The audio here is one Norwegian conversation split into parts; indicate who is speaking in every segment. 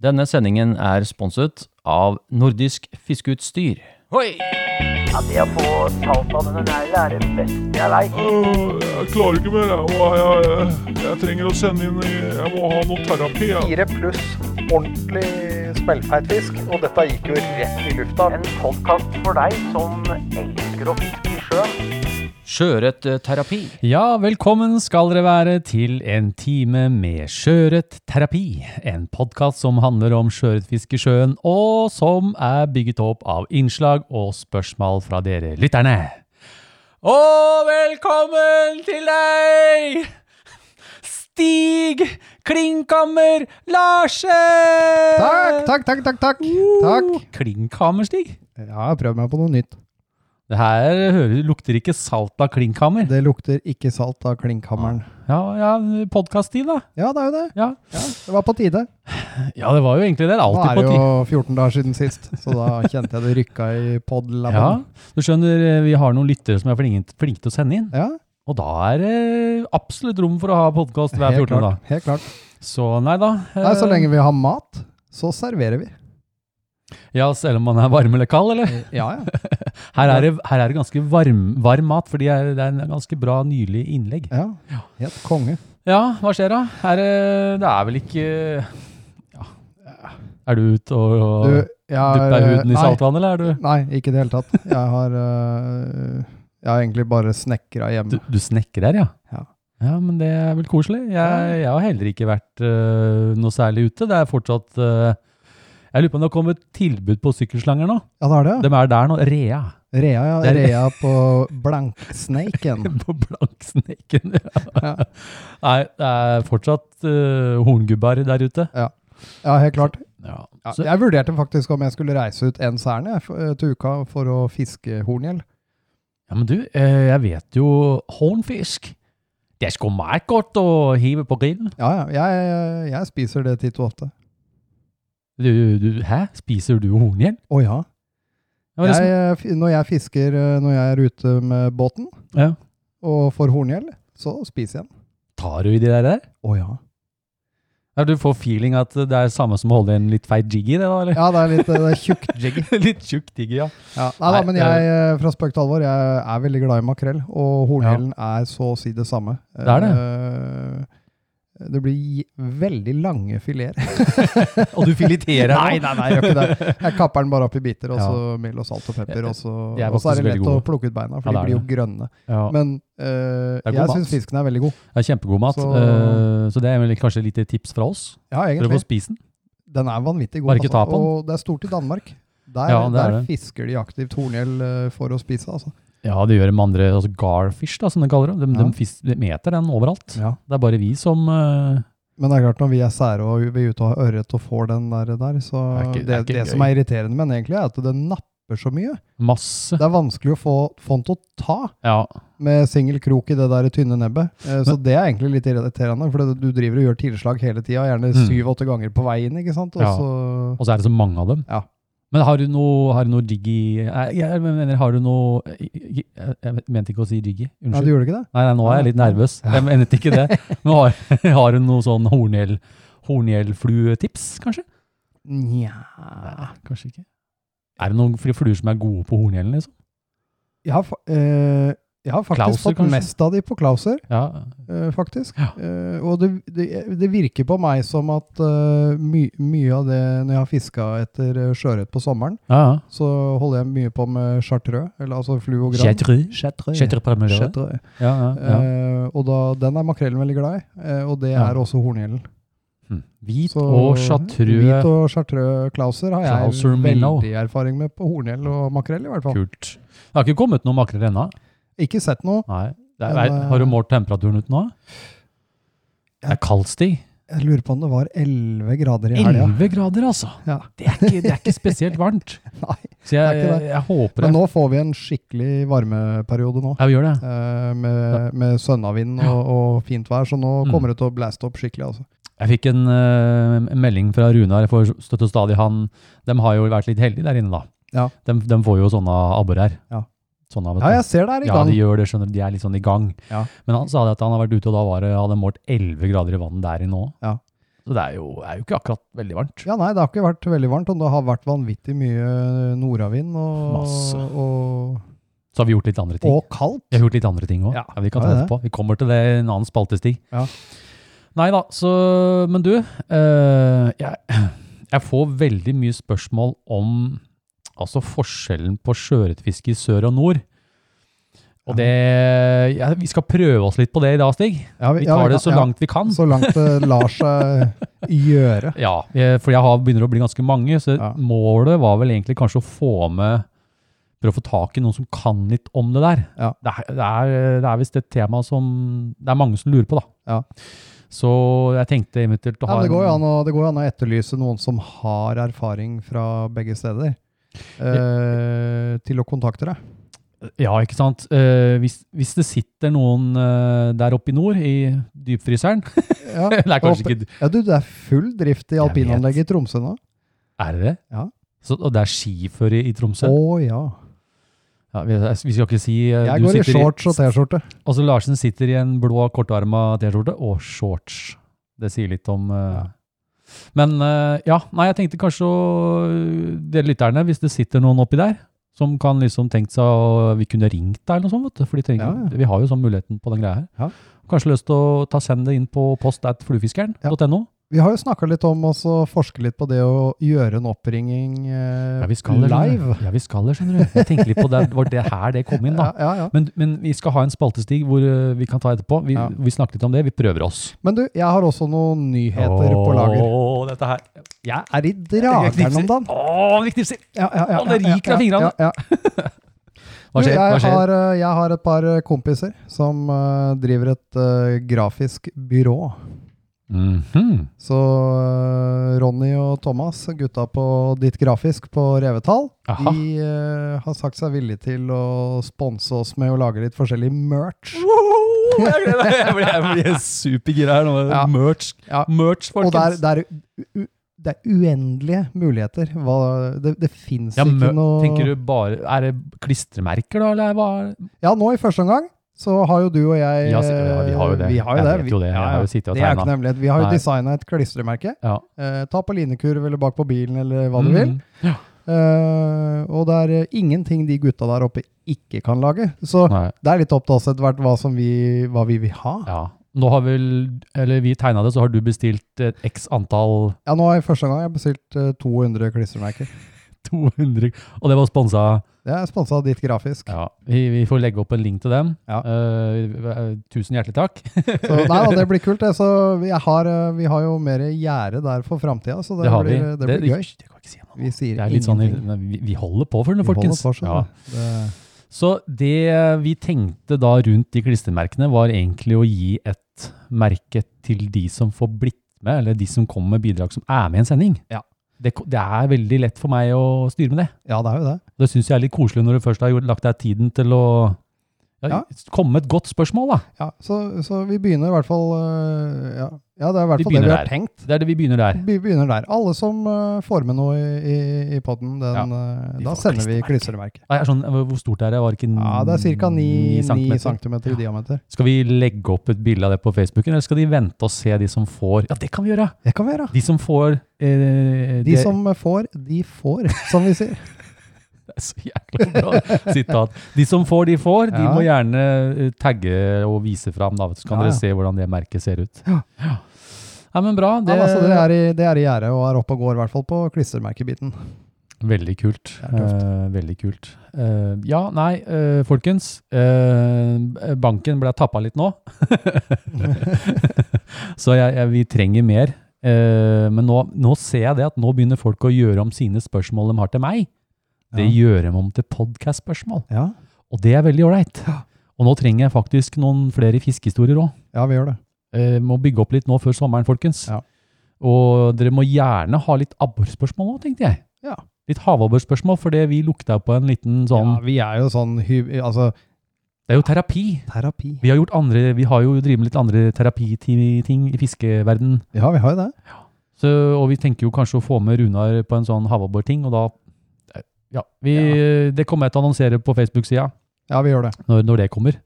Speaker 1: Denne sendingen er sponset av Nordisk Fiskeutstyr. Hoi!
Speaker 2: Det å få talt av denne negla er det beste jeg veit.
Speaker 3: Øh, Jeg klarer ikke mer. Jeg, Åh, jeg, jeg, jeg trenger å sende inn i- Jeg må ha noe terapi. Jeg.
Speaker 4: Fire pluss ordentlig smellfeit fisk, og dette gikk jo rett i lufta.
Speaker 2: En podkast for deg som elsker å fiske i sjøen.
Speaker 1: eh, Sjøørretterapi.
Speaker 5: Ja, velkommen skal dere være til en time med Sjøørretterapi. En podkast som handler om sjøørretfiske i sjøen, og som er bygget opp av innslag og spørsmål fra dere lytterne. Og velkommen til deg, Stig Klingkammer Larsen!
Speaker 6: Takk, takk, takk, takk, takk. takk.
Speaker 5: Klingkammer-Stig.
Speaker 6: Ja, jeg har prøvd meg på noe nytt.
Speaker 5: Det her hører- lukter ikke salt av klingkammer.
Speaker 6: Det lukter ikke salt av klinkhammeren.
Speaker 5: Ja, ja, podkast-Stig, da.
Speaker 6: Ja, det er jo det.
Speaker 5: Ah. Ja.
Speaker 6: Ja, det var på tide.
Speaker 5: Ja, det var jo egentlig det. Det er
Speaker 6: Nå
Speaker 5: alltid
Speaker 6: er
Speaker 5: på
Speaker 6: det
Speaker 5: tide.
Speaker 6: jo 14 dager siden sist, så da kjente jeg det rykka i
Speaker 5: Ja,
Speaker 6: podlabben.
Speaker 5: du skjønner, eh, vi har noen lyttere som er flinke, flinke til å sende inn.
Speaker 6: Ja,
Speaker 5: Og da er det absolutt rom for å ha podkast hver 14.
Speaker 6: helt klart.
Speaker 5: da.
Speaker 6: Helt klart.
Speaker 5: Så nei da. eh,
Speaker 6: Nei, så lenge vi har mat, så serverer vi.
Speaker 5: Ja, selv om man er varm eller kald, eller?
Speaker 6: Ja, ja.
Speaker 5: Her er det, her er det ganske varm, varm mat, fordi er, det er en ganske bra, nylig innlegg.
Speaker 6: ja. Helt konge.
Speaker 5: Ja, hva skjer da? Er, det- det er vel ikke ja. Er du ute og, og
Speaker 6: Du, jeg har
Speaker 5: dupper huden i
Speaker 6: nei,
Speaker 5: saltvann, eller er du
Speaker 6: Nei, ikke i det hele tatt. Jeg har øh, Jeg har egentlig bare snekra
Speaker 5: Du,
Speaker 6: hjemme.
Speaker 5: du snekker her, ja?
Speaker 6: Ja.
Speaker 5: Ja, men det er vel koselig. Jeg, jeg har heller ikke vært øh, noe særlig ute. Det er fortsatt øh, Jeg lurer på om det har kommet tilbud på sykkelslanger nå.
Speaker 6: Ja, det er det.
Speaker 5: De er der nå. Rea.
Speaker 6: Rea, ja.
Speaker 5: Det er-
Speaker 6: Rea på blanksneiken.
Speaker 5: På Blanksneken.
Speaker 6: Ja.
Speaker 5: Nei, det er fortsatt øh, horngubber der ute.
Speaker 6: Ja, helt klart.
Speaker 5: Ja.
Speaker 6: Ja,
Speaker 5: Så,
Speaker 6: jeg vurderte faktisk om jeg skulle reise ut en særne jeg, f- eh, til uka for å fiske horngjell.
Speaker 5: ja, men du, øh, jeg vet jo Hornfisk. Det er sgu meget godt å hive på grillen.
Speaker 6: Ja, ja. Jeg, eh, jeg spiser det titt og ofte.
Speaker 5: Du, du, hæ? Spiser du horngjell?
Speaker 6: Å ja.
Speaker 5: Ja, liksom, det
Speaker 6: Jeg,
Speaker 5: sm-
Speaker 6: eh, fi- når jeg fisker eh, når jeg er ute med båten
Speaker 5: Ja.
Speaker 6: og får horngjell, så spiser jeg den.
Speaker 5: Tar du i de der? der?
Speaker 6: Å ja.
Speaker 5: Ja, du får feeling at det er samme som å holde en litt feit jiggy, det da? eller?
Speaker 6: Ja, det er litt eh, det er tjukt jiggy.
Speaker 5: litt tjukk jiggy, ja.
Speaker 6: Ja. Nei da,
Speaker 5: Nei,
Speaker 6: men
Speaker 5: det er-
Speaker 6: jeg, eh, fra spøk til alvor, jeg er veldig glad i makrell, og horngjellen er så å si det samme.
Speaker 5: Det er det.
Speaker 6: Eh, Det blir gi- veldig lange fileter.
Speaker 5: Og du fileterer
Speaker 6: Nei, nei, nei, jeg gjør ikke det. Jeg kapper den bare opp i biter, og
Speaker 5: Ja.
Speaker 6: så mild og salt og pepper, og så,
Speaker 5: De er
Speaker 6: og så er
Speaker 5: faktisk
Speaker 6: det lett
Speaker 5: veldig gode.
Speaker 6: å plukke ut beina, for
Speaker 5: Ja,
Speaker 6: de
Speaker 5: det
Speaker 6: blir
Speaker 5: er
Speaker 6: jo grønne.
Speaker 5: Ja,
Speaker 6: Men øh,
Speaker 5: er god
Speaker 6: jeg
Speaker 5: mat.
Speaker 6: syns fisken er veldig god.
Speaker 5: det er kjempegod mat.
Speaker 6: Så-
Speaker 5: Så, så det er vel kanskje et lite tips fra oss.
Speaker 6: Ja,
Speaker 5: Prøv å
Speaker 6: egentlig.
Speaker 5: spise den.
Speaker 6: Den er vanvittig god. altså.
Speaker 5: Bare ikke ta på den.
Speaker 6: Og det er stort i Danmark. Der,
Speaker 5: Ja, det er
Speaker 6: der
Speaker 5: det.
Speaker 6: fisker de aktivt horngjell øh, for å spise, altså.
Speaker 5: Ja, det gjør de andre, altså garfish, da, som de kaller det. De,
Speaker 6: Ja.
Speaker 5: de, fis- de meter den overalt. Det er bare vi som eh,
Speaker 6: Men det er klart, når vi er sære og vi er ute og har ørret og får den der, der så
Speaker 5: Det er ikke-
Speaker 6: det,
Speaker 5: det
Speaker 6: det,
Speaker 5: er ikke
Speaker 6: som
Speaker 5: gøy.
Speaker 6: er irriterende med den egentlig, er at den napper så mye.
Speaker 5: Masse.
Speaker 6: Det er vanskelig å få, få den til å ta.
Speaker 5: Ja,
Speaker 6: med singel krok i det der tynne nebbet. Eh, så det er egentlig litt irriterende, for det, du driver og gjør tilslag hele tida, gjerne
Speaker 5: Mm.
Speaker 6: syv-åtte ganger på vei inn, ikke sant? Og
Speaker 5: Ja.
Speaker 6: så-
Speaker 5: Og så er det så mange av dem.
Speaker 6: Ja.
Speaker 5: Men har du noe, har du noe jiggy eh, Jeg mener, har du noe Jeg, jeg, jeg mente ikke å si jiggy.
Speaker 6: Nei,
Speaker 5: Unnskyld.
Speaker 6: du gjorde ikke det?
Speaker 5: Nei, nei, nå er jeg litt nervøs. Jeg mente ikke det. Men har, har du noe sånn horngjell, horngjellfluetips, kanskje?
Speaker 6: Nja
Speaker 5: kanskje ikke. Er det noen fl- fluer som er gode på horngjellen, liksom?
Speaker 6: Jeg har, fa- eh, jeg har faktisk
Speaker 5: Klauser,
Speaker 6: fått
Speaker 5: kanskje?
Speaker 6: mest av de på Klauser,
Speaker 5: Ja.
Speaker 6: eh, faktisk.
Speaker 5: Ja.
Speaker 6: Eh, og det, det, det virker på meg som at eh, my, mye av det når jeg har fiska etter eh, sjøørret på sommeren,
Speaker 5: ja.
Speaker 6: så holder jeg mye på med chartreux, eller altså fluogran.
Speaker 5: Chartreuse.
Speaker 6: Chartreux.
Speaker 5: Chartreuse parmesan.
Speaker 6: Chartreux.
Speaker 5: Ja, ja, ja.
Speaker 6: Eh, og da, den er makrellen veldig glad i, eh, og det
Speaker 5: Ja.
Speaker 6: er også horngjellen.
Speaker 5: Hm. Hvit
Speaker 6: Så
Speaker 5: og
Speaker 6: Hvit
Speaker 5: chartreuse.
Speaker 6: og chartreux klauser har jeg
Speaker 5: Klauser Minnow.
Speaker 6: veldig erfaring med på horngjell og makrell, i hvert fall.
Speaker 5: Kult. Det har ikke kommet noen makrell ennå?
Speaker 6: Ikke sett noe.
Speaker 5: Nei. Det er,
Speaker 6: Men, eh,
Speaker 5: er, har du målt temperaturen ute nå? Det er kaldstig.
Speaker 6: Jeg lurer på om det var 11 grader i helga.
Speaker 5: 11 grader, altså.
Speaker 6: Ja.
Speaker 5: Det er ikke, det er ikke spesielt varmt.
Speaker 6: Nei,
Speaker 5: Så jeg,
Speaker 6: Det er ikke
Speaker 5: jeg,
Speaker 6: det.
Speaker 5: håper
Speaker 6: Men
Speaker 5: det.
Speaker 6: nå får vi en skikkelig varmeperiode nå.
Speaker 5: Ja, vi gjør det.
Speaker 6: eh, Med, med sønnavind og, og fint vær, så nå
Speaker 5: Mm.
Speaker 6: kommer det til å blaste opp skikkelig. altså.
Speaker 5: Jeg fikk en eh, en melding fra Runar for støtte stadig. Han, de har jo vært litt heldige der inne, da.
Speaker 6: Ja.
Speaker 5: De, de får jo sånne abbor her.
Speaker 6: Ja.
Speaker 5: Sånne, vet
Speaker 6: Ja,
Speaker 5: du.
Speaker 6: jeg ser det er i
Speaker 5: ja,
Speaker 6: gang.
Speaker 5: de gjør det, skjønner du. De er litt sånn i gang.
Speaker 6: Ja.
Speaker 5: Men han sa det at han har vært ute, og da var det, hadde målt 11 grader i vannet der inne òg.
Speaker 6: Ja.
Speaker 5: Og det er jo, er jo ikke akkurat veldig varmt.
Speaker 6: Ja, nei, det har ikke vært veldig varmt, og det har vært vanvittig mye nordavind og,
Speaker 5: Masse.
Speaker 6: og,
Speaker 5: Så har vi gjort litt andre ting.
Speaker 6: og kaldt.
Speaker 5: Vi har gjort litt andre ting òg.
Speaker 6: Ja.
Speaker 5: Ja. vi kan ta
Speaker 6: Ja,
Speaker 5: det
Speaker 6: det.
Speaker 5: etterpå. Vi kommer til det i en annen spaltestig.
Speaker 6: Ja.
Speaker 5: Nei da, så Men du, eh, jeg, jeg får veldig mye spørsmål om altså forskjellen på sjøørretfiske i sør og nord. Og det ja, Vi skal prøve oss litt på det i dag, Stig.
Speaker 6: Ja,
Speaker 5: Vi
Speaker 6: ja,
Speaker 5: tar det
Speaker 6: kan-
Speaker 5: så
Speaker 6: ja,
Speaker 5: langt vi kan.
Speaker 6: Så langt det lar seg gjøre.
Speaker 5: Ja, eh, for jeg har, begynner å bli ganske mange, så
Speaker 6: Ja.
Speaker 5: målet var vel egentlig kanskje å få med Prøve å få tak i noen som kan litt om det der.
Speaker 6: Ja.
Speaker 5: Det er, det er, det er visst et tema som det er mange som lurer på, da.
Speaker 6: Ja.
Speaker 5: Så jeg tenkte eventuelt å
Speaker 6: Ja,
Speaker 5: ha
Speaker 6: men det
Speaker 5: en-
Speaker 6: går jo an å, det går jo an å etterlyse noen som har erfaring fra begge steder, eh, til å kontakte deg.
Speaker 5: Ja, ikke sant. Eh, hvis, hvis det sitter noen eh, der oppe i nord, i dypfryseren
Speaker 6: Ja,
Speaker 5: Det er kanskje
Speaker 6: og-
Speaker 5: ikke
Speaker 6: ja, du, det er full drift i
Speaker 5: Jeg vet.
Speaker 6: alpinanlegget i Tromsø nå.
Speaker 5: Er det det?
Speaker 6: Ja.
Speaker 5: Så, og det er skiføre i Tromsø?
Speaker 6: Å ja.
Speaker 5: Ja, vi, vi skal ikke si eh,
Speaker 6: Jeg
Speaker 5: du
Speaker 6: går i
Speaker 5: sitter
Speaker 6: shorts og T-skjorte.
Speaker 5: Altså Larsen sitter i en blå kortarma T-skjorte og shorts. Det sier litt om eh, Men eh, ja, nei, jeg tenkte kanskje å dere lytterne, hvis det sitter noen oppi der, som kan liksom tenkt seg å Vi kunne ringt deg eller noe sånt, vet du. For de trenger,
Speaker 6: Ja, ja.
Speaker 5: vi har jo sånn muligheten på den greia her.
Speaker 6: Ja.
Speaker 5: Kanskje lyst til å ta send det inn på post at fluefiskeren.no.
Speaker 6: Vi har jo snakka litt om oss å forske litt på det å gjøre en oppringing eh,
Speaker 5: Ja, vi skal det. skjønner du.
Speaker 6: live.
Speaker 5: Ja, vi skal det, skjønner du. Jeg tenkte litt på det. Det var det her det kom inn, da.
Speaker 6: Ja, ja, ja.
Speaker 5: Men, men vi skal ha en spaltestig hvor eh, vi kan ta etterpå. Vi,
Speaker 6: Ja.
Speaker 5: vi snakket litt om det. Vi prøver oss.
Speaker 6: Men du, jeg har også noen nyheter på lager.
Speaker 5: Åh, dette her. Ja.
Speaker 6: Er i drageren om dagen.
Speaker 5: Åh, vi knipser.
Speaker 6: Ja, ja, ja,
Speaker 5: Å, det
Speaker 6: ja, ja,
Speaker 5: ryker av
Speaker 6: ja,
Speaker 5: fingrene.
Speaker 6: Ja, ja.
Speaker 5: Hva
Speaker 6: Du,
Speaker 5: skjer?
Speaker 6: Jeg,
Speaker 5: Hva skjer?
Speaker 6: Har, eh, jeg har et par eh, kompiser som eh, driver et eh, grafisk byrå.
Speaker 5: Mhm.
Speaker 6: Så eh, Ronny og Thomas, gutta på Ditt Grafisk på Revetal,
Speaker 5: Aha.
Speaker 6: de eh, har sagt seg villige til å sponse oss med å lage litt forskjellig merch.
Speaker 5: Woho, Jeg gleder meg. Jeg blir- jeg blir supergira her nå.
Speaker 6: Ja.
Speaker 5: Merch,
Speaker 6: Ja.
Speaker 5: Merch
Speaker 6: Og det er,
Speaker 5: folkens.
Speaker 6: det er, u, u, det er uendelige muligheter. Hva, det det fins
Speaker 5: Ja,
Speaker 6: ikke
Speaker 5: mø-
Speaker 6: noe
Speaker 5: tenker du bare, Er det klistremerker, da? Eller hva? er-
Speaker 6: Ja, nå i første omgang så har jo du og jeg
Speaker 5: Ja, se- ja, vi har jo det.
Speaker 6: Vi har
Speaker 5: Jeg
Speaker 6: jo det.
Speaker 5: vet jo det. Jeg har jo sittet og
Speaker 6: det er
Speaker 5: tegnet.
Speaker 6: ikke nemlig. Vi har jo
Speaker 5: Nei.
Speaker 6: designa et klistremerke.
Speaker 5: Ja.
Speaker 6: Eh, ta på linekurv eller bak på bilen eller hva du
Speaker 5: Mm.
Speaker 6: vil. Eh, og det er eh, ingenting de gutta der oppe ikke kan lage. Så
Speaker 5: Nei.
Speaker 6: det er litt opp til oss etter hvert hva, som vi, hva vi vil ha. Ja.
Speaker 5: Ja. Nå har vel, eller vi tegna det, så har du bestilt et x antall
Speaker 6: nå har jeg første gang jeg bestilt eh, 200 klistremerker.
Speaker 5: 200, og det var sponsa.
Speaker 6: Det er sponsa av Ditt Grafisk.
Speaker 5: Ja. Vi, vi får legge opp en link til dem.
Speaker 6: Ja.
Speaker 5: Eh, eh, tusen hjertelig takk.
Speaker 6: Så nei da, det blir kult. Det. Så jeg har, eh, vi har jo mer gjerde der for framtida, så det,
Speaker 5: Det har vi.
Speaker 6: blir, eh, det blir gøy.
Speaker 5: Det kan vi ikke si noe om.
Speaker 6: Vi sier
Speaker 5: Det er litt sånn,
Speaker 6: ingenting.
Speaker 5: nei, vi, vi holder på for det,
Speaker 6: Vi holder
Speaker 5: folkens.
Speaker 6: sånn. fortsatt,
Speaker 5: ja.
Speaker 6: da. altså. Det-
Speaker 5: Så det eh, vi tenkte da rundt de klistremerkene, var egentlig å gi et merke til de som får blitt med, eller de som kommer med bidrag som er med i en sending.
Speaker 6: Ja.
Speaker 5: Det, ko- det er veldig lett for meg å styre med det.
Speaker 6: Ja, det er jo det.
Speaker 5: Det syns jeg er litt koselig når du først har gjort- lagt deg tiden til å ja,
Speaker 6: Ja.
Speaker 5: komme med et godt spørsmål. da.
Speaker 6: Ja, så, så vi begynner i hvert fall øh, Ja, ja det er i hvert
Speaker 5: Vi
Speaker 6: fall det vi
Speaker 5: begynner
Speaker 6: har
Speaker 5: der.
Speaker 6: tenkt.
Speaker 5: Det er det vi begynner der.
Speaker 6: Vi begynner der. Alle som øh, får med noe i, i, i podden, den,
Speaker 5: Ja,
Speaker 6: øh,
Speaker 5: de
Speaker 6: da
Speaker 5: får
Speaker 6: sender vi
Speaker 5: klistremerke.
Speaker 6: klistremerke.
Speaker 5: Nei, jeg er sånn, hvor stort er det? Var det ikke
Speaker 6: Ja, det er ca. 9
Speaker 5: Mm, centimeter?
Speaker 6: cm i diameter.
Speaker 5: Skal vi legge opp et bilde av det på Facebooken, eller skal de vente og se de som får Ja, det kan vi gjøre!
Speaker 6: Det kan vi gjøre.
Speaker 5: De som får eh,
Speaker 6: De
Speaker 5: det-
Speaker 6: som får, de får, som vi sier.
Speaker 5: Det er så jækla bra sitat. De som får, de får. De
Speaker 6: Ja.
Speaker 5: må gjerne eh, tagge og vise fram, da, vet du, så kan
Speaker 6: Ja, ja.
Speaker 5: dere se hvordan det merket ser ut. Ja. Nei, men bra.
Speaker 6: Det,
Speaker 5: Det,
Speaker 6: ja, altså, det er i, det er i gjerdet og er oppe og går, i hvert fall på klistremerkebiten.
Speaker 5: Veldig kult.
Speaker 6: er tøft.
Speaker 5: Eh, veldig kult. Eh, ja, nei, eh, folkens. eh, banken ble tappa litt nå. så jeg, jeg, vi trenger mer. Eh, men nå, nå ser jeg det at nå begynner folk å gjøre om sine spørsmål de har til meg. Det gjør de om til podcast-spørsmål.
Speaker 6: Ja.
Speaker 5: Og det er veldig ålreit. Og nå trenger jeg faktisk noen flere fiskehistorier òg.
Speaker 6: ja, vi gjør det.
Speaker 5: Eh, må bygge opp litt nå før sommeren, folkens.
Speaker 6: Ja.
Speaker 5: Og dere må gjerne ha litt abborspørsmål òg, tenkte jeg.
Speaker 6: Ja.
Speaker 5: Litt havabborspørsmål, for det vi lukta på en liten sånn
Speaker 6: Ja, vi er jo sånn hy... Altså,
Speaker 5: Det er jo terapi.
Speaker 6: terapi.
Speaker 5: Vi har, gjort andre, vi har jo drevet med litt andre terapiting i fiskeverden.
Speaker 6: Ja, vi har jo det.
Speaker 5: Så, og vi tenker jo kanskje å få med Runar på en sånn havabborting, og da Ja. Vi, Det kommer jeg til å annonsere på Facebook-sida
Speaker 6: Ja, vi gjør det.
Speaker 5: når, når det kommer.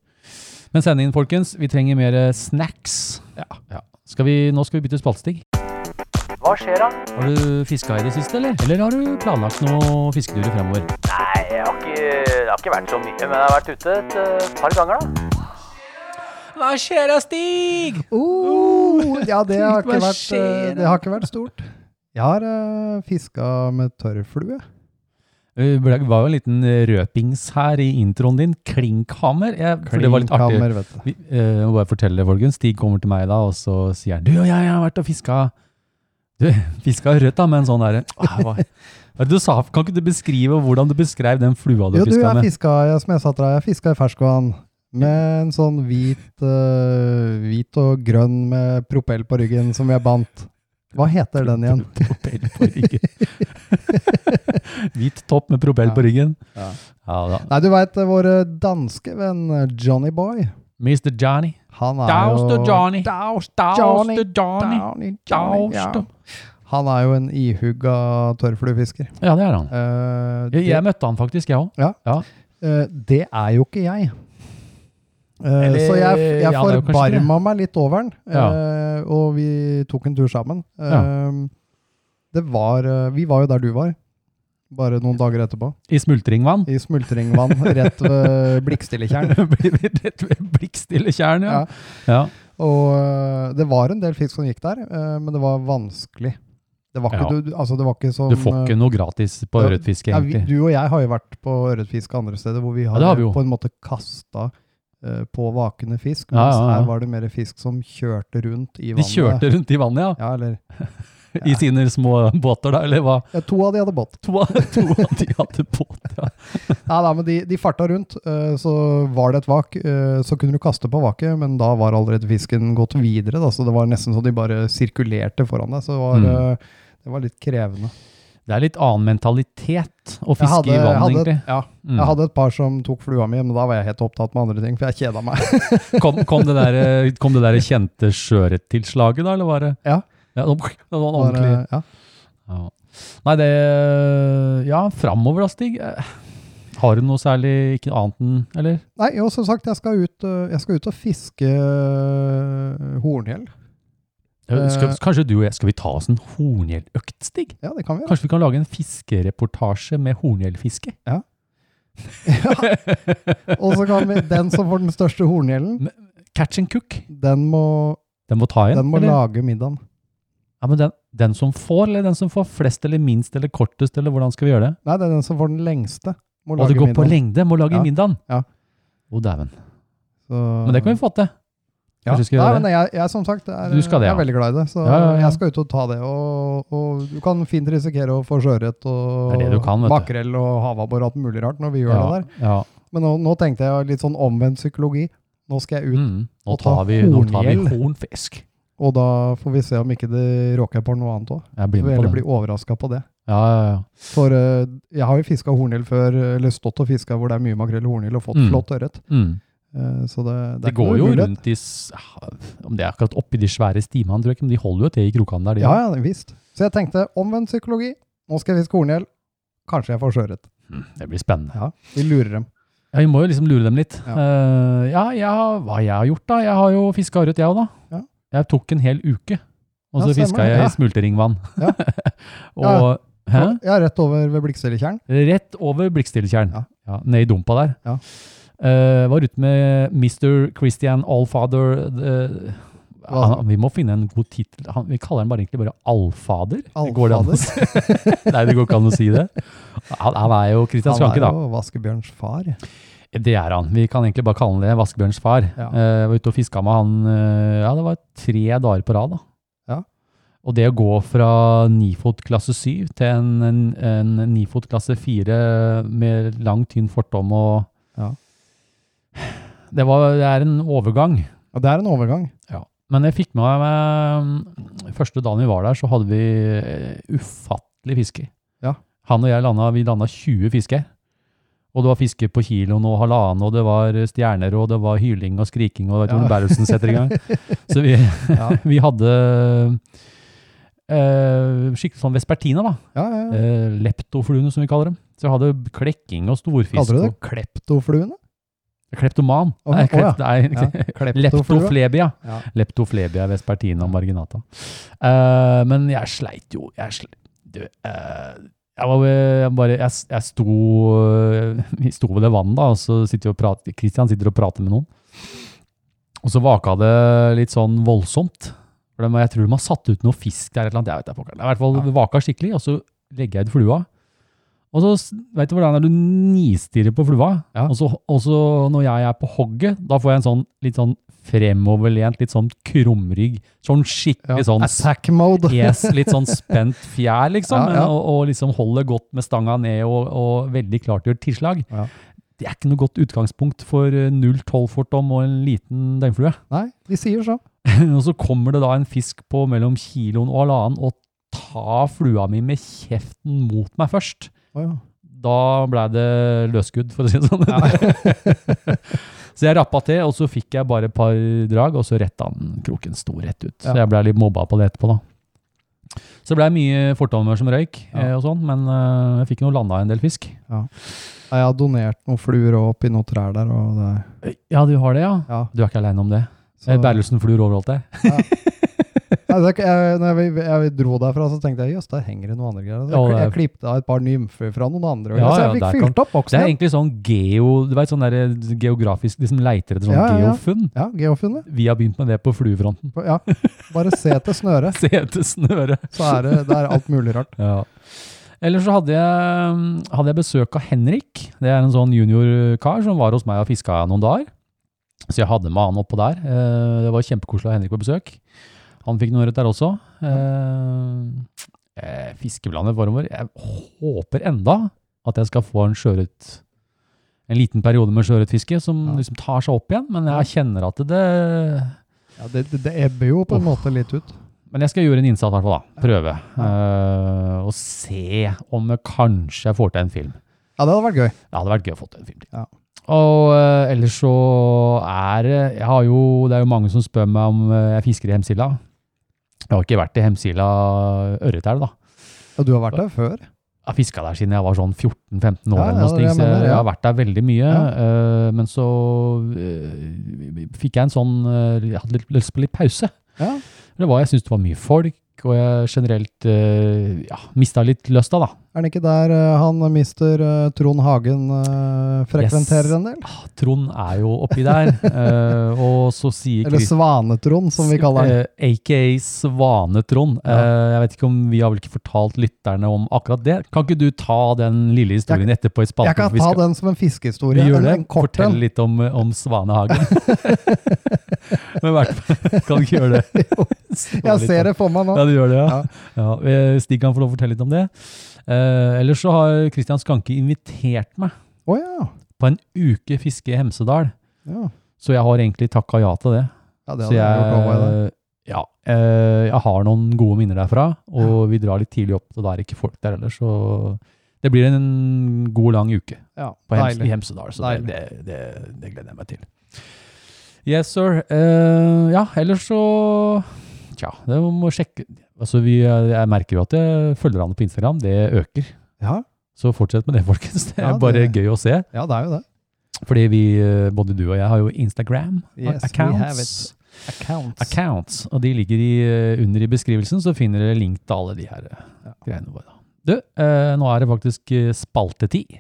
Speaker 5: Men send inn, folkens. Vi trenger mer eh, snacks. Ja. Skal vi, nå skal vi bytte spaltestig.
Speaker 2: Hva skjer da?
Speaker 5: Har du fiska i det siste, eller? Eller har du planlagt noe fisketurer fremover?
Speaker 2: Nei, jeg har ikke, det har ikke vært så mye, men jeg har vært ute et eh, par ganger da.
Speaker 5: Hva skjer da, Stig?
Speaker 6: Oh, ja, det har,
Speaker 5: Hva
Speaker 6: ikke vært, eh,
Speaker 5: skjer?
Speaker 6: det har ikke vært stort. Jeg har uh, fiska med tørrflue.
Speaker 5: Eh, Det var jo en liten eh, røpings her i introen din. Klinkhammer. Jeg, for det var litt artig.
Speaker 6: Klinkhammer, vet du.
Speaker 5: Vi, eh, jeg må bare fortelle det, folkens. Stig kommer til meg da, og så sier han Du, jeg, jeg har vært og fiska Du, fiska rødt, da, med en sånn derre «Åh, Hva hva er det du sa? Kan ikke du beskrive hvordan du beskrev den flua du
Speaker 6: Jo, du,
Speaker 5: fiska
Speaker 6: jeg
Speaker 5: med?
Speaker 6: fiska, jeg, som jeg sa til deg, jeg fiska i ferskvann. Med en sånn hvit, eh, hvit og grønn med propell på ryggen som jeg bandt. Hva heter den igjen?
Speaker 5: Propell på ryggen. Hvit topp med propell på ryggen.
Speaker 6: Ja.
Speaker 5: Ja da.
Speaker 6: Nei, du veit vår danske venn eh, Johnny Boy.
Speaker 5: Mr. Johnny.
Speaker 6: Han er
Speaker 5: Daus
Speaker 6: jo
Speaker 5: til Johnny.
Speaker 6: Daus,
Speaker 5: Johnny. Johnny.
Speaker 6: Johnny, Johnny,
Speaker 5: Daus
Speaker 6: ja.
Speaker 5: til-
Speaker 6: Han er jo en ihugga tørrfluefisker.
Speaker 5: Ja, det er han.
Speaker 6: Eh,
Speaker 5: Jeg,
Speaker 6: det,
Speaker 5: jeg møtte han faktisk, jeg òg.
Speaker 6: eh, det er jo ikke jeg. Eh,
Speaker 5: Eller-
Speaker 6: så jeg, jeg
Speaker 5: ja, det er jo kanskje
Speaker 6: forbarma meg litt over den,
Speaker 5: Ja.
Speaker 6: eh, og vi tok en tur sammen. Eh, Det var eh, Vi var jo der du var, bare noen dager etterpå.
Speaker 5: I smultringvann.
Speaker 6: I smultringvann rett ved blikkstillekjern.
Speaker 5: Blikkstille tjern, ja.
Speaker 6: Ja.
Speaker 5: ja.
Speaker 6: Og eh, det var en del fisk som gikk der, eh, men det var vanskelig. Det var ikke,
Speaker 5: Ja.
Speaker 6: du, altså det var ikke som
Speaker 5: Du får ikke noe gratis på
Speaker 6: Ja,
Speaker 5: ørretfiske,
Speaker 6: Ja, vi,
Speaker 5: egentlig.
Speaker 6: du og jeg har jo vært på ørretfiske andre steder, hvor vi har,
Speaker 5: Ja, det har vi jo.
Speaker 6: på en måte kasta eh, på vakende fisk.
Speaker 5: Ja,
Speaker 6: Mens
Speaker 5: ja, ja.
Speaker 6: her var det mer fisk som kjørte rundt i
Speaker 5: De
Speaker 6: vannet.
Speaker 5: kjørte rundt i vannet, ja.
Speaker 6: Ja, eller
Speaker 5: I sine små båter, da, eller hva?
Speaker 6: ja, To av de hadde båt.
Speaker 5: To av, to av de hadde båt, ja.
Speaker 6: Nei, nei, men de, de farta rundt. eh, så var det et vak. eh, så kunne du kaste på vaket, men da var allerede fisken gått videre. Da, så det var nesten så de bare sirkulerte foran deg. Så det var,
Speaker 5: Mm.
Speaker 6: eh, det var litt krevende.
Speaker 5: Det er litt annen mentalitet å
Speaker 6: Jeg
Speaker 5: fiske
Speaker 6: hadde-
Speaker 5: i vann,
Speaker 6: jeg hadde-
Speaker 5: egentlig.
Speaker 6: Ja,
Speaker 5: Mm.
Speaker 6: Jeg hadde et par som tok flua mi, men da var jeg helt opptatt med andre ting, for jeg kjeda meg.
Speaker 5: Kom, kom, det der, eh, kom det der kjente sjøørrettilslaget, da, eller var det
Speaker 6: Ja.
Speaker 5: ja det var det var en
Speaker 6: Bare-
Speaker 5: ordentlig
Speaker 6: ja.
Speaker 5: ja. Nei, det Ja, framover da, Stig. Eh, Har du noe særlig ikke annet enn Eller?
Speaker 6: Nei, og som sagt, jeg skal ut, øh, jeg skal ut og fiske øh, horngjell. Eh,
Speaker 5: Skal, kanskje du og jeg Skal vi ta oss en horngjelløkt, Stig?
Speaker 6: Ja, det kan vi gjøre.
Speaker 5: Kanskje vi kan lage en fiskereportasje med horngjellfiske?
Speaker 6: Og så kan vi, den som får den største horngjellen,
Speaker 5: Catch and cook.
Speaker 6: den må,
Speaker 5: Den må ta igjen.
Speaker 6: den må
Speaker 5: eller?
Speaker 6: lage middagen.
Speaker 5: Ja, men den, den som får, eller den som får flest, eller minst, eller kortest, eller hvordan skal vi gjøre det?
Speaker 6: Nei, det er den som får den lengste, må
Speaker 5: Og
Speaker 6: lage
Speaker 5: det går på
Speaker 6: middagen.
Speaker 5: lengde, må lage
Speaker 6: Ja,
Speaker 5: middagen.
Speaker 6: ja.
Speaker 5: Å, dæven.
Speaker 6: Så-
Speaker 5: Men det kan vi få til.
Speaker 6: ja.
Speaker 5: kanskje vi skal
Speaker 6: Nei,
Speaker 5: gjøre det.
Speaker 6: men jeg, jeg, som sagt, er,
Speaker 5: Du skal det,
Speaker 6: jeg er
Speaker 5: ja.
Speaker 6: veldig glad i det, så
Speaker 5: Ja, ja, ja.
Speaker 6: jeg skal ut og ta det. Og, og du kan fint risikere å få sjøørret og
Speaker 5: Det er det du kan, vet du.
Speaker 6: makrell og havabbor og alt mulig rart når vi gjør
Speaker 5: ja,
Speaker 6: det der.
Speaker 5: Ja.
Speaker 6: Men nå, nå tenkte jeg litt sånn omvendt psykologi. Nå skal jeg ut
Speaker 5: Mm. Nå
Speaker 6: Og ta
Speaker 5: tar vi, nå tar vi
Speaker 6: horngjell.
Speaker 5: hornfisk.
Speaker 6: Og da får vi se om ikke det råker på noe annet òg.
Speaker 5: Jeg
Speaker 6: Så
Speaker 5: blir
Speaker 6: vi
Speaker 5: med
Speaker 6: heller
Speaker 5: på
Speaker 6: blir
Speaker 5: den.
Speaker 6: overraska på det.
Speaker 5: Ja, ja, ja.
Speaker 6: For eh, jeg har jo fiska hornhild før, eller stått og fiska hvor det er mye makrell og hornhild, og fått
Speaker 5: Mm.
Speaker 6: flott ørret.
Speaker 5: Mm.
Speaker 6: Eh, så det, det,
Speaker 5: Det
Speaker 6: er
Speaker 5: går
Speaker 6: ikke noe
Speaker 5: jo
Speaker 6: mulighet.
Speaker 5: rundt i s- ja, Om det er akkurat oppi de svære stimene, tror jeg ikke, men de holder jo til i krokene der. De.
Speaker 6: Ja, ja, visst. Så jeg tenkte omvendt psykologi. Nå skal jeg fiske hornhild. Kanskje jeg får sjøørret.
Speaker 5: Mm, Det blir spennende.
Speaker 6: Ja, vi lurer dem.
Speaker 5: Ja, Vi må jo liksom lure dem litt.
Speaker 6: Ja.
Speaker 5: Ja, ja jeg har- hva jeg har gjort da? Jeg har jo fiska ørret, jeg òg da.
Speaker 6: Ja.
Speaker 5: Jeg tok en hel uke, og
Speaker 6: Ja,
Speaker 5: så
Speaker 6: stemmer
Speaker 5: fiska
Speaker 6: det,
Speaker 5: jeg
Speaker 6: ja.
Speaker 5: i smulteringvann.
Speaker 6: Ja.
Speaker 5: og Hæ?
Speaker 6: Ja, rett over ved blikkstillekjern.
Speaker 5: rett over blikkstillekjern,
Speaker 6: Ja.
Speaker 5: ja. ned i dumpa der.
Speaker 6: Ja.
Speaker 5: Eh, var ute med Mr. Christian Allfather eh,
Speaker 6: Hva?
Speaker 5: han, Vi må finne en god tittel. Han- Vi kaller han bare, egentlig bare Allfader. Går det an å
Speaker 6: Allfader?
Speaker 5: si- Nei, det går ikke an å si det. Han, han er jo Christian
Speaker 6: Han
Speaker 5: Skanke,
Speaker 6: er
Speaker 5: da.
Speaker 6: jo vaskebjørns far.
Speaker 5: Det er han. Vi kan egentlig bare kalle han det Vaskebjørns far.
Speaker 6: Ja.
Speaker 5: Eh, jeg var ute og fiska med han eh, ja, det var tre dager på rad. da.
Speaker 6: Ja.
Speaker 5: Og det å gå fra nifot klasse 7 til en, en, en nifot klasse 4 med lang, tynn fortom og
Speaker 6: Ja.
Speaker 5: det, var, det er en overgang.
Speaker 6: Ja, det er en overgang.
Speaker 5: Men jeg fikk med meg eh, Første dagen vi var der, så hadde vi eh, ufattelig fiske.
Speaker 6: Ja.
Speaker 5: Han og jeg landa, vi landa 20 fiske. Og det var fiske på kiloen og halvannen, og det var stjerner, og det var hyling og skriking, og
Speaker 6: Ja.
Speaker 5: Tone Berrelsen setter i gang. Så vi,
Speaker 6: Ja,
Speaker 5: vi hadde eh, skikkelig sånn vespertina, da.
Speaker 6: ja, ja. ja.
Speaker 5: Eh, leptofluene, som vi kaller dem. Så vi hadde klekking og storfisk.
Speaker 6: Kaller du det
Speaker 5: og-
Speaker 6: kleptofluene?
Speaker 5: Kleptoman.
Speaker 6: Å,
Speaker 5: Nei,
Speaker 6: å, ja.
Speaker 5: klept, nei,
Speaker 6: Ja, kleptoflua.
Speaker 5: Leptoflebia.
Speaker 6: Ja.
Speaker 5: Leptoflebia vespertina marginata. Eh, men jeg sleit jo Jeg, sl du, eh, jeg var jeg bare Jeg, s- jeg sto eh, Vi sto ved det vannet, da, og så sitter vi og prater Kristian sitter og prater med noen. Og så vaka det litt sånn voldsomt. For de, jeg tror de har satt ut noe fisk der, eller noe. Jeg vet da pokker. Det er i hvert fall det vaka skikkelig, og så legger jeg ut flua. Og så s- vet du hvordan det er du nistirrer på flua,
Speaker 6: Ja.
Speaker 5: og, så, og så når jeg er på hogget, da får jeg en sånn litt sånn fremoverlent, litt sånn krumrygg, sånn
Speaker 6: Ja.
Speaker 5: skikkelig sånn
Speaker 6: Attack mode.
Speaker 5: yes, litt sånn spent fjær liksom,
Speaker 6: Ja, ja.
Speaker 5: Og, og liksom holder godt med stanga ned og, og veldig klart gjør tilslag.
Speaker 6: Ja.
Speaker 5: Det er ikke noe godt utgangspunkt for eh, 0,12 fortom og en liten døgnflue.
Speaker 6: Nei, de sier sånn. så.
Speaker 5: Og så kommer det da en fisk på mellom kiloen og halvannen og tar flua mi med kjeften mot meg først.
Speaker 6: Å, ja.
Speaker 5: Da ble det løsskudd, for å si det sånn. så jeg rappa til, og så fikk jeg bare et par drag, og så retta han kroken sto rett ut. Så
Speaker 6: Ja.
Speaker 5: jeg ble litt mobba på det etterpå, da. Så det blei mye fortommer som røyk,
Speaker 6: Ja.
Speaker 5: eh, og sånn, men eh, jeg fikk nå landa en del fisk.
Speaker 6: Nei, Jeg har donert noen fluer og oppi noen trær der, og det er
Speaker 5: Ja, du har det, ja?
Speaker 6: Ja.
Speaker 5: Du er ikke aleine om det?
Speaker 6: så-
Speaker 5: Eh, Berlusen flur overalt deg?
Speaker 6: Nei, det er ikke- jeg, når jeg, jeg dro derfra, så tenkte jeg jøss, der henger det noen andre greier. Så
Speaker 5: Ja,
Speaker 6: jeg, jeg
Speaker 5: det
Speaker 6: klippet av et par nymfer fra noen andre. og
Speaker 5: Ja,
Speaker 6: så
Speaker 5: ja,
Speaker 6: jeg fikk
Speaker 5: der
Speaker 6: fylt opp
Speaker 5: Det
Speaker 6: boksen.
Speaker 5: er
Speaker 6: igjen.
Speaker 5: egentlig sånn geo, du vet, sånn der geografisk, de som leiter etter sånn
Speaker 6: Ja, ja, ja.
Speaker 5: geofunn.
Speaker 6: Ja, geofunnet.
Speaker 5: Vi har begynt med det på fluefronten.
Speaker 6: Ja. Bare se etter snøret,
Speaker 5: Se etter snøret.
Speaker 6: så er det, det er alt mulig rart.
Speaker 5: Ja. Ellers så hadde jeg, hadde jeg besøk av Henrik. Det er en sånn juniorkar som var hos meg og fiska noen dager. Så jeg hadde med han oppå der. Eh, Det var kjempekoselig å ha Henrik på besøk. Han fikk noe ørret der også. Eh, eh, Fiskeblandet forover. Jeg håper enda at jeg skal få en sjøørret en liten periode med sjøørretfiske som
Speaker 6: Ja.
Speaker 5: liksom tar seg opp igjen, men jeg kjenner at det
Speaker 6: Ja, det, det, det ebber jo på en måte litt ut.
Speaker 5: Men jeg skal gjøre en innsats, i hvert fall. da. Prøve. eh, og se om jeg kanskje jeg får til en film.
Speaker 6: Ja, det hadde vært gøy.
Speaker 5: Det hadde vært gøy å få til en film til.
Speaker 6: Ja.
Speaker 5: Og eh, ellers så er det jeg har jo, Det er jo mange som spør meg om eh, jeg fisker i Hemsila. Jeg har ikke vært i Hemsila ørretelv, da.
Speaker 6: Ja, du har vært der før.
Speaker 5: Jeg har fiska der siden jeg var sånn 14-15 år,
Speaker 6: Ja,
Speaker 5: eller noe
Speaker 6: ja, det er
Speaker 5: slikt, så
Speaker 6: det jeg mener,
Speaker 5: jeg
Speaker 6: ja.
Speaker 5: har vært der veldig mye. eh, men så eh, fikk jeg en sånn eh, Jeg hadde litt lyst på litt pause.
Speaker 6: Ja.
Speaker 5: Det var, jeg syntes det var mye folk, og jeg generelt eh, ja, mista litt lysta, da.
Speaker 6: Er han ikke der eh, han mister eh, Trond Hagen eh, frekventerer
Speaker 5: Yes.
Speaker 6: en del?
Speaker 5: Ah, Trond er jo oppi der, eh, og så sier
Speaker 6: Eller
Speaker 5: Chris-
Speaker 6: Svanetrond, som vi kaller han.
Speaker 5: Eh, AKA Svanetrond. Eh, jeg vet ikke om vi har vel ikke fortalt lytterne om akkurat det. Kan ikke du ta den lille historien etterpå i spalten?
Speaker 6: Jeg kan
Speaker 5: for vi
Speaker 6: ta
Speaker 5: skal-
Speaker 6: den som en fiskehistorie.
Speaker 5: Vi gjør
Speaker 6: en-
Speaker 5: det.
Speaker 6: En kort
Speaker 5: Fortell
Speaker 6: en.
Speaker 5: litt om, eh, om Svanehagen. Men i hvert fall kan du ikke gjøre det.
Speaker 6: Jeg ser det for meg nå.
Speaker 5: Ja, du gjør det, ja. ja. eh, Stig kan få lov å fortelle litt om det. Eh, ellers så har Kristian Skanke invitert meg
Speaker 6: Å ja.
Speaker 5: på en uke fiske i Hemsedal,
Speaker 6: ja.
Speaker 5: så jeg har egentlig takka ja til det.
Speaker 6: Ja, det
Speaker 5: Så
Speaker 6: hadde jeg gjort også, jeg, det.
Speaker 5: jeg, ja, eh, jeg har noen gode minner derfra, og vi drar litt tidlig opp, og da er det ikke folk der heller, så det blir en god lang uke
Speaker 6: Ja,
Speaker 5: på Hems
Speaker 6: deilig.
Speaker 5: i Hemsedal, så
Speaker 6: Deilig.
Speaker 5: det, det, det, det gleder jeg meg til. Yes, sir. Eh, ja, ellers så Tja, det må sjekke Altså, vi, jeg merker jo at jeg følger han på Instagram. Det øker.
Speaker 6: Ja,
Speaker 5: Så fortsett med det, folkens. Det er
Speaker 6: Ja,
Speaker 5: bare
Speaker 6: det-
Speaker 5: gøy å se.
Speaker 6: ja, det er jo det.
Speaker 5: Fordi vi, eh, både du og jeg, har jo
Speaker 6: Yes,
Speaker 5: Instagram-accounts.
Speaker 6: we have it. Accounts.
Speaker 5: accounts, og de ligger i, eh, under i beskrivelsen, så finner dere link til alle de her eh, greiene våre. da. Du, eh, nå er det faktisk eh, spaltetid.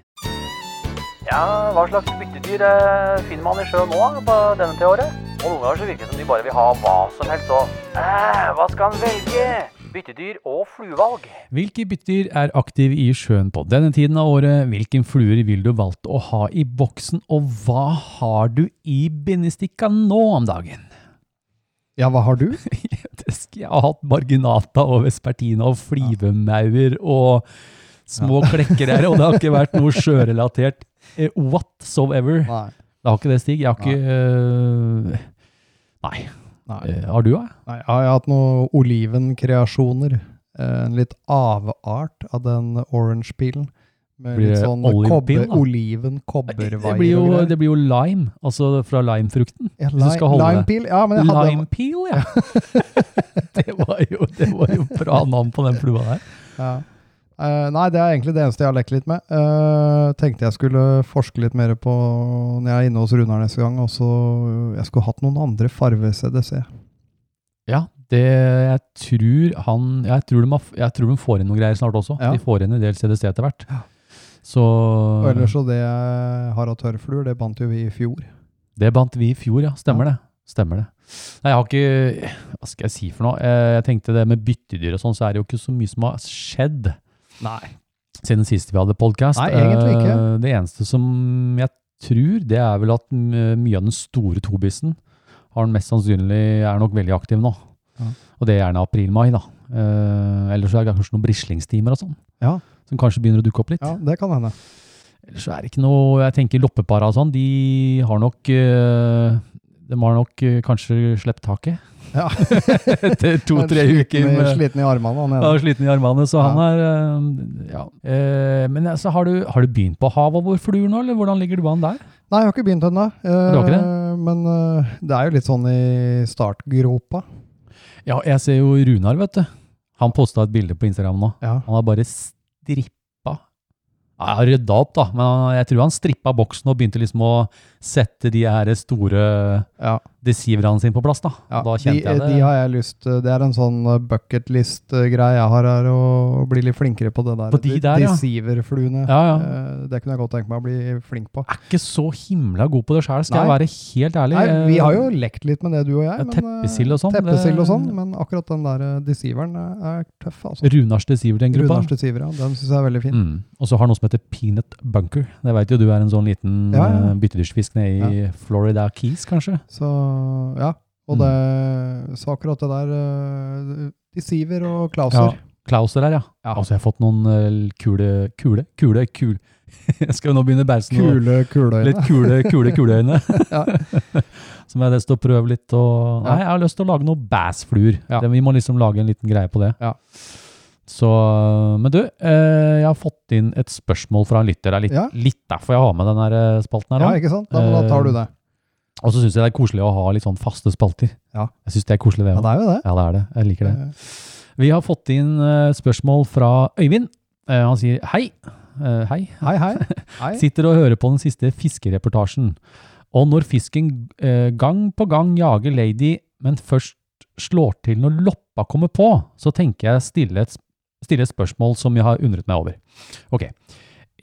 Speaker 2: Ja, hva slags byttedyr eh, finner man i sjøen nå eh, på denne til året? Og noen ganger så virker det som de bare vil ha hva som helst og eh, Hva skal en velge? Byttedyr og fluevalg.
Speaker 5: Hvilke byttedyr er aktive i sjøen på denne tiden av året? Hvilken fluer vil du valgte å ha i boksen, og hva har du i bindestikka nå om dagen?
Speaker 6: Ja, hva har du?
Speaker 5: Det skal- Jeg har hatt marginata og vespertina og flivemauer og små klekker her, og det har ikke vært noe sjørelatert eh, whatsoever.
Speaker 6: Nei.
Speaker 5: Det har ikke det, Stig. Jeg har ikke øh, Nei.
Speaker 6: Nei.
Speaker 5: Eh, Har du, da?
Speaker 6: Nei, jeg har hatt noen olivenkreasjoner. eh, En litt avart av den orange-pilen. Med
Speaker 5: Blir
Speaker 6: litt
Speaker 5: det
Speaker 6: sånn
Speaker 5: olive-pil,
Speaker 6: kobber,
Speaker 5: da?
Speaker 6: oliven-kobbervaier.
Speaker 5: Det blir, jo, det blir jo lime, altså fra limefrukten.
Speaker 6: ja,
Speaker 5: hvis du skal holde det.
Speaker 6: Limepil? Ja, men jeg hadde
Speaker 5: Limepeel, ja! det, var jo, det var jo bra navn på den flua der.
Speaker 6: ja. Eh, nei, det er egentlig det eneste jeg har lekt litt med. Eh, tenkte jeg skulle forske litt mer på når jeg er inne hos Runar neste gang. Og så Jeg skulle hatt noen andre farve-CDC.
Speaker 5: Ja, det, jeg tror han jeg tror, de har, jeg tror de får inn noen greier snart også.
Speaker 6: Ja.
Speaker 5: De får inn en del CDC etter hvert. Så
Speaker 6: Og ellers så det jeg har av tørrfluer, det bandt jo vi i fjor.
Speaker 5: Det bandt vi i fjor, ja. Stemmer det. Stemmer det. Nei, jeg har ikke Hva skal jeg si for noe? Eh, Jeg tenkte det med byttedyr og sånn, så er det jo ikke så mye som har skjedd. Nei. Siden sist vi hadde podkast.
Speaker 6: Nei, egentlig ikke.
Speaker 5: Det eneste som jeg tror, det er vel at m- mye av den store tobissen har den mest sannsynlig er nok veldig aktiv nå.
Speaker 6: Ja.
Speaker 5: Og det er gjerne april-mai, da. Eh, Eller så er det kanskje noen brislingstimer og sånn.
Speaker 6: Ja.
Speaker 5: Som kanskje begynner å dukke opp litt.
Speaker 6: Ja, det kan hende.
Speaker 5: Ellers så er det ikke noe Jeg tenker loppepara og sånn, de har nok eh, De har nok eh, kanskje sluppet taket
Speaker 6: Ja.
Speaker 5: etter to-tre
Speaker 6: Jeg er
Speaker 5: uker
Speaker 6: sliten i-
Speaker 5: med
Speaker 6: Sliten i armene han
Speaker 5: ja,
Speaker 6: ene.
Speaker 5: sliten i armene, så han er eh, Ja. Eh, Men altså, har du, har du begynt på havet hvor fluer nå, eller hvordan ligger du an der?
Speaker 6: Nei, jeg har ikke begynt ennå.
Speaker 5: du har ikke
Speaker 6: Eh, men eh, det er jo litt sånn i startgropa.
Speaker 5: Ja, jeg ser jo Runar, vet du. Han posta et bilde på Instagram nå.
Speaker 6: Ja.
Speaker 5: Han har bare strippa Ja, Jeg har rydda opp, da, men han- jeg tror han strippa boksen og begynte liksom å sette de her store
Speaker 6: Ja.
Speaker 5: desiverne sine på plass. da.
Speaker 6: Ja,
Speaker 5: da kjente
Speaker 6: de,
Speaker 5: jeg det.
Speaker 6: De har jeg lyst Det er en sånn bucketlist-greie jeg har her, å bli litt flinkere på det der.
Speaker 5: På de der, ja.
Speaker 6: Deceiver-fluene.
Speaker 5: Ja, ja.
Speaker 6: Eh, Det kunne jeg godt tenke meg å bli flink på.
Speaker 5: er ikke så himla god på det sjøl, skal
Speaker 6: Nei.
Speaker 5: jeg være helt ærlig.
Speaker 6: Nei, vi har jo lekt litt med det, du og jeg.
Speaker 5: eh, Ja,
Speaker 6: men, eh,
Speaker 5: teppesild og sånn, det-
Speaker 6: Teppesild og sånn, men akkurat den der eh, deceiveren eh, er tøff, altså.
Speaker 5: Runars Deceiver, den gruppa.
Speaker 6: Runars deceiver, ja. Den syns jeg er veldig fin.
Speaker 5: Mm. Og så har han noe som heter peanut bunker. Det veit jo du er en sånn liten
Speaker 6: Ja, ja.
Speaker 5: eh, byttedyrsfisk nede i Florida Keys, kanskje?
Speaker 6: Så ja.
Speaker 5: Mm.
Speaker 6: Og det, så akkurat det der eh, Deceiver og Klauser.
Speaker 5: Klauser her, ja. Altså, jeg har fått noen eh, kule Kule? Kule? Kul. jeg skal jo nå begynne bæsen og
Speaker 6: Kule kuleøyne.
Speaker 5: Litt kule, kule kuleøyne.
Speaker 6: Ja.
Speaker 5: Som jeg har lyst til å prøve litt. Og,
Speaker 6: Ja.
Speaker 5: nei, jeg har lyst til å lage noen bassfluer.
Speaker 6: Ja.
Speaker 5: Det- Vi må liksom lage en liten greie på det.
Speaker 6: Ja.
Speaker 5: Så, men du, eh, jeg har fått inn et spørsmål fra en lytter. Det er litt,
Speaker 6: Ja.
Speaker 5: litt derfor jeg har med den her eh, spalten her
Speaker 6: Ja,
Speaker 5: også.
Speaker 6: ikke sant? Da, men da tar du det.
Speaker 5: Eh, Og så syns jeg det er koselig å ha litt sånn faste spalter.
Speaker 6: Ja.
Speaker 5: Jeg syns det er koselig, det
Speaker 6: Ja,
Speaker 5: òg.
Speaker 6: det er jo det.
Speaker 5: Ja, det er det. Jeg liker det.
Speaker 6: Eh,
Speaker 5: Vi har fått inn eh, spørsmål fra Øyvind. Eh, han sier hei. Eh, hei.
Speaker 6: Hei, hei. hei.
Speaker 5: Sitter og hører på den siste fiskereportasjen. Og når fisken eh, gang på gang jager lady, men først slår til når loppa kommer på, så tenker jeg stille et, stille et spørsmål som jeg har undret meg over. Ok.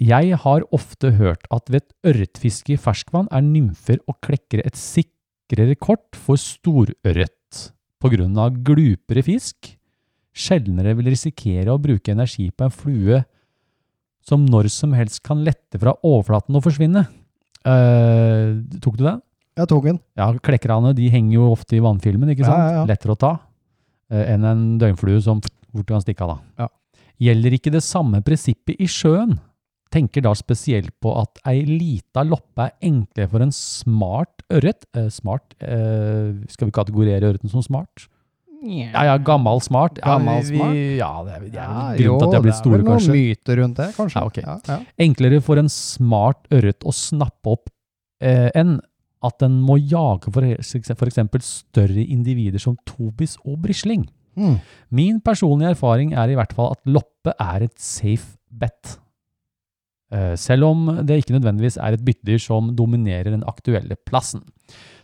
Speaker 5: Jeg har ofte hørt at ved et ørretfiske i ferskvann er nymfer og klekkere et sikrere kort for storørret på grunn av glupere fisk. Sjeldnere vil risikere å bruke energi på en flue som når som helst kan lette fra overflaten og forsvinne. Eh, tok du den?
Speaker 6: Jeg tok den.
Speaker 5: Ja, klekkerane de henger jo ofte i vannfilmen, ikke
Speaker 6: Ja,
Speaker 5: sant?
Speaker 6: ja, ja.
Speaker 5: Lettere å ta eh, enn en døgnflue som fort kan stikke av. da.
Speaker 6: Ja.
Speaker 5: Gjelder ikke det samme prinsippet i sjøen? Tenker da spesielt på at ei lita loppe er enklere for en smart ørret. Eh, smart eh, Skal vi kategorere ørreten som smart? Ja, ja, gammal smart. Ja,
Speaker 6: Gammal
Speaker 5: vi- vi-
Speaker 6: smart?
Speaker 5: Ja, det er, det er
Speaker 6: Ja,
Speaker 5: vel grunnen til at de har blitt store,
Speaker 6: Det er vel
Speaker 5: kanskje.
Speaker 6: noen myter rundt det, kanskje.
Speaker 5: Ja, ok.
Speaker 6: ja, ja.
Speaker 5: enklere for en smart ørret å snappe opp eh, enn at den må jage for, for eksempel større individer som tobis og brisling.
Speaker 6: Mm.
Speaker 5: Min personlige erfaring er i hvert fall at loppe er et safe bet. Eh, Selv om det ikke nødvendigvis er et byttedyr som dominerer den aktuelle plassen.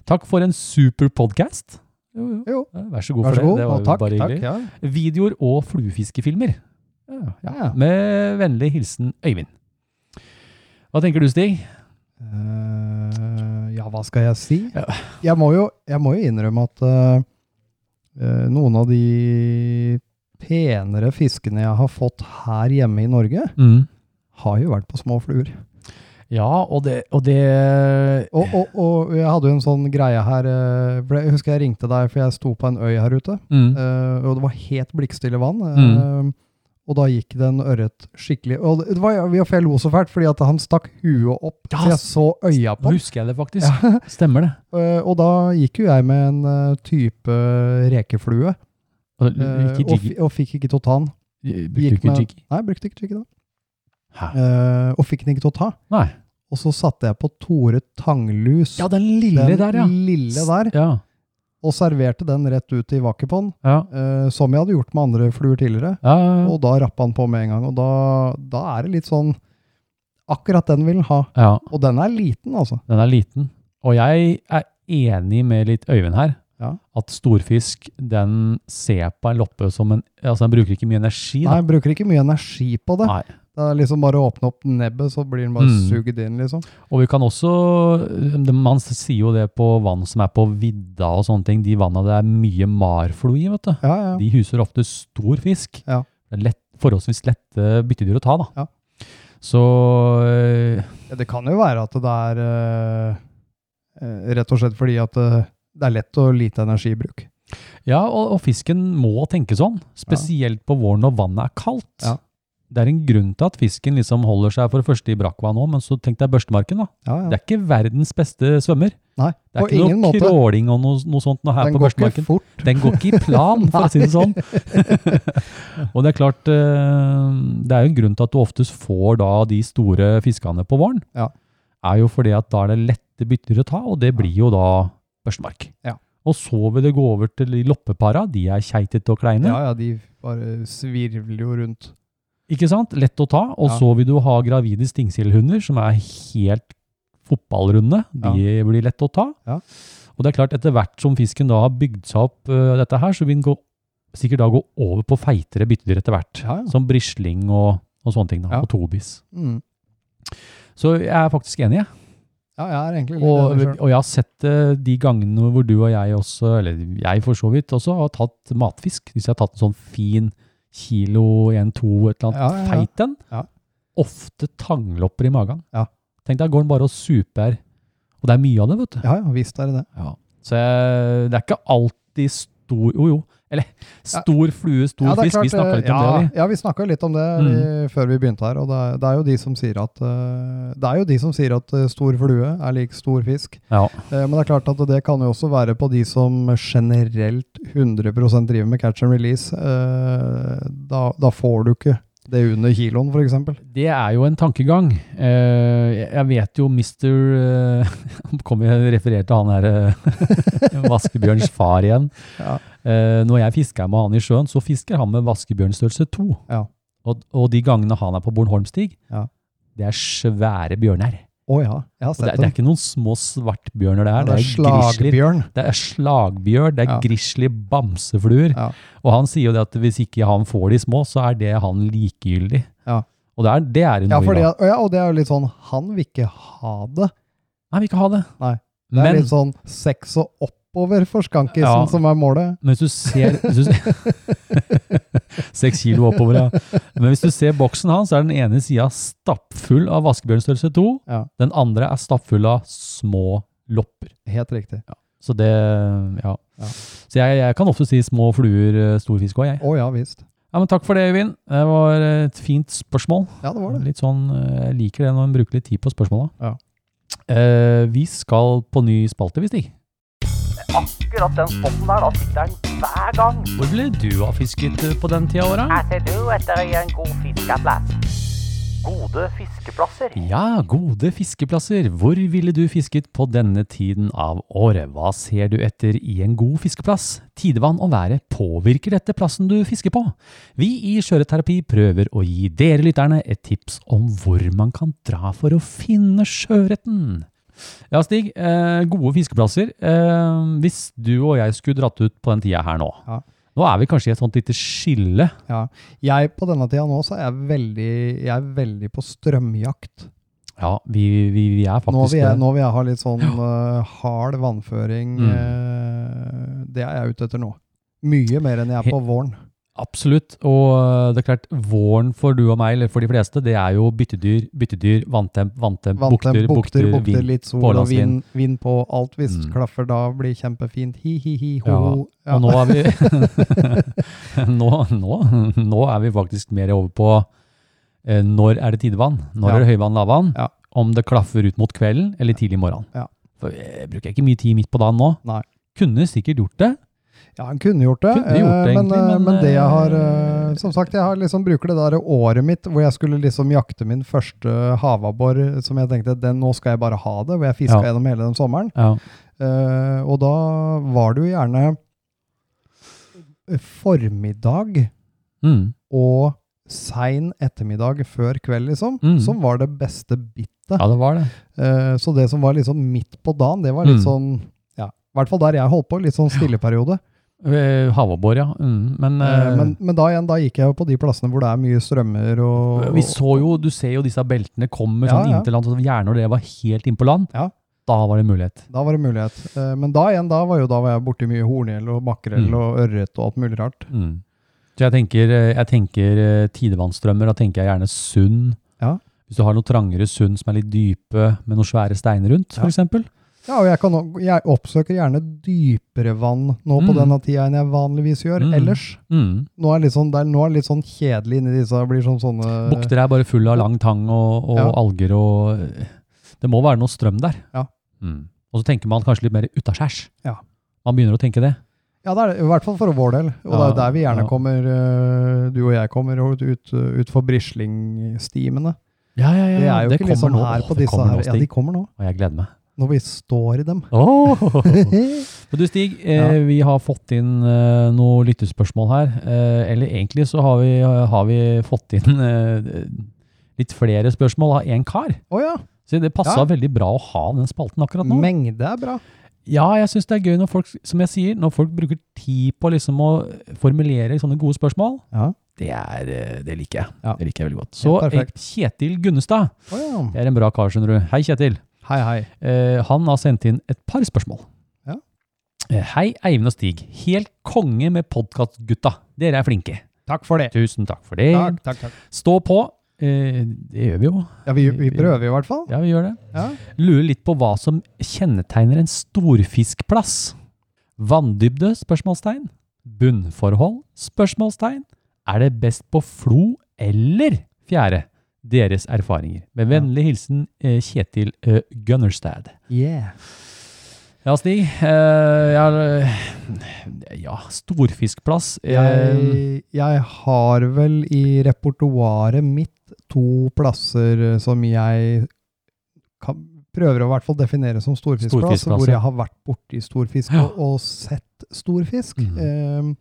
Speaker 5: Takk for en super podcast. Jo,
Speaker 6: Jo.
Speaker 5: Eh, Vær så god
Speaker 6: Vær
Speaker 5: for
Speaker 6: så
Speaker 5: det.
Speaker 6: god,
Speaker 5: Det
Speaker 6: og
Speaker 5: var jo
Speaker 6: takk.
Speaker 5: bare
Speaker 6: takk
Speaker 5: hyggelig.
Speaker 6: ja.
Speaker 5: Videoer og fluefiskefilmer. Ja,
Speaker 6: Ja.
Speaker 5: Med vennlig hilsen Øyvind. Hva tenker du, Stig?
Speaker 6: Eh, ja, hva skal jeg si?
Speaker 5: Ja.
Speaker 6: Jeg må jo, jeg må jo innrømme at eh, eh, noen av de penere fiskene jeg har fått her hjemme i Norge, har jo vært på små fluer.
Speaker 5: Ja, og det, og det
Speaker 6: Og, og, og jeg hadde jo en sånn greie her eh, for Jeg husker jeg ringte deg, for jeg sto på en øy her ute.
Speaker 5: mm.
Speaker 6: Eh, og det var helt blikkstille vann. eh,
Speaker 5: Mm.
Speaker 6: og da gikk det en ørret skikkelig Og det det var, ja, jeg lo så fælt, fordi at han stakk huet opp.
Speaker 5: Ja,
Speaker 6: så jeg så
Speaker 5: Nå
Speaker 6: øya på ham.
Speaker 5: husker jeg det faktisk. Stemmer det.
Speaker 6: Eh, og da gikk jo jeg med en eh, type rekeflue.
Speaker 5: Og,
Speaker 6: eh,
Speaker 5: ikke
Speaker 6: og,
Speaker 5: jiggy.
Speaker 6: fi- og fikk ikke til å ta den.
Speaker 5: Brukte du
Speaker 6: gikk
Speaker 5: ikke
Speaker 6: med-
Speaker 5: jiggy?
Speaker 6: Nei, brukte ikke jiggy da.
Speaker 5: Hæ?
Speaker 6: Eh, og fikk den ikke til å ta.
Speaker 5: Nei.
Speaker 6: Og så satte jeg på Tore Tanglus.
Speaker 5: Ja, den lille
Speaker 6: den
Speaker 5: der, ja.
Speaker 6: lille der.
Speaker 5: ja.
Speaker 6: og serverte den rett ut i vakuumpånd,
Speaker 5: Ja.
Speaker 6: eh, som jeg hadde gjort med andre fluer tidligere.
Speaker 5: Ja, ja, ja.
Speaker 6: Og da rappa han på med en gang, og da, da er det litt sånn Akkurat den vil han ha.
Speaker 5: ja.
Speaker 6: Og den er liten, altså.
Speaker 5: Den er liten. Og jeg er enig med litt Øyvind her.
Speaker 6: Ja.
Speaker 5: At storfisk den ser på en loppe som en Altså, den bruker ikke mye energi.
Speaker 6: Nei,
Speaker 5: Da.
Speaker 6: han bruker ikke mye energi på det.
Speaker 5: Nei.
Speaker 6: Det er liksom bare å åpne opp nebbet, så blir den bare
Speaker 5: Mm.
Speaker 6: sugd inn, liksom.
Speaker 5: Og vi kan også de- Man sier jo det på vann som er på vidda og sånne ting. De vanna det er mye marflo i, vet du.
Speaker 6: Ja, ja.
Speaker 5: De huser ofte stor fisk.
Speaker 6: Ja.
Speaker 5: Det er lett, forholdsvis lette byttedyr å ta, da.
Speaker 6: Ja.
Speaker 5: Så øh,
Speaker 6: Ja, Det kan jo være at det er eh, eh, rett og slett fordi at eh, det er lett og lite energibruk.
Speaker 5: Ja, og, og fisken må tenke sånn. Spesielt på våren når vannet er kaldt.
Speaker 6: Ja.
Speaker 5: Det er en grunn til at fisken liksom holder seg for det første i brakkvann òg, men så tenk deg børstemarken, da.
Speaker 6: Ja,
Speaker 5: Det
Speaker 6: ja.
Speaker 5: er ikke verdens beste svømmer.
Speaker 6: Nei,
Speaker 5: Det er
Speaker 6: på
Speaker 5: ikke
Speaker 6: ingen
Speaker 5: noe
Speaker 6: måte.
Speaker 5: kråling og noe, noe sånt noe her
Speaker 6: Den
Speaker 5: på
Speaker 6: går ikke
Speaker 5: børstemarken.
Speaker 6: fort.
Speaker 5: Den går ikke i plan, for å si det sånn. og det er klart, eh, det er jo en grunn til at du oftest får da de store fiskene på våren.
Speaker 6: Ja.
Speaker 5: Er jo fordi at da er det lette bytter å ta, og det blir jo da børstemark.
Speaker 6: Ja.
Speaker 5: Og så vil det gå over til de loppepara, de er keitete og kleine.
Speaker 6: Ja, ja, de bare svirvler jo rundt.
Speaker 5: Ikke sant? Lett å ta. Og
Speaker 6: Ja.
Speaker 5: så vil du ha gravide stingsildhunder, som er helt fotballrunde. De blir lett å ta.
Speaker 6: Ja.
Speaker 5: Og det er klart, etter hvert som fisken da har bygd seg opp øh, dette her, så vil den gå, sikkert da gå over på feitere byttedyr etter hvert.
Speaker 6: Ja, ja.
Speaker 5: Som brisling og, og sånne ting. da,
Speaker 6: Ja.
Speaker 5: Og tobis.
Speaker 6: Mm.
Speaker 5: Så jeg er faktisk enig, jeg.
Speaker 6: Mm. Ja, jeg er egentlig litt
Speaker 5: Og,
Speaker 6: enig selv.
Speaker 5: og jeg har sett det de gangene hvor du og jeg også, eller jeg for så vidt også, har tatt matfisk. Hvis jeg har tatt en sånn fin kilo, en, to, et eller annet
Speaker 6: Ja, ja, ja.
Speaker 5: feit en,
Speaker 6: Ja.
Speaker 5: ofte tanglopper i magen.
Speaker 6: Ja.
Speaker 5: Tenk deg, går den bare og super. Og det er mye av det, vet du.
Speaker 6: Ja, ja, visst er det det.
Speaker 5: Så jeg, det er ikke alltid stor, jo jo, eller stor flue, stor
Speaker 6: Ja, det er
Speaker 5: fisk.
Speaker 6: klart,
Speaker 5: Vi Mm. snakket litt
Speaker 6: eh,
Speaker 5: om det.
Speaker 6: Ja, ja vi snakka litt om det eh, før vi begynte her. Og det er, det er jo de som sier at, eh, det er jo de som sier at eh, stor flue er lik stor fisk.
Speaker 5: vi. Ja.
Speaker 6: Eh, Men det er klart at det kan jo også være på de som generelt 100 driver med catch and release. Eh, Da, da får du ikke det under kiloen, f.eks.
Speaker 5: Det er jo en tankegang. Eh, jeg- jeg vet jo Mr. Nå kommer jeg referert til han her, eh, vaskebjørns far igjen.
Speaker 6: Ja.
Speaker 5: Eh, når jeg fisker med han i sjøen, så fisker han med vaskebjørnstørrelse 2.
Speaker 6: Ja.
Speaker 5: Og, og de gangene han er på Bornholmstig,
Speaker 6: Ja.
Speaker 5: det er svære bjørner.
Speaker 6: Å ja, jeg har
Speaker 5: Og det,
Speaker 6: sett
Speaker 5: er- det er
Speaker 6: dem.
Speaker 5: ikke noen små svartbjørner det
Speaker 6: Ja,
Speaker 5: er.
Speaker 6: det er
Speaker 5: grizzlier.
Speaker 6: slagbjørn.
Speaker 5: Det er slagbjørn, det er
Speaker 6: Ja.
Speaker 5: grizzly bamsefluer.
Speaker 6: Ja.
Speaker 5: Og han sier jo det at hvis ikke han får de små, så er det han likegyldig.
Speaker 6: Ja.
Speaker 5: Og det er det er det
Speaker 6: Ja,
Speaker 5: noe i
Speaker 6: for det,
Speaker 5: dag.
Speaker 6: er- ja, og det er jo litt sånn Han vil ikke ha det.
Speaker 5: Nei, vi kan ha det.
Speaker 6: Nei, Det er
Speaker 5: Men,
Speaker 6: litt sånn seks og oppover for skankisen
Speaker 5: Ja.
Speaker 6: som er målet.
Speaker 5: men hvis du ser hvis du, ser- Seks kilo oppover, ja. Men hvis du ser boksen hans, så er den ene sida stappfull av vaskebjørnstørrelse 2.
Speaker 6: Ja.
Speaker 5: Den andre er stappfull av små lopper.
Speaker 6: Helt riktig.
Speaker 5: Så det Ja.
Speaker 6: Ja.
Speaker 5: Så jeg, jeg kan ofte si små fluer, eh, stor fisk òg, jeg.
Speaker 6: Å ja visst.
Speaker 5: Ja, men takk for det, Øyvind. Det var eh, et fint spørsmål.
Speaker 6: Ja, det var det.
Speaker 5: Litt sånn, eh, jeg liker det når en bruker litt tid på spørsmåla.
Speaker 6: Ja.
Speaker 5: Eh, vi skal på ny spalte, hvis ikke.
Speaker 2: Akkurat den spotten der, da sitter den hver gang.
Speaker 5: Hvor ble du av fisket eh, på den tida åra?
Speaker 2: Her ser du etter en god fiskeplass. Gode fiskeplasser.
Speaker 5: Ja, gode fiskeplasser. Hvor ville du fisket på denne tiden av året? Hva ser du etter i en god fiskeplass? Tidevann og været påvirker dette plassen du fisker på. Vi i Sjøørretterapi prøver å gi dere lytterne et tips om hvor man kan dra for å finne sjøørreten. Ja, Stig. Eh, gode fiskeplasser. Eh, hvis du og jeg skulle dratt ut på den tida her nå.
Speaker 6: Ja.
Speaker 5: Nå er vi kanskje i et sånt lite skille.
Speaker 6: Ja. Jeg på denne tida nå så er jeg veldig, jeg er veldig på strømjakt.
Speaker 5: Ja, vi, vi, vi er faktisk
Speaker 6: Nå
Speaker 5: det.
Speaker 6: vil, jeg, nå vil jeg ha litt sånn eh, hard vannføring.
Speaker 5: Mm.
Speaker 6: eh, det er jeg ute etter nå. Mye mer enn jeg er
Speaker 5: He-
Speaker 6: på våren.
Speaker 5: Absolutt. Og øh, det er klart, våren for du og meg, eller for de fleste, det er jo byttedyr, byttedyr, vanntemp, vanntemp,
Speaker 6: Vanntem,
Speaker 5: bukter, bukter, vind.
Speaker 6: litt sol og
Speaker 5: pålandsvind.
Speaker 6: vind, vind på alt. Hvis
Speaker 5: Mm.
Speaker 6: klaffer da blir kjempefint. Hi, hi, hi, ho. Ja.
Speaker 5: Og nå er vi nå, nå, nå er vi faktisk mer over på eh, når er det tidevann, når
Speaker 6: Ja.
Speaker 5: er det høyvann, lavvann,
Speaker 6: Ja.
Speaker 5: om det klaffer ut mot kvelden eller tidlig morgen.
Speaker 6: Ja.
Speaker 5: For jeg bruker ikke mye tid midt på dagen nå.
Speaker 6: Nei.
Speaker 5: Kunne sikkert gjort det.
Speaker 6: Ja, han kunne gjort det,
Speaker 5: Kunne gjort det
Speaker 6: eh, men,
Speaker 5: egentlig,
Speaker 6: eh,
Speaker 5: men,
Speaker 6: men det jeg har
Speaker 5: eh,
Speaker 6: eh, Som sagt, jeg har liksom bruker det der året mitt hvor jeg skulle liksom jakte min første havabbor, som jeg tenkte den, nå skal jeg bare ha det, hvor jeg fiska
Speaker 5: Ja.
Speaker 6: gjennom hele den sommeren.
Speaker 5: Ja.
Speaker 6: Eh, og da var det jo gjerne formiddag
Speaker 5: Mm.
Speaker 6: og sein ettermiddag før kveld, liksom,
Speaker 5: Mm.
Speaker 6: som var det beste bittet.
Speaker 5: Ja, det var det.
Speaker 6: Eh, så det som var liksom midt på dagen, det var litt
Speaker 5: Mm.
Speaker 6: sånn ja, I hvert fall der jeg holdt på, litt sånn stilleperiode.
Speaker 5: Eh, Havabbor, ja. Mm. Men,
Speaker 6: Eh,
Speaker 5: eh,
Speaker 6: men, men da igjen, da gikk jeg jo på de plassene hvor det er mye strømmer og
Speaker 5: vi så jo, du ser jo disse beltene kommer
Speaker 6: Ja,
Speaker 5: sånn
Speaker 6: ja.
Speaker 5: inn til land, så gjerne når det var helt inn på land,
Speaker 6: Ja.
Speaker 5: da var det mulighet.
Speaker 6: Da var det mulighet. Eh, Men da igjen, da var jo da var jeg borti mye horngjell og makrell
Speaker 5: Mm.
Speaker 6: og ørret og alt mulig rart.
Speaker 5: Mm. Så jeg tenker, eh, jeg tenker eh, tidevannsstrømmer, da tenker jeg gjerne sund.
Speaker 6: Ja.
Speaker 5: Hvis du har noe trangere sund som er litt dype, med noen svære steiner rundt, for eksempel.
Speaker 6: Ja, og jeg, kan, o- jeg oppsøker gjerne dypere vann nå på
Speaker 5: Mm.
Speaker 6: denne tida enn jeg vanligvis gjør
Speaker 5: Mm.
Speaker 6: ellers.
Speaker 5: Mm.
Speaker 6: Nå er, det litt sånn, det er, nå er det litt sånn kjedelig inni disse. Det blir sånn sånne
Speaker 5: Bukter er bare fulle av lang tang og, og
Speaker 6: Ja.
Speaker 5: alger og eh, Det må være noe strøm der.
Speaker 6: Ja.
Speaker 5: Mm. Og så tenker man kanskje litt mer utaskjærs.
Speaker 6: Ja.
Speaker 5: Man begynner å tenke det.
Speaker 6: Ja, det er det, i hvert fall for vår del. Og det er
Speaker 5: Ja,
Speaker 6: jo der vi gjerne
Speaker 5: ja.
Speaker 6: kommer, eh, du og jeg kommer ut, ut, ut for brislingsstimene.
Speaker 5: Ja, ja,
Speaker 6: Det er jo ikke liksom
Speaker 5: nå.
Speaker 6: her
Speaker 5: Åh,
Speaker 6: på
Speaker 5: det
Speaker 6: disse
Speaker 5: kommer
Speaker 6: her.
Speaker 5: nå,
Speaker 6: Ja, de
Speaker 5: Stig.
Speaker 6: kommer nå.
Speaker 5: Og jeg gleder meg.
Speaker 6: Når vi står i dem.
Speaker 5: Åh! Men du Stig, eh,
Speaker 6: Ja.
Speaker 5: vi har fått inn eh, noen lyttespørsmål her. Eh, eller egentlig så har vi, har vi fått inn eh, litt flere spørsmål av én kar.
Speaker 6: Å ja,
Speaker 5: Så det passa
Speaker 6: Ja.
Speaker 5: veldig bra å ha den spalten akkurat nå.
Speaker 6: mengde er bra.
Speaker 5: ja, jeg syns det er gøy når folk som jeg sier, når folk bruker tid på liksom å formulere sånne gode spørsmål.
Speaker 6: Ja.
Speaker 5: Det, er, eh, det liker jeg.
Speaker 6: Ja.
Speaker 5: Det liker jeg veldig godt. Så
Speaker 6: Helt
Speaker 5: eh,
Speaker 6: perfekt.
Speaker 5: Kjetil Gunnestad,
Speaker 6: Å ja.
Speaker 5: det er en bra kar, skjønner du. Hei, Kjetil.
Speaker 6: Hei, hei.
Speaker 5: Eh, han har sendt inn et par spørsmål.
Speaker 6: Ja.
Speaker 5: Eh, Hei, Eivind og Stig. Helt konge med podkastgutta. Dere er flinke.
Speaker 6: Takk for det.
Speaker 5: Tusen takk for det.
Speaker 6: Takk, takk, takk.
Speaker 5: Stå på. Eh, det gjør vi jo.
Speaker 6: Ja, vi, vi prøver i hvert fall.
Speaker 5: Ja, vi gjør det.
Speaker 6: Ja.
Speaker 5: Lurer litt på hva som kjennetegner en storfiskplass. Vanndybde? Spørsmålstegn. Bunnforhold? Spørsmålstegn. Er det best på flo eller fjære? Deres erfaringer. Med vennlig hilsen eh, Kjetil eh, Gunnerstad.
Speaker 6: Yeah.
Speaker 5: Ja, Stig. eh, jeg har, eh, ja, storfiskplass. eh,
Speaker 6: Jeg, jeg har vel i repertoaret mitt to plasser eh, som jeg kan, prøver å i hvert fall definere som storfiskplass,
Speaker 5: Storfiskplass,
Speaker 6: hvor
Speaker 5: ja.
Speaker 6: jeg har vært borti storfisk
Speaker 5: Ja.
Speaker 6: og, og sett storfisk.
Speaker 5: Mhm.
Speaker 6: Eh,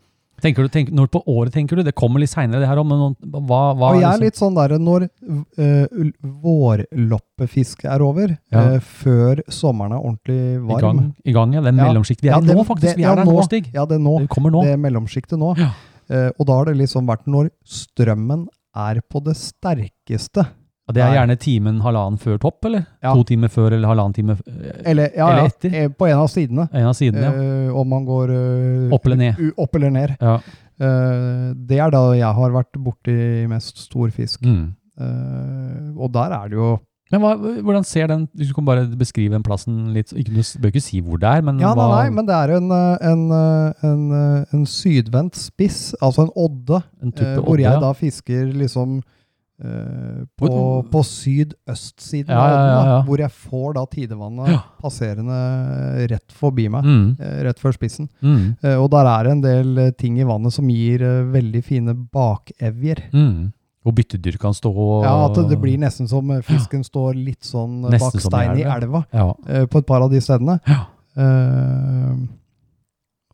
Speaker 5: tenker du, tenk, når på året tenker du? Det kommer litt seinere, det her òg, men nå- hva, hva
Speaker 6: og jeg
Speaker 5: liksom-
Speaker 6: er litt sånn der når eh, ul- vårloppefisk er over,
Speaker 5: Ja.
Speaker 6: eh, før sommeren er ordentlig varm.
Speaker 5: i gang, i gang, ja. Det er
Speaker 6: Ja.
Speaker 5: mellomsjikt. Vi er
Speaker 6: Ja,
Speaker 5: i
Speaker 6: det-
Speaker 5: nå, faktisk.
Speaker 6: det-
Speaker 5: Vi
Speaker 6: ja,
Speaker 5: er der nå,
Speaker 6: nå.
Speaker 5: Stig.
Speaker 6: Ja, det er nå.
Speaker 5: Det kommer nå.
Speaker 6: det mellomsjiktet nå.
Speaker 5: Ja.
Speaker 6: Eh, og da har det liksom vært når strømmen er på det sterkeste.
Speaker 5: Og det er gjerne timen halvannen før topp, eller?
Speaker 6: Ja.
Speaker 5: To timer før eller halvannen time eh,
Speaker 6: Eller, ja,
Speaker 5: Eller
Speaker 6: ja,
Speaker 5: etter.
Speaker 6: eh, på en av sidene.
Speaker 5: En av sidene, ja.
Speaker 6: Eh, om man går eh,
Speaker 5: Opp eller ned.
Speaker 6: u- opp eller ned.
Speaker 5: ja.
Speaker 6: Eh, det er da jeg har vært borti mest stor fisk.
Speaker 5: Mm.
Speaker 6: Eh, og der er det jo
Speaker 5: Men hva, hvordan ser den Hvis du kan bare beskrive den plassen litt ikke, Du bør ikke si hvor det er, men
Speaker 6: Ja, nei,
Speaker 5: hva
Speaker 6: nei, men det er en, eh, en, eh, en, eh, en sydvendt spiss, altså en odde,
Speaker 5: en type
Speaker 6: eh, hvor
Speaker 5: odde,
Speaker 6: jeg
Speaker 5: ja.
Speaker 6: da fisker liksom eh, på,
Speaker 5: Hvor-
Speaker 6: på sydøstsiden
Speaker 5: Ja,
Speaker 6: av
Speaker 5: ja,
Speaker 6: odden,
Speaker 5: ja,
Speaker 6: da,
Speaker 5: ja.
Speaker 6: hvor jeg får da tidevannet
Speaker 5: Ja.
Speaker 6: passerende rett forbi meg,
Speaker 5: mm,
Speaker 6: eh, rett før spissen.
Speaker 5: mm,
Speaker 6: Eh, Og der er det en del eh, ting i vannet som gir eh, veldig fine bakevjer.
Speaker 5: mm. Og byttedyr kan stå og
Speaker 6: Ja, at det blir nesten som eh, fisken står litt sånn eh,
Speaker 5: Nesten
Speaker 6: bak
Speaker 5: som i
Speaker 6: stein i
Speaker 5: elva.
Speaker 6: elva,
Speaker 5: ja.
Speaker 6: eh, på et par av de stedene.
Speaker 5: Ja.
Speaker 6: Eh,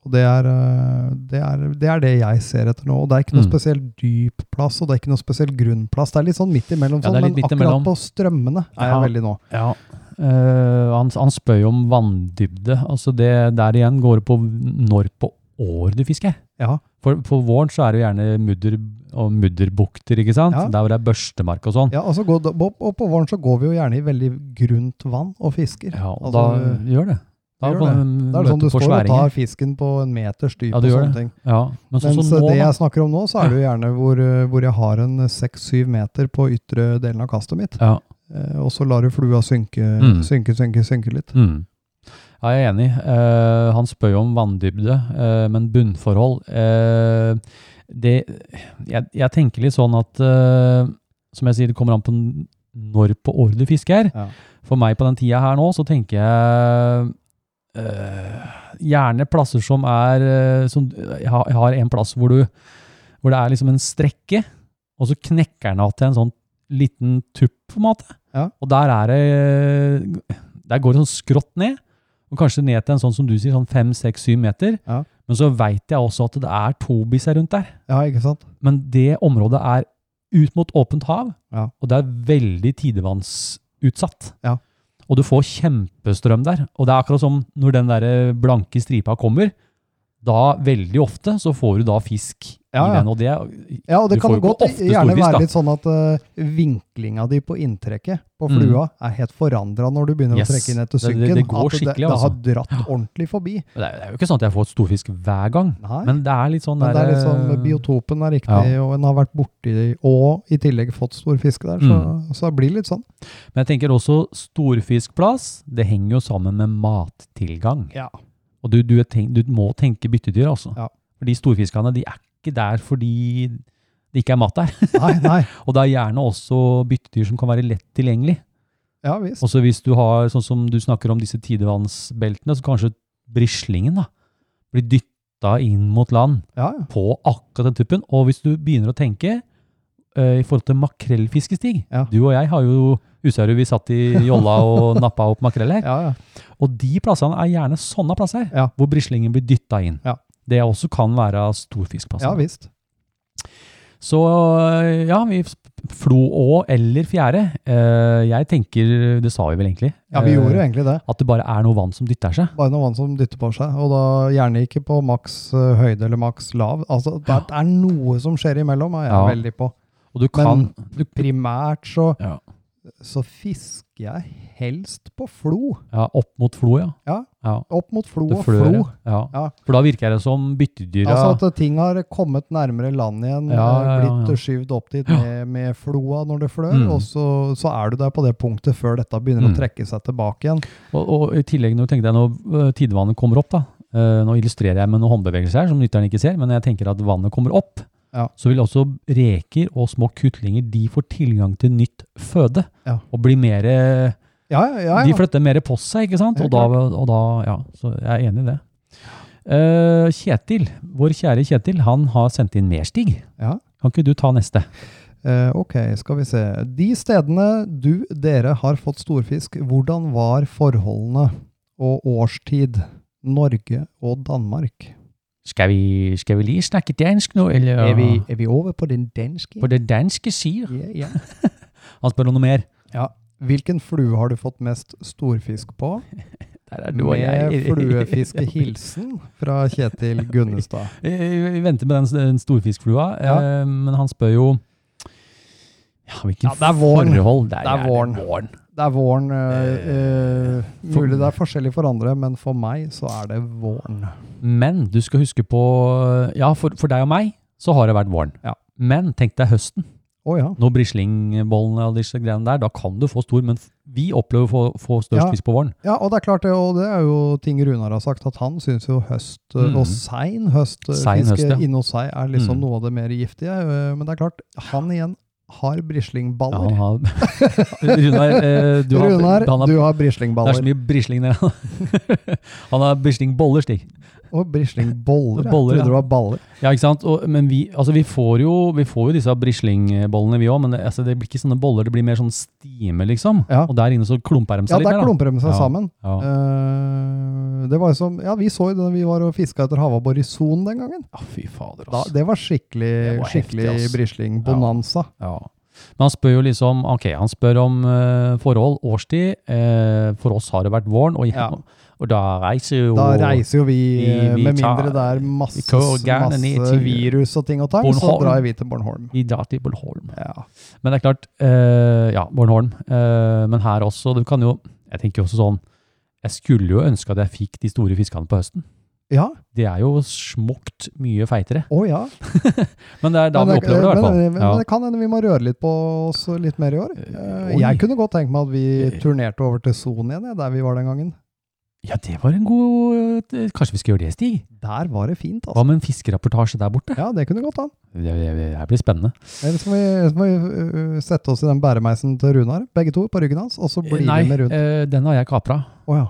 Speaker 6: og det er, eh, det, er, det er det jeg ser etter nå. Og det er ikke noe
Speaker 5: Mm.
Speaker 6: spesielt dyp plass, og det er ikke noe spesiell grunnplass. Det er litt sånn midt imellom,
Speaker 5: Ja,
Speaker 6: sånn,
Speaker 5: det er
Speaker 6: men
Speaker 5: litt midt
Speaker 6: akkurat
Speaker 5: imellom.
Speaker 6: på strømmene er jeg
Speaker 5: Ja.
Speaker 6: veldig nå.
Speaker 5: ja. Eh, han, han spør jo om vanndybde. Altså det der igjen går det på når på år du fisker.
Speaker 6: Ja.
Speaker 5: For på våren så er det jo gjerne mudder og mudderbukter, ikke sant?
Speaker 6: Ja.
Speaker 5: Der hvor det er børstemark og sånn.
Speaker 6: Ja, og, så går, det- og og på våren så går vi jo gjerne i veldig grunt vann og fisker.
Speaker 5: Ja, og
Speaker 6: Altså,
Speaker 5: da gjør det. Da kan
Speaker 6: gjør
Speaker 5: du
Speaker 6: Det er
Speaker 5: møte
Speaker 6: sånn du
Speaker 5: på
Speaker 6: står og
Speaker 5: sværinger.
Speaker 6: tar fisken på en meters dyp
Speaker 5: Ja,
Speaker 6: og
Speaker 5: du gjør
Speaker 6: sånne
Speaker 5: det.
Speaker 6: ting.
Speaker 5: Ja, men sånn
Speaker 6: Mens eh,
Speaker 5: som nå,
Speaker 6: det
Speaker 5: da.
Speaker 6: jeg snakker om nå, så er det jo gjerne hvor, eh, hvor jeg har en eh, 6-7 meter på ytre delen av kastet mitt.
Speaker 5: Ja,
Speaker 6: Eh, Og så lar du flua synke,
Speaker 5: Mm.
Speaker 6: synke, synke, synke litt.
Speaker 5: mm. ja, jeg er enig. Eh, han spør jo om vanndybde, eh, men bunnforhold eh, det, jeg, jeg tenker litt sånn at, eh, som jeg sier, det kommer an på n- når på året du fisker.
Speaker 6: Ja.
Speaker 5: For meg på den tida her nå, så tenker jeg eh, gjerne plasser som er eh, som, jeg, har, jeg har en plass hvor, du, hvor det er liksom en strekke, og så knekker den av til en sånn liten tupp, på en måte.
Speaker 6: Ja.
Speaker 5: Og der er det eh, Der går det sånn skrått ned, Og kanskje ned til en sånn som du sier, sånn fem-seks-syv meter.
Speaker 6: Ja.
Speaker 5: Men så veit jeg også at det er tobiser rundt der.
Speaker 6: Ja, ikke sant?
Speaker 5: Men det området er ut mot åpent hav,
Speaker 6: Ja.
Speaker 5: og det er veldig tidevannsutsatt.
Speaker 6: Ja.
Speaker 5: Og du får kjempestrøm der. Og det er akkurat som når den der eh, blanke stripa kommer, da veldig ofte så får du da fisk
Speaker 6: Ja,
Speaker 5: i
Speaker 6: ja.
Speaker 5: den. Og det er
Speaker 6: Ja, og det
Speaker 5: Du
Speaker 6: kan
Speaker 5: får jo ikke
Speaker 6: godt
Speaker 5: ofte
Speaker 6: gjerne
Speaker 5: storfisk, da.
Speaker 6: være litt sånn at eh, vinklinga di på inntrekket på
Speaker 5: Mm.
Speaker 6: flua er helt forandra når du begynner
Speaker 5: Yes.
Speaker 6: å trekke inn etter
Speaker 5: Det-
Speaker 6: synken.
Speaker 5: det- det går
Speaker 6: at
Speaker 5: skikkelig,
Speaker 6: det, det har
Speaker 5: altså.
Speaker 6: dratt ordentlig forbi.
Speaker 5: Men Det er, det er jo ikke sånn at jeg får et storfisk hver gang,
Speaker 6: Nei, men,
Speaker 5: men det er litt sånn
Speaker 6: det er
Speaker 5: der,
Speaker 6: liksom
Speaker 5: eh,
Speaker 6: biotopen er riktig, og en har vært borti det, og i tillegg fått stor fisk der, så,
Speaker 5: Mm.
Speaker 6: så det blir litt sånn.
Speaker 5: Men jeg tenker også storfiskplass, det henger jo sammen med mattilgang.
Speaker 6: Ja.
Speaker 5: Og du, du, er tenk, du må tenke byttedyr, altså.
Speaker 6: Ja.
Speaker 5: Fordi storfiskene de er ikke der fordi det ikke er mat der.
Speaker 6: Nei, nei.
Speaker 5: Og det er gjerne også byttedyr som kan være lett tilgjengelig.
Speaker 6: Ja visst.
Speaker 5: Også hvis du har, sånn som du snakker om disse tidevannsbeltene, så kanskje brislingen da, blir dytta inn mot land
Speaker 6: Ja, ja.
Speaker 5: på akkurat den tuppen. Og hvis du begynner å tenke eh, i forhold til makrellfiskestig
Speaker 6: Ja.
Speaker 5: Du og jeg har jo Husarud, vi satt i jolla og nappa opp makrell her.
Speaker 6: ja, ja.
Speaker 5: Og de plassene er gjerne sånne plasser
Speaker 6: Ja.
Speaker 5: hvor brislingen blir dytta inn.
Speaker 6: Ja.
Speaker 5: Det også kan være
Speaker 6: ja
Speaker 5: storfiskplasser.
Speaker 6: visst.
Speaker 5: Så eh, ja, vi flo å eller fjære. Eh, jeg tenker, det sa vi vel egentlig,
Speaker 6: Ja, vi
Speaker 5: eh,
Speaker 6: gjorde jo egentlig det.
Speaker 5: at det bare er noe vann som dytter seg.
Speaker 6: Bare noe vann som dytter på seg, og da gjerne ikke på maks eh, høyde eller maks lav. Altså, det er- det er noe som skjer imellom, er jeg
Speaker 5: Ja.
Speaker 6: veldig på.
Speaker 5: Og du kan
Speaker 6: Men primært så,
Speaker 5: Ja.
Speaker 6: så fisker jeg helst på flo.
Speaker 5: ja, opp mot flo, ja.
Speaker 6: Ja.
Speaker 5: ja.
Speaker 6: Opp mot flo
Speaker 5: Det
Speaker 6: og
Speaker 5: flør,
Speaker 6: flo.
Speaker 5: ja.
Speaker 6: Ja.
Speaker 5: For da virker det som byttedyra
Speaker 6: Altså at ting har kommet nærmere land igjen,
Speaker 5: Ja,
Speaker 6: eh,
Speaker 5: ja, ja,
Speaker 6: blitt
Speaker 5: ja.
Speaker 6: skyvd opp dit med, med floa når det flør,
Speaker 5: Mm.
Speaker 6: og så, så er du der på det punktet før dette begynner
Speaker 5: Mm.
Speaker 6: å trekke seg tilbake igjen.
Speaker 5: Og, og i tillegg når du tenker deg når øh, tidevannet kommer opp, da, øh, nå illustrerer jeg med noen håndbevegelser her som lytteren ikke ser, men jeg tenker at vannet kommer opp,
Speaker 6: Ja.
Speaker 5: så vil også reker og små kuttlinger, de får tilgang til nytt føde,
Speaker 6: Ja.
Speaker 5: og blir mer, øh,
Speaker 6: Ja, ja, ja.
Speaker 5: de
Speaker 6: ja.
Speaker 5: flytter mer på seg, ikke sant? Og
Speaker 6: Helt
Speaker 5: da, og da, ja, så jeg er enig i det. Eh, Kjetil, vår kjære Kjetil, han har sendt inn mer stig.
Speaker 6: Ja.
Speaker 5: Kan ikke du ta neste?
Speaker 6: Eh, ok, skal vi se. De stedene du, dere, har fått storfisk, hvordan var forholdene og årstid? Norge og Danmark.
Speaker 5: Skal vi, skal vi lige snakke dansk nå, eller?
Speaker 6: Er, vi, er vi over på den danske?
Speaker 5: På det danske sier.
Speaker 6: Ja, ja.
Speaker 5: Han spør om noe mer.
Speaker 6: Hvilken flue har du fått mest storfisk på?
Speaker 5: Der er du og
Speaker 6: Med
Speaker 5: jeg.
Speaker 6: fluefiskehilsen fra Kjetil Gunnestad.
Speaker 5: Vi venter med den, s- den storfiskflua, eh,
Speaker 6: Ja.
Speaker 5: men han spør jo ja, hvilken
Speaker 6: Ja, det er våren.
Speaker 5: forhold der
Speaker 6: Det er våren. Det er våren. øh, øh,
Speaker 5: Eh, for-
Speaker 6: mulig det er forskjellig for andre, men for meg så er det våren.
Speaker 5: Men du skal huske på Ja, for, for deg og meg så har det vært våren.
Speaker 6: Ja.
Speaker 5: Men tenk deg høsten.
Speaker 6: Å ja.
Speaker 5: Når brislingbollene og disse greiene der, da kan du få stor, men f- vi opplever å få, få størst
Speaker 6: Ja.
Speaker 5: fisk på våren.
Speaker 6: ja. Og det er klart, det, og det er jo ting Runar har sagt, at han syns jo høst øh,
Speaker 5: Mm.
Speaker 6: og sein eh, høstfiske
Speaker 5: Sein høst, ja.
Speaker 6: inne hos seg er liksom
Speaker 5: Mm.
Speaker 6: noe av det mer giftige. øh, men det er klart, han igjen har
Speaker 5: Ja,
Speaker 6: brislingballer.
Speaker 5: han har, Runar, eh, du har,
Speaker 6: Runar,
Speaker 5: han har,
Speaker 6: du har
Speaker 5: det er så
Speaker 6: brislingballer.
Speaker 5: mye brisling der. han har brislingboller, Stig.
Speaker 6: Og brislingboller. Jeg
Speaker 5: Boller,
Speaker 6: trodde
Speaker 5: ja.
Speaker 6: det var baller.
Speaker 5: Ja, ikke sant? Og, men vi, altså vi, får jo, vi får jo disse brislingbollene, vi òg, men det, altså det blir ikke sånne boller, det blir mer sånn stime, liksom.
Speaker 6: Ja.
Speaker 5: Og der inne så klumper de
Speaker 6: Ja,
Speaker 5: seg
Speaker 6: der
Speaker 5: litt.
Speaker 6: klumper de seg
Speaker 5: Ja.
Speaker 6: sammen.
Speaker 5: da. Ja.
Speaker 6: Eh, det var jo som, ja, Vi så jo det da vi var og fiska etter havabbor i Son den gangen.
Speaker 5: ja, fy fader,
Speaker 6: Da,
Speaker 5: altså.
Speaker 6: det var skikkelig,
Speaker 5: Det var heftig,
Speaker 6: skikkelig
Speaker 5: ass.
Speaker 6: brisling-bonanza.
Speaker 5: Ja. Men han spør jo liksom Ok, han spør om eh, forhold, årstid. Eh, for oss har det vært våren, og,
Speaker 6: Ja.
Speaker 5: og da reiser jo
Speaker 6: Da reiser jo vi,
Speaker 5: Vi-
Speaker 6: eh,
Speaker 5: vi
Speaker 6: med
Speaker 5: tar-
Speaker 6: mindre det er masse,
Speaker 5: vi går gjerne ned
Speaker 6: masse
Speaker 5: til
Speaker 6: virus og ting og tang, så
Speaker 5: Bornholm.
Speaker 6: drar vi til Bornholm.
Speaker 5: vi drar til Bornholm.
Speaker 6: Ja.
Speaker 5: Men det er klart, eh, ja, Bornholm. eh, men her også, du kan jo Jeg tenker jo også sånn Jeg skulle jo ønske at jeg fikk de store fiskene på høsten.
Speaker 6: ja.
Speaker 5: Det er jo smukt mye feitere.
Speaker 6: Å ja.
Speaker 5: Men det er da
Speaker 6: Men
Speaker 5: vi opplever det, i hvert fall.
Speaker 6: men- men
Speaker 5: Ja.
Speaker 6: det kan hende vi må røre litt på oss litt mer i år.
Speaker 5: oi.
Speaker 6: Eh,
Speaker 5: Eh.
Speaker 6: Jeg kunne godt tenkt meg at vi turnerte over til Son igjen, jeg, der vi var den gangen.
Speaker 5: ja, det var en god eh, Kanskje vi skal gjøre det, Stig?
Speaker 6: Der var det fint,
Speaker 5: Hva
Speaker 6: altså.
Speaker 5: med en fiskerapportasje der borte?
Speaker 6: Ja, det kunne gått an.
Speaker 5: Det, det, det her blir spennende.
Speaker 6: Eller så må vi, så må vi øh, sette oss i den bæremeisen til Runar, begge to, på ryggen hans, og så blir
Speaker 5: Nei,
Speaker 6: vi med rundt.
Speaker 5: eh, den har jeg kapra.
Speaker 6: Å ja.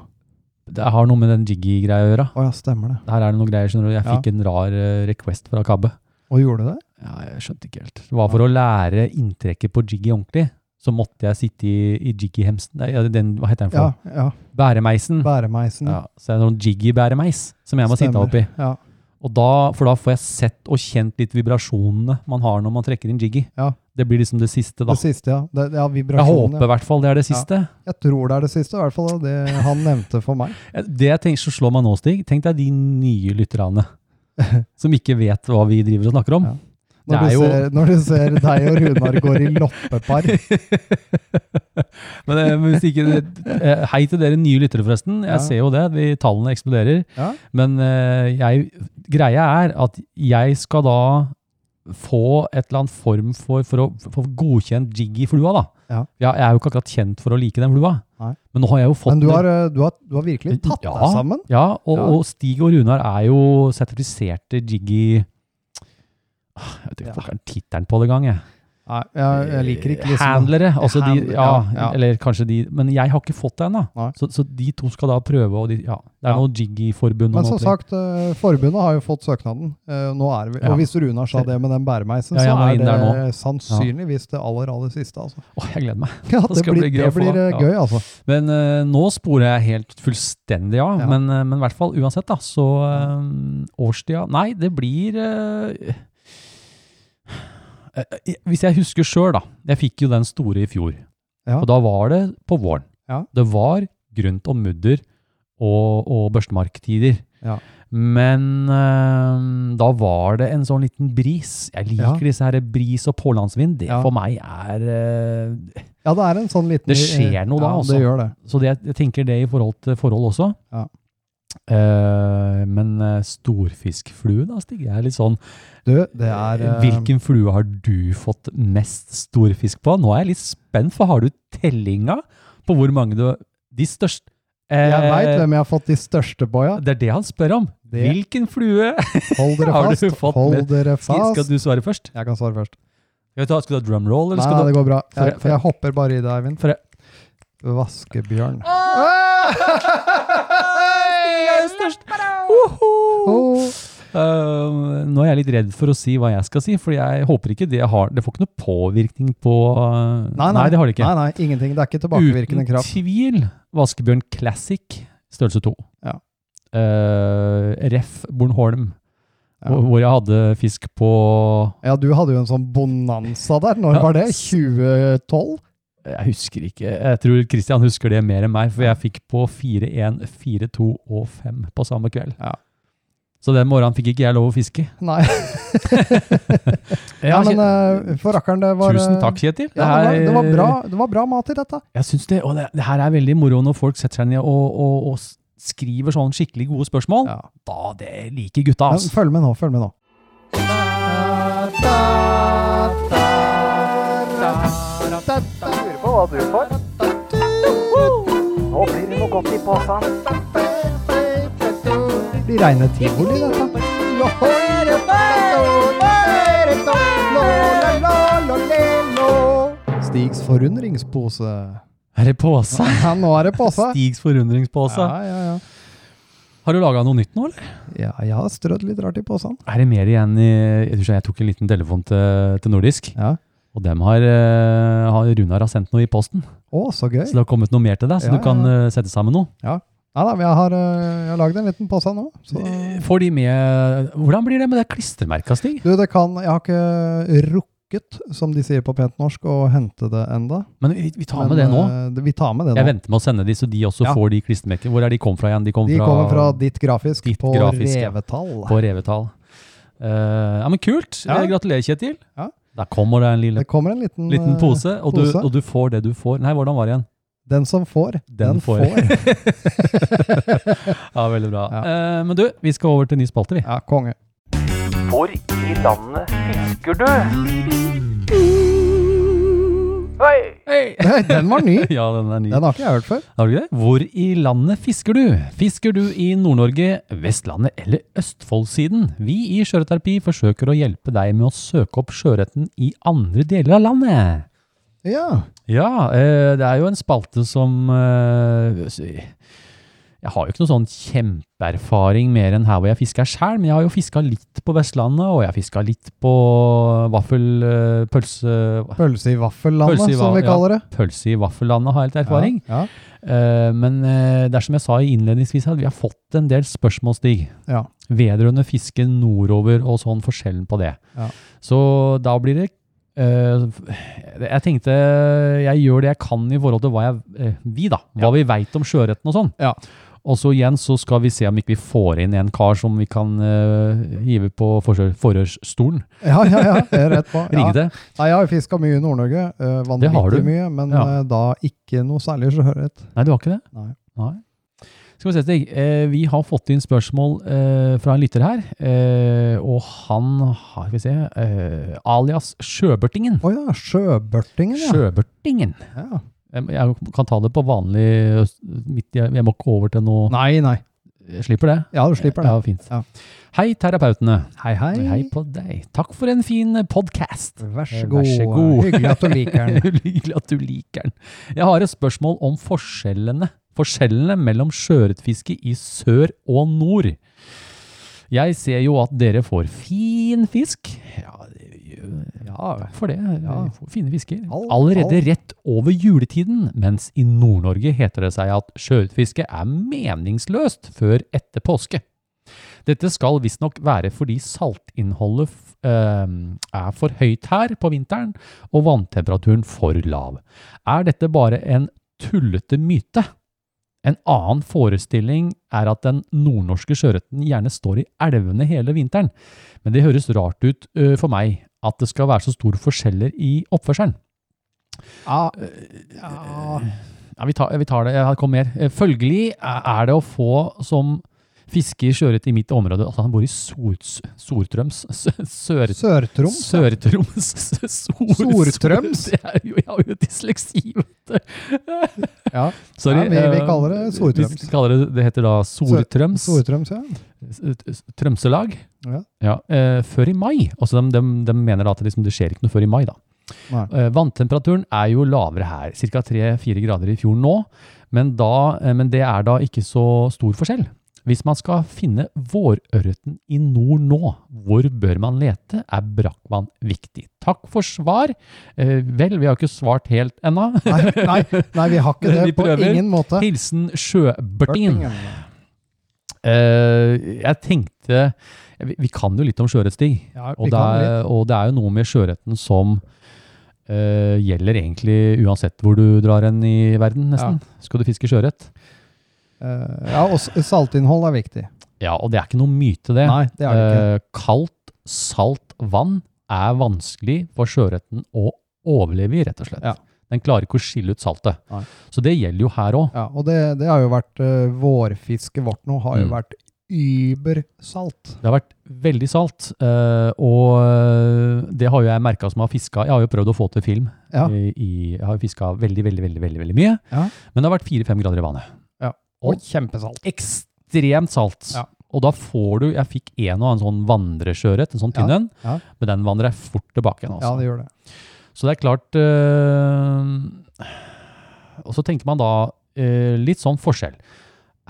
Speaker 5: Det har noe med den jiggy-greia å gjøre.
Speaker 6: Å ja, stemmer det.
Speaker 5: Her er det noen greier, skjønner du. Jeg
Speaker 6: Ja.
Speaker 5: fikk en rar eh, request fra Kabbe.
Speaker 6: Og gjorde du det?
Speaker 5: Ja, jeg skjønte ikke helt. Det var for å lære inntrekket på jiggy ordentlig. så måtte jeg sitte i, i jiggy-hemsen. Nei, ja, den, hva heter den
Speaker 6: Ja,
Speaker 5: for?
Speaker 6: ja.
Speaker 5: Bæremeisen.
Speaker 6: Bæremeisen.
Speaker 5: Ja, så er det noen jiggy-bæremeis som jeg må sitte
Speaker 6: Stemmer.
Speaker 5: oppi.
Speaker 6: Ja.
Speaker 5: Og da, for da får jeg sett og kjent litt vibrasjonene man har når man trekker inn jiggy.
Speaker 6: Ja.
Speaker 5: Det blir liksom det siste, da.
Speaker 6: Det siste, ja. Det, ja
Speaker 5: Jeg
Speaker 6: vibrasjonen.
Speaker 5: håper i
Speaker 6: Ja.
Speaker 5: hvert fall det er det
Speaker 6: Ja.
Speaker 5: siste.
Speaker 6: Jeg tror det er det siste, i hvert fall. Det han nevnte for meg.
Speaker 5: Eh, Det jeg tenker som slår meg nå, Stig, tenk deg de nye lytterne som ikke vet hva vi driver og snakker om.
Speaker 6: Ja.
Speaker 5: Det
Speaker 6: Når
Speaker 5: er
Speaker 6: du,
Speaker 5: jo-
Speaker 6: ser, når du ser deg og Runar går i loppepar.
Speaker 5: Men eh, hvis ikke, eh, hei til dere nye lyttere, forresten. Jeg
Speaker 6: Ja.
Speaker 5: ser jo det, de tallene eksploderer.
Speaker 6: Ja.
Speaker 5: Men eh, jeg, greia er at jeg skal da få et eller annet form for, for å få godkjent jiggy flua, da.
Speaker 6: Ja.
Speaker 5: Jeg, jeg er jo ikke akkurat kjent for å like den flua.
Speaker 6: Nei.
Speaker 5: Men nå har jeg jo fått
Speaker 6: Men du
Speaker 5: den-
Speaker 6: har, eh, du, har, du har virkelig tatt
Speaker 5: Ja.
Speaker 6: deg sammen.
Speaker 5: Ja, og,
Speaker 6: Ja.
Speaker 5: og Stig og Runar er jo sertifiserte jiggy Ah, Jeg vet ikke
Speaker 6: Ja.
Speaker 5: hva er tittelen på det gang, jeg.
Speaker 6: Nei, jeg, jeg liker ikke liksom
Speaker 5: Handlere. Altså de,
Speaker 6: Handler-
Speaker 5: ja,
Speaker 6: ja, ja.
Speaker 5: Eller kanskje de Men jeg har ikke fått det ennå.
Speaker 6: Nei.
Speaker 5: Så, så de to skal da prøve, og de Ja. Det er
Speaker 6: Ja.
Speaker 5: noe jiggy-forbund og
Speaker 6: Men som
Speaker 5: noe
Speaker 6: sagt, eh, forbundet har jo fått søknaden. Eh, Nå er det, vel-
Speaker 5: Ja.
Speaker 6: Og hvis Runar sa det med den bæremeisen,
Speaker 5: Ja, jeg
Speaker 6: så
Speaker 5: må
Speaker 6: er
Speaker 5: inn
Speaker 6: det
Speaker 5: der nå.
Speaker 6: sannsynligvis det aller, aller siste. Altså.
Speaker 5: Åh, jeg gleder meg.
Speaker 6: Ja,
Speaker 5: Det
Speaker 6: det
Speaker 5: skal
Speaker 6: blir,
Speaker 5: bli gøy
Speaker 6: det
Speaker 5: å få,
Speaker 6: blir eh,
Speaker 5: ja.
Speaker 6: gøy, altså.
Speaker 5: Men eh, nå sporer jeg helt fullstendig av.
Speaker 6: Ja.
Speaker 5: Men, eh, men i hvert fall, uansett, da, så eh, Årstida Nei, det blir eh, eh, eh, Hvis jeg husker sjøl, da. Jeg fikk jo den store i fjor.
Speaker 6: Ja.
Speaker 5: Og da var det på våren.
Speaker 6: Ja.
Speaker 5: Det var grunt og mudder og, og børstemarktider.
Speaker 6: Ja.
Speaker 5: Men eh, da var det en sånn liten bris. Jeg
Speaker 6: Ja.
Speaker 5: liker disse her bris og pålandsvind. Det
Speaker 6: Ja.
Speaker 5: for meg er eh,
Speaker 6: Ja, det er en sånn liten
Speaker 5: Det skjer noe da,
Speaker 6: ja,
Speaker 5: altså.
Speaker 6: Det gjør det.
Speaker 5: så det, jeg tenker det i forhold til forhold også.
Speaker 6: Ja.
Speaker 5: Eh, men eh, storfiskflue, da, Stig? Jeg er litt sånn
Speaker 6: Du, det er eh,
Speaker 5: Hvilken flue har du fått mest storfisk på? Nå er jeg litt spent, for har du tellinga på hvor mange du De største
Speaker 6: Jeg
Speaker 5: Eh,
Speaker 6: veit hvem jeg har fått de største på, ja.
Speaker 5: Det er det han spør om.
Speaker 6: Det-
Speaker 5: Hvilken flue?
Speaker 6: Hold dere
Speaker 5: Har du
Speaker 6: fast.
Speaker 5: fått med-
Speaker 6: Hold dere
Speaker 5: Skal
Speaker 6: fast.
Speaker 5: du svare først?
Speaker 6: Jeg kan svare først.
Speaker 5: Skal, vi ta, skal du ha drumroll, eller
Speaker 6: Nei,
Speaker 5: skal
Speaker 6: det
Speaker 5: du
Speaker 6: går bra.
Speaker 5: For-
Speaker 6: Jeg,
Speaker 5: for-
Speaker 6: jeg hopper bare i det, Eivind.
Speaker 5: For-
Speaker 6: Vaskebjørn.
Speaker 5: Stig er størst! Woho!
Speaker 6: Åh.
Speaker 5: Eh, nå er jeg litt redd for å si hva jeg skal si, for jeg håper ikke det har Det får ikke noe påvirkning på eh, det har det ikke.
Speaker 6: Nei, nei, ingenting. Det er ikke tilbakevirkende kraft.
Speaker 5: Uten tvil Vaskebjørn Classic størrelse 2.
Speaker 6: Ja.
Speaker 5: Eh, Ref Bornholm,
Speaker 6: Ja.
Speaker 5: hvor- hvor jeg hadde fisk på
Speaker 6: Ja, du hadde jo en sånn bonanza der. Når
Speaker 5: Ja.
Speaker 6: var det? 2012?
Speaker 5: Jeg husker ikke. Jeg tror Christian husker det mer enn meg, for jeg fikk på 4-1, 4-2 og 5 på samme kveld.
Speaker 6: Ja.
Speaker 5: Så den morgenen fikk ikke jeg lov å fiske.
Speaker 6: Nei. ja, men eh, for rakkeren, det var eh,
Speaker 5: Tusen takk, Kjetil.
Speaker 6: Ja, det, var,
Speaker 5: her-
Speaker 6: det, var bra, det var bra mat i dette.
Speaker 5: Jeg synes det, og det, det her er veldig moro når folk setter seg ned og, og, og s- skriver sånn skikkelig gode spørsmål.
Speaker 6: Ja.
Speaker 5: Da det liker gutta,
Speaker 6: Men,
Speaker 5: altså.
Speaker 6: følg med nå, følg med nå.
Speaker 2: Lurer på hva du får. Nå blir det noe godt i posen.
Speaker 6: Det blir reine tivoli, dette. Stigs forundringspose.
Speaker 5: Er det påse?
Speaker 6: Ja, nå er det påse.
Speaker 5: Stigs forundringspose.
Speaker 6: Ja, ja, ja.
Speaker 5: Har du laga noe nytt nå, eller?
Speaker 6: ja, jeg har strødd litt rart i posen.
Speaker 5: Er det mer igjen i Jeg, tror jeg tok en liten telefon til, til Nordisk,
Speaker 6: Ja.
Speaker 5: og dem har, eh, har Runar har sendt noe i posten.
Speaker 6: Å, så gøy.
Speaker 5: Så det har kommet noe mer til deg, så
Speaker 6: Ja,
Speaker 5: du kan
Speaker 6: ja,
Speaker 5: eh, sette sammen noe.
Speaker 6: Nei da, men jeg har, øh, jeg har lagd en liten påse nå. Så.
Speaker 5: Får de med Hvordan blir det med det klistremerka, Stig?
Speaker 6: Du, det kan, jeg har ikke rukket, som de sier på pent norsk, å hente det enda.
Speaker 5: Men eh, vi, vi tar
Speaker 6: Men,
Speaker 5: med det nå.
Speaker 6: øh, det- Vi tar med det
Speaker 5: Jeg
Speaker 6: nå.
Speaker 5: venter med å sende de, så de også
Speaker 6: Ja.
Speaker 5: får de klistremerkene. Hvor er de kom fra igjen? De kom
Speaker 6: De
Speaker 5: fra,
Speaker 6: kommer fra ditt grafisk
Speaker 5: Ditt
Speaker 6: på
Speaker 5: Grafisk, ja.
Speaker 6: revetall.
Speaker 5: på revetall. Eh, ja, men kult.
Speaker 6: Ja.
Speaker 5: Eh, Gratulerer, Kjetil.
Speaker 6: Ja.
Speaker 5: Der kommer det en lille,
Speaker 6: Det kommer en liten,
Speaker 5: liten
Speaker 6: øh,
Speaker 5: pose, og, Du,
Speaker 6: pose.
Speaker 5: og du får det du får. Nei, hvordan var det igjen?
Speaker 6: Den som får, den, får.
Speaker 5: ja, veldig bra.
Speaker 6: Ja.
Speaker 5: Eh, men du, vi skal over til ny spalte, vi.
Speaker 6: Ja, konge.
Speaker 2: Hvor i landet fisker du? Hei!
Speaker 6: Nei, Den var ny.
Speaker 5: Ja, den er ny.
Speaker 6: Den har ikke jeg hørt før.
Speaker 5: Har du ikke det? Hvor i landet fisker du? Fisker du i Nord-Norge, Vestlandet eller Østfoldsiden? Vi i Sjøørretterapi forsøker å hjelpe deg med å søke opp sjøørreten i andre deler av landet.
Speaker 6: Ja,
Speaker 5: Ja, eh, det er jo en spalte som eh, s- Jeg har jo ikke noe sånn kjempeerfaring mer enn her hvor jeg fisker sjøl, men jeg har jo fiska litt på Vestlandet, og jeg fiska litt på vaffel, eh, pølse,
Speaker 6: Pølse i vaffellandet,
Speaker 5: Pølse i va-
Speaker 6: som vi
Speaker 5: ja.
Speaker 6: kaller det.
Speaker 5: pølse i vaffellandet, har jeg litt erfaring.
Speaker 6: Ja,
Speaker 5: Eh, Men eh, det er som jeg sa innledningsvis, her, vi har fått en del spørsmål, Stig,
Speaker 6: ja,
Speaker 5: vedrørende fiske nordover og sånn forskjellen på det.
Speaker 6: Ja.
Speaker 5: Så da blir det eh, Jeg tenkte jeg gjør det jeg kan i forhold til hva jeg, eh, vi da, hva vi veit om sjøørreten og sånn.
Speaker 6: Ja.
Speaker 5: Og så igjen så skal vi se om ikke vi får inn en kar som vi kan eh, hive på forsø- forhørsstolen.
Speaker 6: ja. ja, ja, ja det er rett på. Ja.
Speaker 5: Ringe til.
Speaker 6: Nei, jeg har fiska mye i Nord-Norge. eh,
Speaker 5: Det har du.
Speaker 6: Vanvittig mye, men
Speaker 5: Ja.
Speaker 6: eh, da ikke noe særlig sjøørret.
Speaker 5: Nei, du har ikke det?
Speaker 6: Nei.
Speaker 5: Skal vi se, Stig. Eh, vi har fått inn spørsmål eh, fra en lytter her. Eh, og han har, skal vi se, eh, alias Sjøbørtingen.
Speaker 6: Å ja, sjøbørtingen, ja.
Speaker 5: Sjøbørtingen. Eh,
Speaker 6: ja.
Speaker 5: Jeg kan ta det på vanlig midt, i- Jeg må ikke over til noe
Speaker 6: Nei, nei.
Speaker 5: Jeg Slipper det?
Speaker 6: Ja, du slipper det.
Speaker 5: Ja, fint.
Speaker 6: Ja.
Speaker 5: Hei, terapeutene.
Speaker 6: Hei, hei.
Speaker 5: Hei på deg. Takk for en fin eh, podkast.
Speaker 6: Vær
Speaker 5: Eh,
Speaker 6: så
Speaker 5: vær
Speaker 6: god.
Speaker 5: så god.
Speaker 6: Hyggelig at du liker den.
Speaker 5: Hyggelig at du liker den. Jeg har et spørsmål om forskjellene, forskjellene mellom sjøørretfiske i sør og nord. Jeg ser jo at dere får fin fisk. Ja, det gjør- ja takk for det.
Speaker 6: Ja.
Speaker 5: Vi får fine fisker.
Speaker 6: All-
Speaker 5: Allerede
Speaker 6: all-
Speaker 5: rett over juletiden, mens i Nord-Norge heter det seg at sjøørretfiske er meningsløst før etter påske. Dette skal visstnok være fordi saltinnholdet f- ehm, er for høyt her på vinteren, og vanntemperaturen for lav. Er dette bare en tullete myte? En annen forestilling er at den nordnorske sjøørreten gjerne står i elvene hele vinteren, men det høres rart ut ø, for meg at det skal være så store forskjeller i oppførselen.
Speaker 6: Ja,
Speaker 5: Ja, vi, tar, vi tar det. Her kommer mer. Eh, Følgelig er det å få som fisker sjøørret i mitt område Altså, han bor i Sorts, Sortrøms sø- Sør...
Speaker 6: Sør-Troms.
Speaker 5: Sør-Troms Sor-
Speaker 6: Sortrøms?
Speaker 5: Det er jo, jeg har jo dysleksi, vet du.
Speaker 6: Ja.
Speaker 5: Sorry.
Speaker 6: Ja, vi- vi
Speaker 5: eh,
Speaker 6: kaller det Sortrøms.
Speaker 5: Vi kaller det, det heter da Sortrøms
Speaker 6: Sør-Troms, ja.
Speaker 5: s- Trømselag.
Speaker 6: Ja.
Speaker 5: eh, før i mai. Altså de, de, de mener da at liksom, det skjer ikke noe før i mai. da.
Speaker 6: Nei.
Speaker 5: Eh, Vanntemperaturen er jo lavere her, ca. 3-4 grader i fjor nå, men, da, eh, men det er da ikke så stor forskjell. Hvis man skal finne vårørreten i nord nå, hvor bør man lete, er brakkvann viktig. Takk for svar. Eh, vel, vi har ikke svart helt ennå.
Speaker 6: Nei, nei, nei, vi har ikke
Speaker 5: Vi
Speaker 6: det. På
Speaker 5: prøver.
Speaker 6: ingen måte.
Speaker 5: Hilsen sjøbørtingen.
Speaker 6: Børtingen.
Speaker 5: Eh, jeg tenkte vi, vi kan jo litt om sjøørretstig.
Speaker 6: Ja,
Speaker 5: Og
Speaker 6: vi
Speaker 5: det,
Speaker 6: kan litt.
Speaker 5: er, og det er jo noe med sjøørreten som eh, gjelder egentlig uansett hvor du drar hen i verden, nesten. Skal du fiske sjøørret?
Speaker 6: Eh, ja, og s- saltinnhold er viktig.
Speaker 5: Ja, og det er ikke noe myte, det.
Speaker 6: Nei, det er det ikke.
Speaker 5: Eh, kaldt, salt vann er vanskelig for sjøørreten å overleve i, rett og slett.
Speaker 6: Ja.
Speaker 5: Den klarer ikke å skille ut saltet.
Speaker 6: Nei.
Speaker 5: Så det gjelder jo her òg.
Speaker 6: Ja, og det, det har jo vært eh, Vårfisket vårt nå har jo
Speaker 5: Mm.
Speaker 6: vært übersalt.
Speaker 5: Det har vært veldig salt, eh, og eh, det har jo jeg merka som har fiska. Jeg har jo prøvd å få til film.
Speaker 6: Ja.
Speaker 5: I, i, jeg har jo fiska veldig, veldig, veldig veldig, veldig mye.
Speaker 6: Ja.
Speaker 5: Men det har vært fire-fem grader i vannet.
Speaker 6: Ja.
Speaker 5: Og
Speaker 6: kjempesalt.
Speaker 5: ekstremt salt.
Speaker 6: Ja.
Speaker 5: Og da får du Jeg fikk en og annen sånn vandresjøørret, en sånn tynn
Speaker 6: Ja,
Speaker 5: en,
Speaker 6: ja.
Speaker 5: men den vandrer jeg fort tilbake igjen.
Speaker 6: Ja,
Speaker 5: Altså.
Speaker 6: det gjør det.
Speaker 5: Så det er klart øh, Og så tenker man da øh, litt sånn forskjell.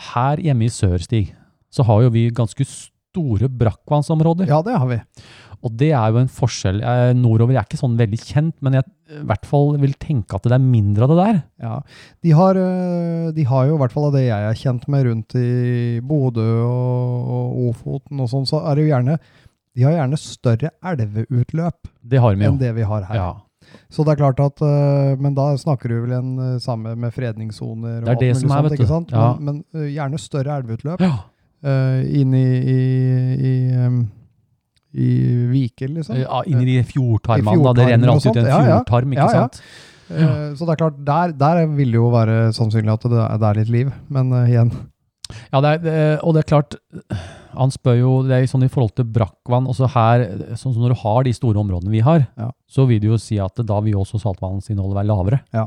Speaker 5: Her hjemme i sør, Stig, så har jo vi ganske store brakkvannsområder.
Speaker 6: Ja, det har vi.
Speaker 5: Og det er jo en forskjell. Jeg, nordover er ikke sånn veldig kjent, men jeg øh, i hvert fall vil tenke at det er mindre av det der.
Speaker 6: Ja. De, har, eh, de har jo, i hvert fall av det jeg er kjent med rundt i Bodø og, og Ofoten og sånn, så er det jo gjerne de har gjerne større elveutløp
Speaker 5: Det har vi jo.
Speaker 6: enn det vi har her.
Speaker 5: Ja,
Speaker 6: Så det er klart at, eh, Men da snakker du vel en eh, samme med fredningssoner og
Speaker 5: Det er det
Speaker 6: alt mulig
Speaker 5: som er,
Speaker 6: sånt,
Speaker 5: vet du.
Speaker 6: ikke sant?
Speaker 5: Ja.
Speaker 6: Men, men eh, gjerne større elveutløp
Speaker 5: ja.
Speaker 6: eh, inn i, i, i, em, i Viker, liksom.
Speaker 5: Ja, Inni de fjordtarmene.
Speaker 6: I
Speaker 5: da. Det renner
Speaker 6: fjordtarmen og
Speaker 5: alltid ut i en
Speaker 6: sånt, ja, ja.
Speaker 5: fjordtarm, ikke
Speaker 6: Ja, ja.
Speaker 5: sant?
Speaker 6: Eh, Så det er klart, der, der vil det jo være sannsynlig at det er, det er litt liv, men eh, igjen
Speaker 5: Ja, det er, det- og det er klart Han spør jo det er sånn i forhold til brakkvann. også her, sånn som Når du har de store områdene vi har,
Speaker 6: Ja.
Speaker 5: så vil det jo si at da vil jo også saltvanninnholdet være lavere.
Speaker 6: Ja.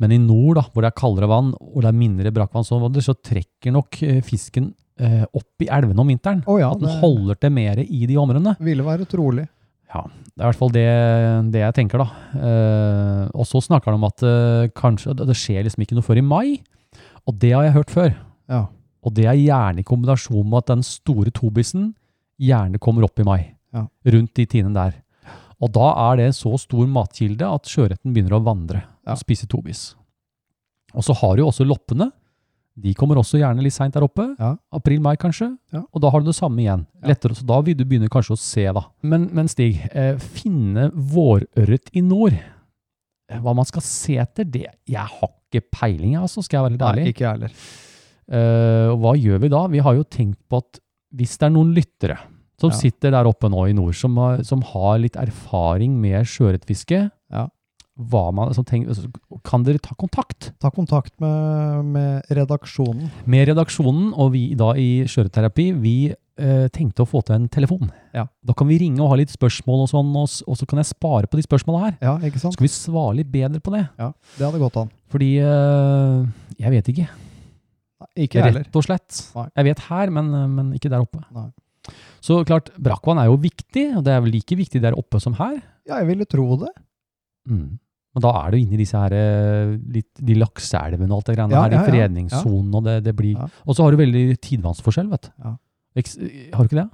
Speaker 5: Men i nord, da, hvor det er kaldere vann og det er mindre brakkvannsområder, så trekker nok eh, fisken eh, opp i elvene om vinteren.
Speaker 6: Å ja,
Speaker 5: At den
Speaker 6: det
Speaker 5: holder til mer i de områdene.
Speaker 6: ville være trolig.
Speaker 5: Det er i hvert fall det, det jeg tenker, da. Eh, og så snakker han om at eh, kanskje, det det skjer liksom ikke noe før i mai. Og det har jeg hørt før.
Speaker 6: Ja.
Speaker 5: Og det er gjerne i kombinasjon med at den store tobisen gjerne kommer opp i mai.
Speaker 6: Ja.
Speaker 5: Rundt de tidene der. Og da er det så stor matkilde at sjøørreten begynner å vandre
Speaker 6: Ja.
Speaker 5: og spise tobis. Og så har du jo også loppene. De kommer også gjerne litt seint der oppe.
Speaker 6: Ja.
Speaker 5: April-mai, kanskje.
Speaker 6: Ja.
Speaker 5: Og da har du det samme igjen.
Speaker 6: Ja.
Speaker 5: Lettere, så da vil du begynne kanskje å se, da. Men, men Stig, eh, finne vårørret i nord. Eh, Hva man skal se etter, det Jeg har ikke peiling, jeg, altså, skal jeg være litt ærlig.
Speaker 6: Nei, ikke jeg heller.
Speaker 5: Eh, og hva gjør vi da? Vi har jo tenkt på at hvis det er noen lyttere som
Speaker 6: Ja.
Speaker 5: sitter der oppe nå i nord, som har, som har litt erfaring med sjøørretfiske,
Speaker 6: Ja.
Speaker 5: hva man- som tenker- altså, kan dere ta kontakt
Speaker 6: Ta kontakt med, med redaksjonen.
Speaker 5: med redaksjonen? Og vi da i Sjøørretterapi, vi eh, tenkte å få til en telefon.
Speaker 6: Ja.
Speaker 5: Da kan vi ringe og ha litt spørsmål, og sånn, og, s- og så kan jeg spare på de spørsmåla her.
Speaker 6: Ja, ikke
Speaker 5: Så
Speaker 6: sant?
Speaker 5: skal vi svare litt bedre på det.
Speaker 6: Ja, det hadde gått an.
Speaker 5: Fordi eh, jeg vet ikke.
Speaker 6: Nei, ikke jeg heller.
Speaker 5: Rett og slett.
Speaker 6: Nei.
Speaker 5: Jeg vet her, men, eh, men ikke der oppe.
Speaker 6: Nei.
Speaker 5: Så klart, brakkvann er jo viktig, og det er vel like viktig der oppe som her.
Speaker 6: Ja, jeg ville tro det.
Speaker 5: Mm. Men da er du inne i disse her, eh, litt, de lakseelvene og alt det greiene
Speaker 6: Ja,
Speaker 5: her,
Speaker 6: ja,
Speaker 5: i
Speaker 6: ja.
Speaker 5: fredningssonen, og det, det blir
Speaker 6: Ja.
Speaker 5: Og så har du veldig tidvannsforskjell, vet du.
Speaker 6: Ja.
Speaker 5: Eks- eh, Har du ikke det?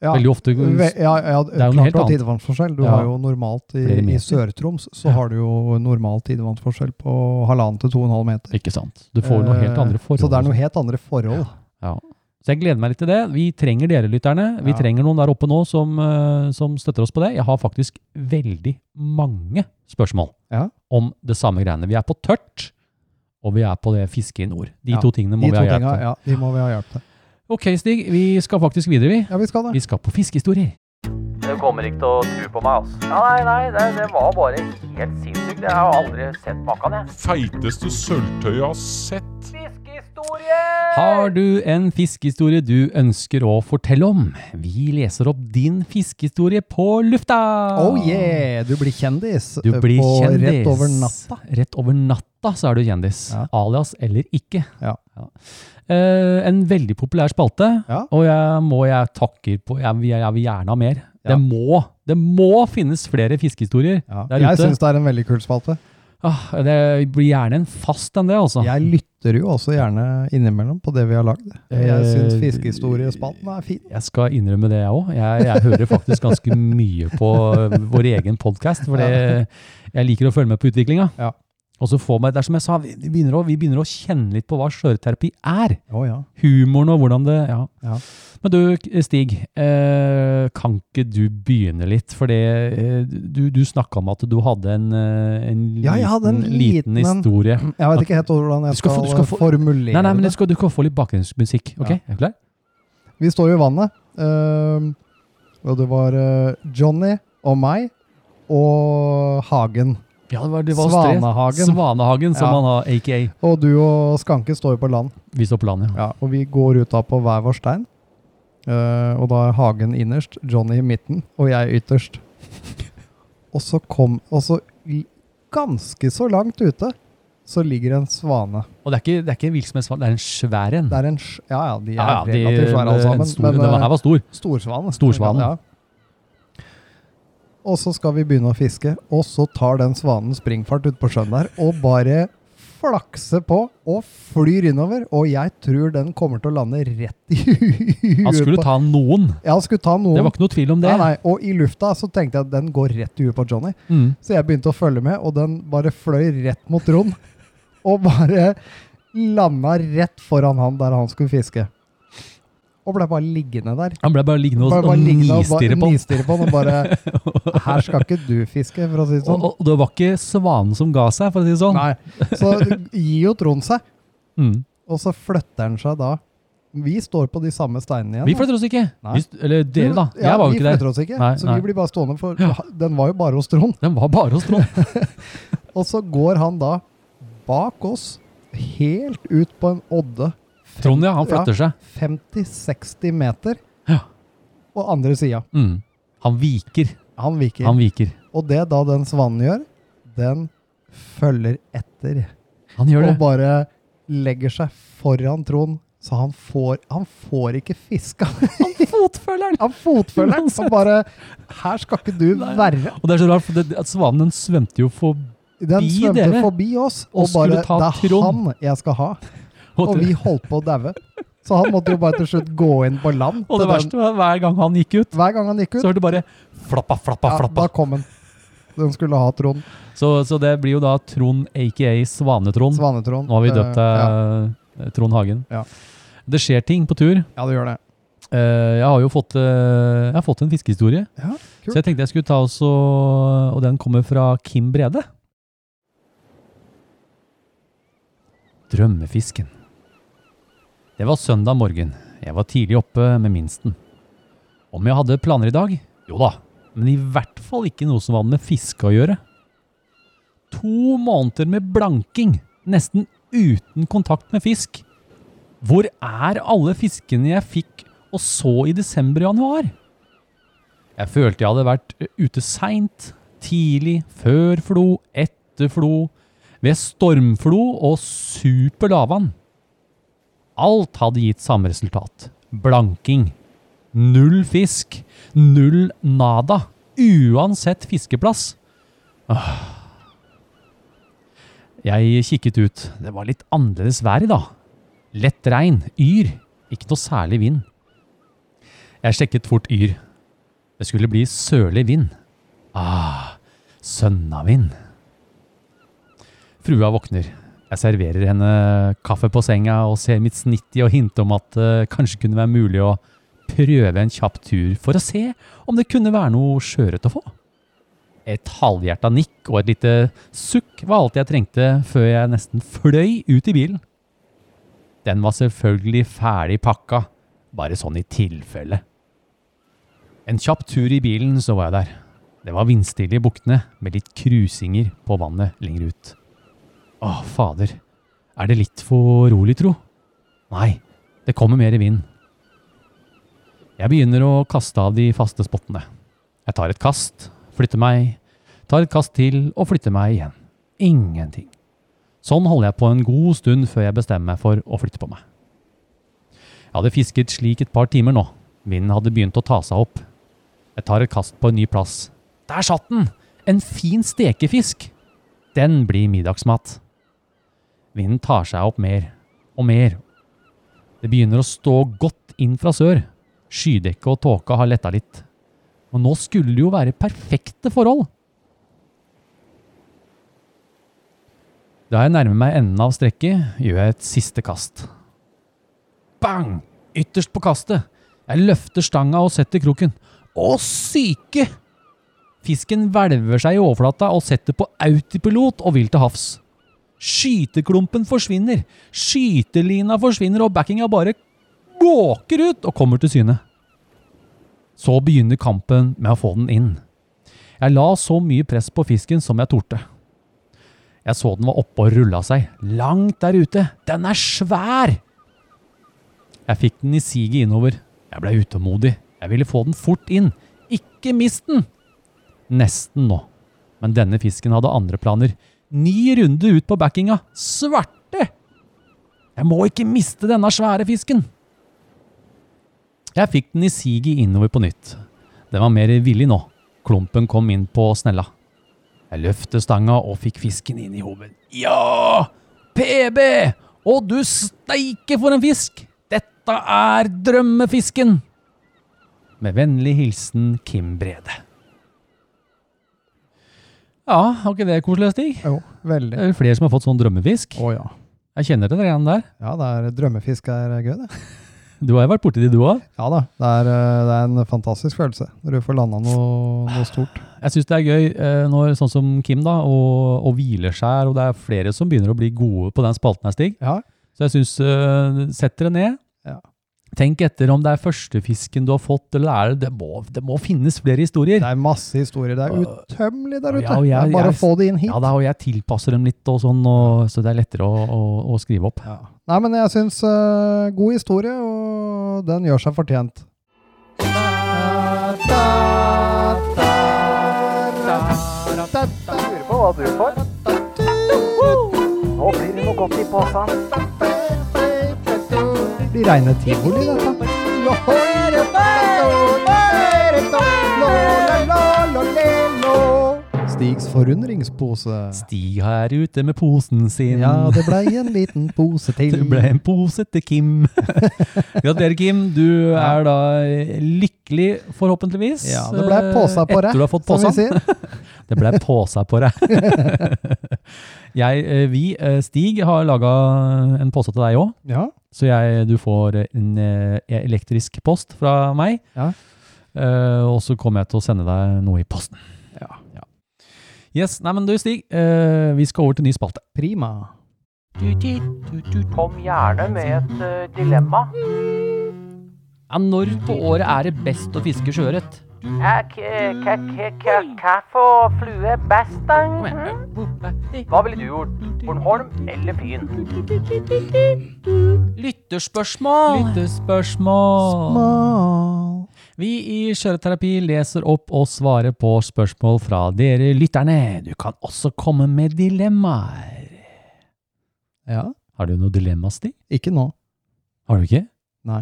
Speaker 6: Ja.
Speaker 5: Veldig ofte
Speaker 6: Ve- ja, ja, det
Speaker 5: er jo
Speaker 6: er
Speaker 5: noe
Speaker 6: jo
Speaker 5: helt
Speaker 6: klart du har
Speaker 5: annet.
Speaker 6: tidevannsforskjell. Du
Speaker 5: Ja.
Speaker 6: har jo normalt i,
Speaker 5: Flere
Speaker 6: i
Speaker 5: meter.
Speaker 6: Sør-Troms så
Speaker 5: Ja.
Speaker 6: har du jo normal tidevannsforskjell på halvannen til to og en halv meter.
Speaker 5: Ikke sant. Du får jo noen helt
Speaker 6: Eh,
Speaker 5: andre forhold. altså.
Speaker 6: Så det er noen helt andre forhold.
Speaker 5: Ja. Så jeg gleder meg litt til det. Vi trenger dere lytterne. Vi
Speaker 6: Ja.
Speaker 5: trenger noen der oppe nå som, eh, som støtter oss på det. Jeg har faktisk veldig mange spørsmål
Speaker 6: Ja.
Speaker 5: om det samme greiene. Vi er på tørt, og vi er på det fiske i nord. De
Speaker 6: Ja,
Speaker 5: to tingene må
Speaker 6: De
Speaker 5: vi ha
Speaker 6: to
Speaker 5: hjelp
Speaker 6: tinga,
Speaker 5: til.
Speaker 6: ja, de må vi ha hjelp til.
Speaker 5: Ok, Stig, vi skal faktisk videre, vi.
Speaker 6: Ja, vi skal det.
Speaker 5: Vi skal på fiskehistorier.
Speaker 2: Du kommer ikke til å tro på meg, altså. Ja, nei, nei, det, det var bare helt sinnssykt. Jeg har aldri sett maken, jeg.
Speaker 3: Feiteste sølvtøyet jeg har sett.
Speaker 2: Fiskehistorie!
Speaker 5: Har du en fiskehistorie du ønsker å fortelle om? Vi leser opp din fiskehistorie på lufta!
Speaker 6: Oh yeah! Du blir kjendis
Speaker 5: Ah. Du
Speaker 6: eh,
Speaker 5: blir
Speaker 6: på
Speaker 5: kjendis.
Speaker 6: rett over natta.
Speaker 5: Rett over natta så er du kjendis.
Speaker 6: Ja.
Speaker 5: Alias eller ikke.
Speaker 6: Ja.
Speaker 5: Eh, en veldig populær spalte,
Speaker 6: Ja.
Speaker 5: og jeg må jeg takker på Jeg, vil- jeg vil gjerne ha mer.
Speaker 6: Ja.
Speaker 5: Det, må, det må finnes flere fiskehistorier
Speaker 6: Ja.
Speaker 5: der
Speaker 6: Jeg
Speaker 5: ute.
Speaker 6: syns det er en veldig kul spalte.
Speaker 5: Ah, det blir gjerne en fast en, det, altså.
Speaker 6: Jeg lytter jo også gjerne innimellom på det vi har lagd.
Speaker 5: Eh,
Speaker 6: Jeg syns fiskehistoriespalten er fin.
Speaker 5: Jeg skal innrømme det, jeg òg. Jeg, jeg hører faktisk ganske mye på eh, vår egen podkast, for det, jeg liker å følge med på utviklinga.
Speaker 6: Ja.
Speaker 5: Og så får meg, det er som jeg sa, vi vi begynner å, vi begynner å kjenne litt på hva skjøreterapi er.
Speaker 6: Å ja.
Speaker 5: Humoren og hvordan det ja.
Speaker 6: Ja.
Speaker 5: Men du, Stig, eh, kan ikke du begynne litt? For det, eh, du, du snakka om at du hadde en, eh, en,
Speaker 6: Ja, jeg hadde en liten en.
Speaker 5: historie.
Speaker 6: Jeg vet ikke helt hvordan jeg
Speaker 5: Du skal
Speaker 6: skal,
Speaker 5: få- du skal få-
Speaker 6: formulere
Speaker 5: Nei, nei, men
Speaker 6: det.
Speaker 5: du skal, du skal få litt bakgrunnsmusikk. Ok,
Speaker 6: Ja.
Speaker 5: er du klar?
Speaker 6: Vi står jo i vannet. ehm, og det var eh, Johnny og meg og Hagen.
Speaker 5: Ja, det var,
Speaker 6: Svanehagen.
Speaker 5: Svanehagen, som
Speaker 6: Ja.
Speaker 5: han har, aka.
Speaker 6: Og du og Skanke står jo på land.
Speaker 5: Vi står på land, ja.
Speaker 6: Ja, og vi går ut da på hver vår stein. Eh, og da er Hagen innerst, Johnny i midten og jeg ytterst. Og så kom Og så l- ganske så langt ute så ligger en svane.
Speaker 5: Og det er ikke, det er ikke en villsmedssvane, det er en svær en.
Speaker 6: Det er en sj- Ja ja, de er
Speaker 5: Ja, ja, de-
Speaker 6: relativt svære alle
Speaker 5: en
Speaker 6: sammen.
Speaker 5: stor-
Speaker 6: men,
Speaker 5: Den
Speaker 6: eh,
Speaker 5: her var stor.
Speaker 6: Storsvanen.
Speaker 5: Storsvanen.
Speaker 6: Ja. Og så skal vi begynne å fiske, og så tar den svanen springfart ut på sjøen der og bare flakser på og flyr innover. Og jeg tror den kommer til å lande rett i huet
Speaker 5: Han skulle
Speaker 6: på-
Speaker 5: ta noen.
Speaker 6: Ja, han skulle ta noen.
Speaker 5: Det var ikke noe tvil om det.
Speaker 6: Nei, nei, og i lufta så tenkte jeg at den går rett i huet på Johnny.
Speaker 5: Mm.
Speaker 6: Så jeg begynte å følge med, og den bare fløy rett mot Trond. Og bare landa rett foran han der han skulle fiske. Og ble bare liggende der.
Speaker 5: Han ble bare liggende og,
Speaker 6: Bare,
Speaker 5: og,
Speaker 6: bare liggende og bare
Speaker 5: nistirre på den.
Speaker 6: nistirre på den. Og bare Her skal ikke du fiske, for å si
Speaker 5: Og,
Speaker 6: det sånn.
Speaker 5: og det var ikke svanen som ga seg, for å si det sånn.
Speaker 6: Nei. Så gir jo Trond seg,
Speaker 5: Mm.
Speaker 6: og så flytter han seg da. Vi står på de samme steinene igjen.
Speaker 5: Vi flytter oss ikke.
Speaker 6: Nei.
Speaker 5: Vi, st- eller dere, da.
Speaker 6: Ja,
Speaker 5: Jeg var jo
Speaker 6: vi
Speaker 5: ikke der.
Speaker 6: flytter oss ikke,
Speaker 5: Nei,
Speaker 6: så
Speaker 5: nei.
Speaker 6: vi blir bare stående, for den var jo bare hos Trond.
Speaker 5: Den var bare hos Trond.
Speaker 6: Og så går han da bak oss, helt ut på en odde,
Speaker 5: Trond, ja. Han flytter seg.
Speaker 6: 50-60 meter,
Speaker 5: Ja.
Speaker 6: og andre sida.
Speaker 5: Mm. Han viker.
Speaker 6: Han viker.
Speaker 5: Han viker.
Speaker 6: Og det da den svanen gjør, den følger etter.
Speaker 5: Han gjør det.
Speaker 6: Og bare legger seg foran Trond, så han får, han får ikke fiska.
Speaker 5: Fotfølgeren!
Speaker 6: Han fotfølgeren som bare Her skal ikke du
Speaker 5: Nei.
Speaker 6: være.
Speaker 5: Og det er så rart, for det, at svanen den svømte jo for
Speaker 6: Den
Speaker 5: Bi
Speaker 6: svømte
Speaker 5: dere.
Speaker 6: forbi oss,
Speaker 5: Og
Speaker 6: og bare
Speaker 5: skulle ta
Speaker 6: Det er
Speaker 5: Trond.
Speaker 6: han jeg skal ha.
Speaker 5: Og
Speaker 6: og
Speaker 5: det-
Speaker 6: vi holdt på å daue. Så han måtte jo bare til slutt gå inn på land.
Speaker 5: Og
Speaker 6: til
Speaker 5: det
Speaker 6: den-
Speaker 5: verste var hver gang han gikk ut,
Speaker 6: Hver gang han gikk
Speaker 5: så
Speaker 6: ut,
Speaker 5: hørte du bare flappa, flappa,
Speaker 6: ja,
Speaker 5: flappa.
Speaker 6: da kom han. Den skulle ha Trond.
Speaker 5: Så, så det blir jo da Trond aka Svanetrond.
Speaker 6: Svanetrond.
Speaker 5: Nå har vi
Speaker 6: Eh,
Speaker 5: døpt
Speaker 6: ja.
Speaker 5: deg Trond Hagen.
Speaker 6: Ja.
Speaker 5: Det skjer ting på tur.
Speaker 6: ja, det gjør det.
Speaker 5: Eh, Jeg har jo fått, eh, jeg har fått en fiskehistorie.
Speaker 6: Ja,
Speaker 5: Så
Speaker 6: kult.
Speaker 5: jeg tenkte jeg skulle ta også Og den kommer fra Kim Brede. Drømmefisken. Det var søndag morgen. Jeg var tidlig oppe med minsten. Om jeg hadde planer i dag? Jo da, men i hvert fall ikke noe som hadde med fiske å gjøre. To måneder med blanking, nesten uten kontakt med fisk. Hvor er alle fiskene jeg fikk og så i desember og januar? Jeg følte jeg hadde vært eh, ute seint, tidlig, før flo, etter flo, ved stormflo og super lavvann. Alt hadde gitt samme resultat. Blanking. Null fisk. Null nada. Uansett fiskeplass. Åh. Jeg kikket ut. Det var litt annerledes vær i dag. Lett regn. Yr. Ikke noe særlig vind. Jeg sjekket fort Yr. Det skulle bli sørlig vind. Ah, sønnavind. Frua våkner. Jeg serverer henne kaffe på senga og ser mitt snitt i å hinte om at det kanskje kunne være mulig å prøve en kjapp tur for å se om det kunne være noe sjøørret å få. Et halvhjerta nikk og et lite sukk var alt jeg trengte før jeg nesten fløy ut i bilen. Den var selvfølgelig ferdig pakka, bare sånn i tilfelle. En kjapp tur i bilen, så var jeg der. Det var vindstille i buktene, med litt krusinger på vannet lenger ut. Å, fader. Er det litt for rolig, tro? Nei, det kommer mer vind. Jeg begynner å kaste av de faste spottene. Jeg tar et kast, flytter meg, tar et kast til og flytter meg igjen. Ingenting. Sånn holder jeg på en god stund før jeg bestemmer meg for å flytte på meg. Jeg hadde fisket slik et par timer nå. Vinden hadde begynt å ta seg opp. Jeg tar et kast på en ny plass. Der satt den! En fin stekefisk! Den blir middagsmat. Vinden tar seg opp mer og mer. Det begynner å stå godt inn fra sør. Skydekket og tåka har letta litt. Og nå skulle det jo være perfekte forhold! Da jeg nærmer meg enden av strekket, gjør jeg et siste kast. Bang! Ytterst på kastet. Jeg løfter stanga og setter kroken. Å, syke! Fisken hvelver seg i overflata og setter på autopilot og vil til havs. Skyteklumpen forsvinner, skytelina forsvinner, og backinga bare måker ut og kommer til syne. Så begynner kampen med å få den inn. Jeg la så mye press på fisken som jeg torde. Jeg så den var oppe og rulla seg, langt der ute. Den er svær! Jeg fikk den i siget innover. Jeg ble utålmodig. Jeg ville få den fort inn. Ikke mist den! Nesten nå. Men denne fisken hadde andre planer. Ni runder ut på backinga. Svarte! Jeg må ikke miste denne svære fisken! Jeg fikk den i siget innover på nytt. Den var mer villig nå. Klumpen kom inn på snella. Jeg løftet stanga og fikk fisken inn i hoven. Ja! PB! Å, du steike for en fisk! Dette er drømmefisken! Med vennlig hilsen Kim Brede. Ja, har ikke det koselig, Stig?
Speaker 6: Jo,
Speaker 5: Det
Speaker 6: veldig.
Speaker 5: er jo flere som har fått sånn drømmefisk.
Speaker 6: Å ja.
Speaker 5: Jeg kjenner til det greiene der.
Speaker 6: Ja, det er drømmefisk er eh, gøy, det.
Speaker 5: Du har jo vært borti de, du òg.
Speaker 6: Ja da. Det er, eh, det er en fantastisk følelse når du får landa noe, noe stort.
Speaker 5: Jeg syns det er gøy eh, når sånn som Kim da, og, og Hvileskjær, og det er flere som begynner å bli gode på den spalten her, Stig.
Speaker 6: Ja.
Speaker 5: Så jeg syns Sett dere ned.
Speaker 6: Ja.
Speaker 5: Tenk etter om det er førstefisken du har fått, eller er det Det må, det må finnes flere historier.
Speaker 6: Det er masse historier. Det er utømmelig der ute.
Speaker 5: Ja, og jeg-
Speaker 6: det er bare
Speaker 5: jeg-
Speaker 6: å få det inn hit.
Speaker 5: Ja da, og jeg tilpasser dem litt, og sånn, og, så det er lettere å, å, å skrive opp.
Speaker 6: Ja. Nei, men jeg syns eh, god historie, og den gjør seg fortjent.
Speaker 4: Lurer på hva du får.
Speaker 2: Nå blir det noe godt i posen.
Speaker 6: Blir reine tivoli, dette. Stigs forundringspose.
Speaker 5: Stig her ute med posen sin.
Speaker 6: Ja, det blei en liten pose til.
Speaker 5: Det ble en pose til Kim. Gratulerer, Kim. Du er da eh, lykkelig, forhåpentligvis. eh,
Speaker 6: Ja, det ble posa på
Speaker 5: Etter
Speaker 6: deg,
Speaker 5: du har fått
Speaker 6: som vi
Speaker 5: posa.
Speaker 6: sier.
Speaker 5: Det ble posa på deg. Jeg, eh, vi, eh, Stig, har laga en pose til deg òg.
Speaker 6: Ja,
Speaker 5: Så jeg, du får en eh, elektrisk post fra meg.
Speaker 6: Ja.
Speaker 5: Eh, og så kommer jeg til å sende deg noe i posten.
Speaker 6: Ja.
Speaker 5: Yes, nei, men du Stig, eh, vi skal over til ny spalte.
Speaker 6: prima.
Speaker 2: Kom gjerne med et eh, dilemma.
Speaker 1: Ja, når på året er det best å fiske sjøørret?
Speaker 2: Hva for flue best, da? Hva ville du gjort? Bornholm eller Fyn?
Speaker 1: Lytterspørsmål!
Speaker 5: Lyttespørsmål!
Speaker 6: Mal.
Speaker 5: Vi i Kjøreterapi leser opp og svarer på spørsmål fra dere lytterne. Du kan også komme med dilemmaer.
Speaker 6: Ja,
Speaker 5: Har du noe dilemma, Stig?
Speaker 6: ikke nå.
Speaker 5: Har du ikke?
Speaker 6: Nei.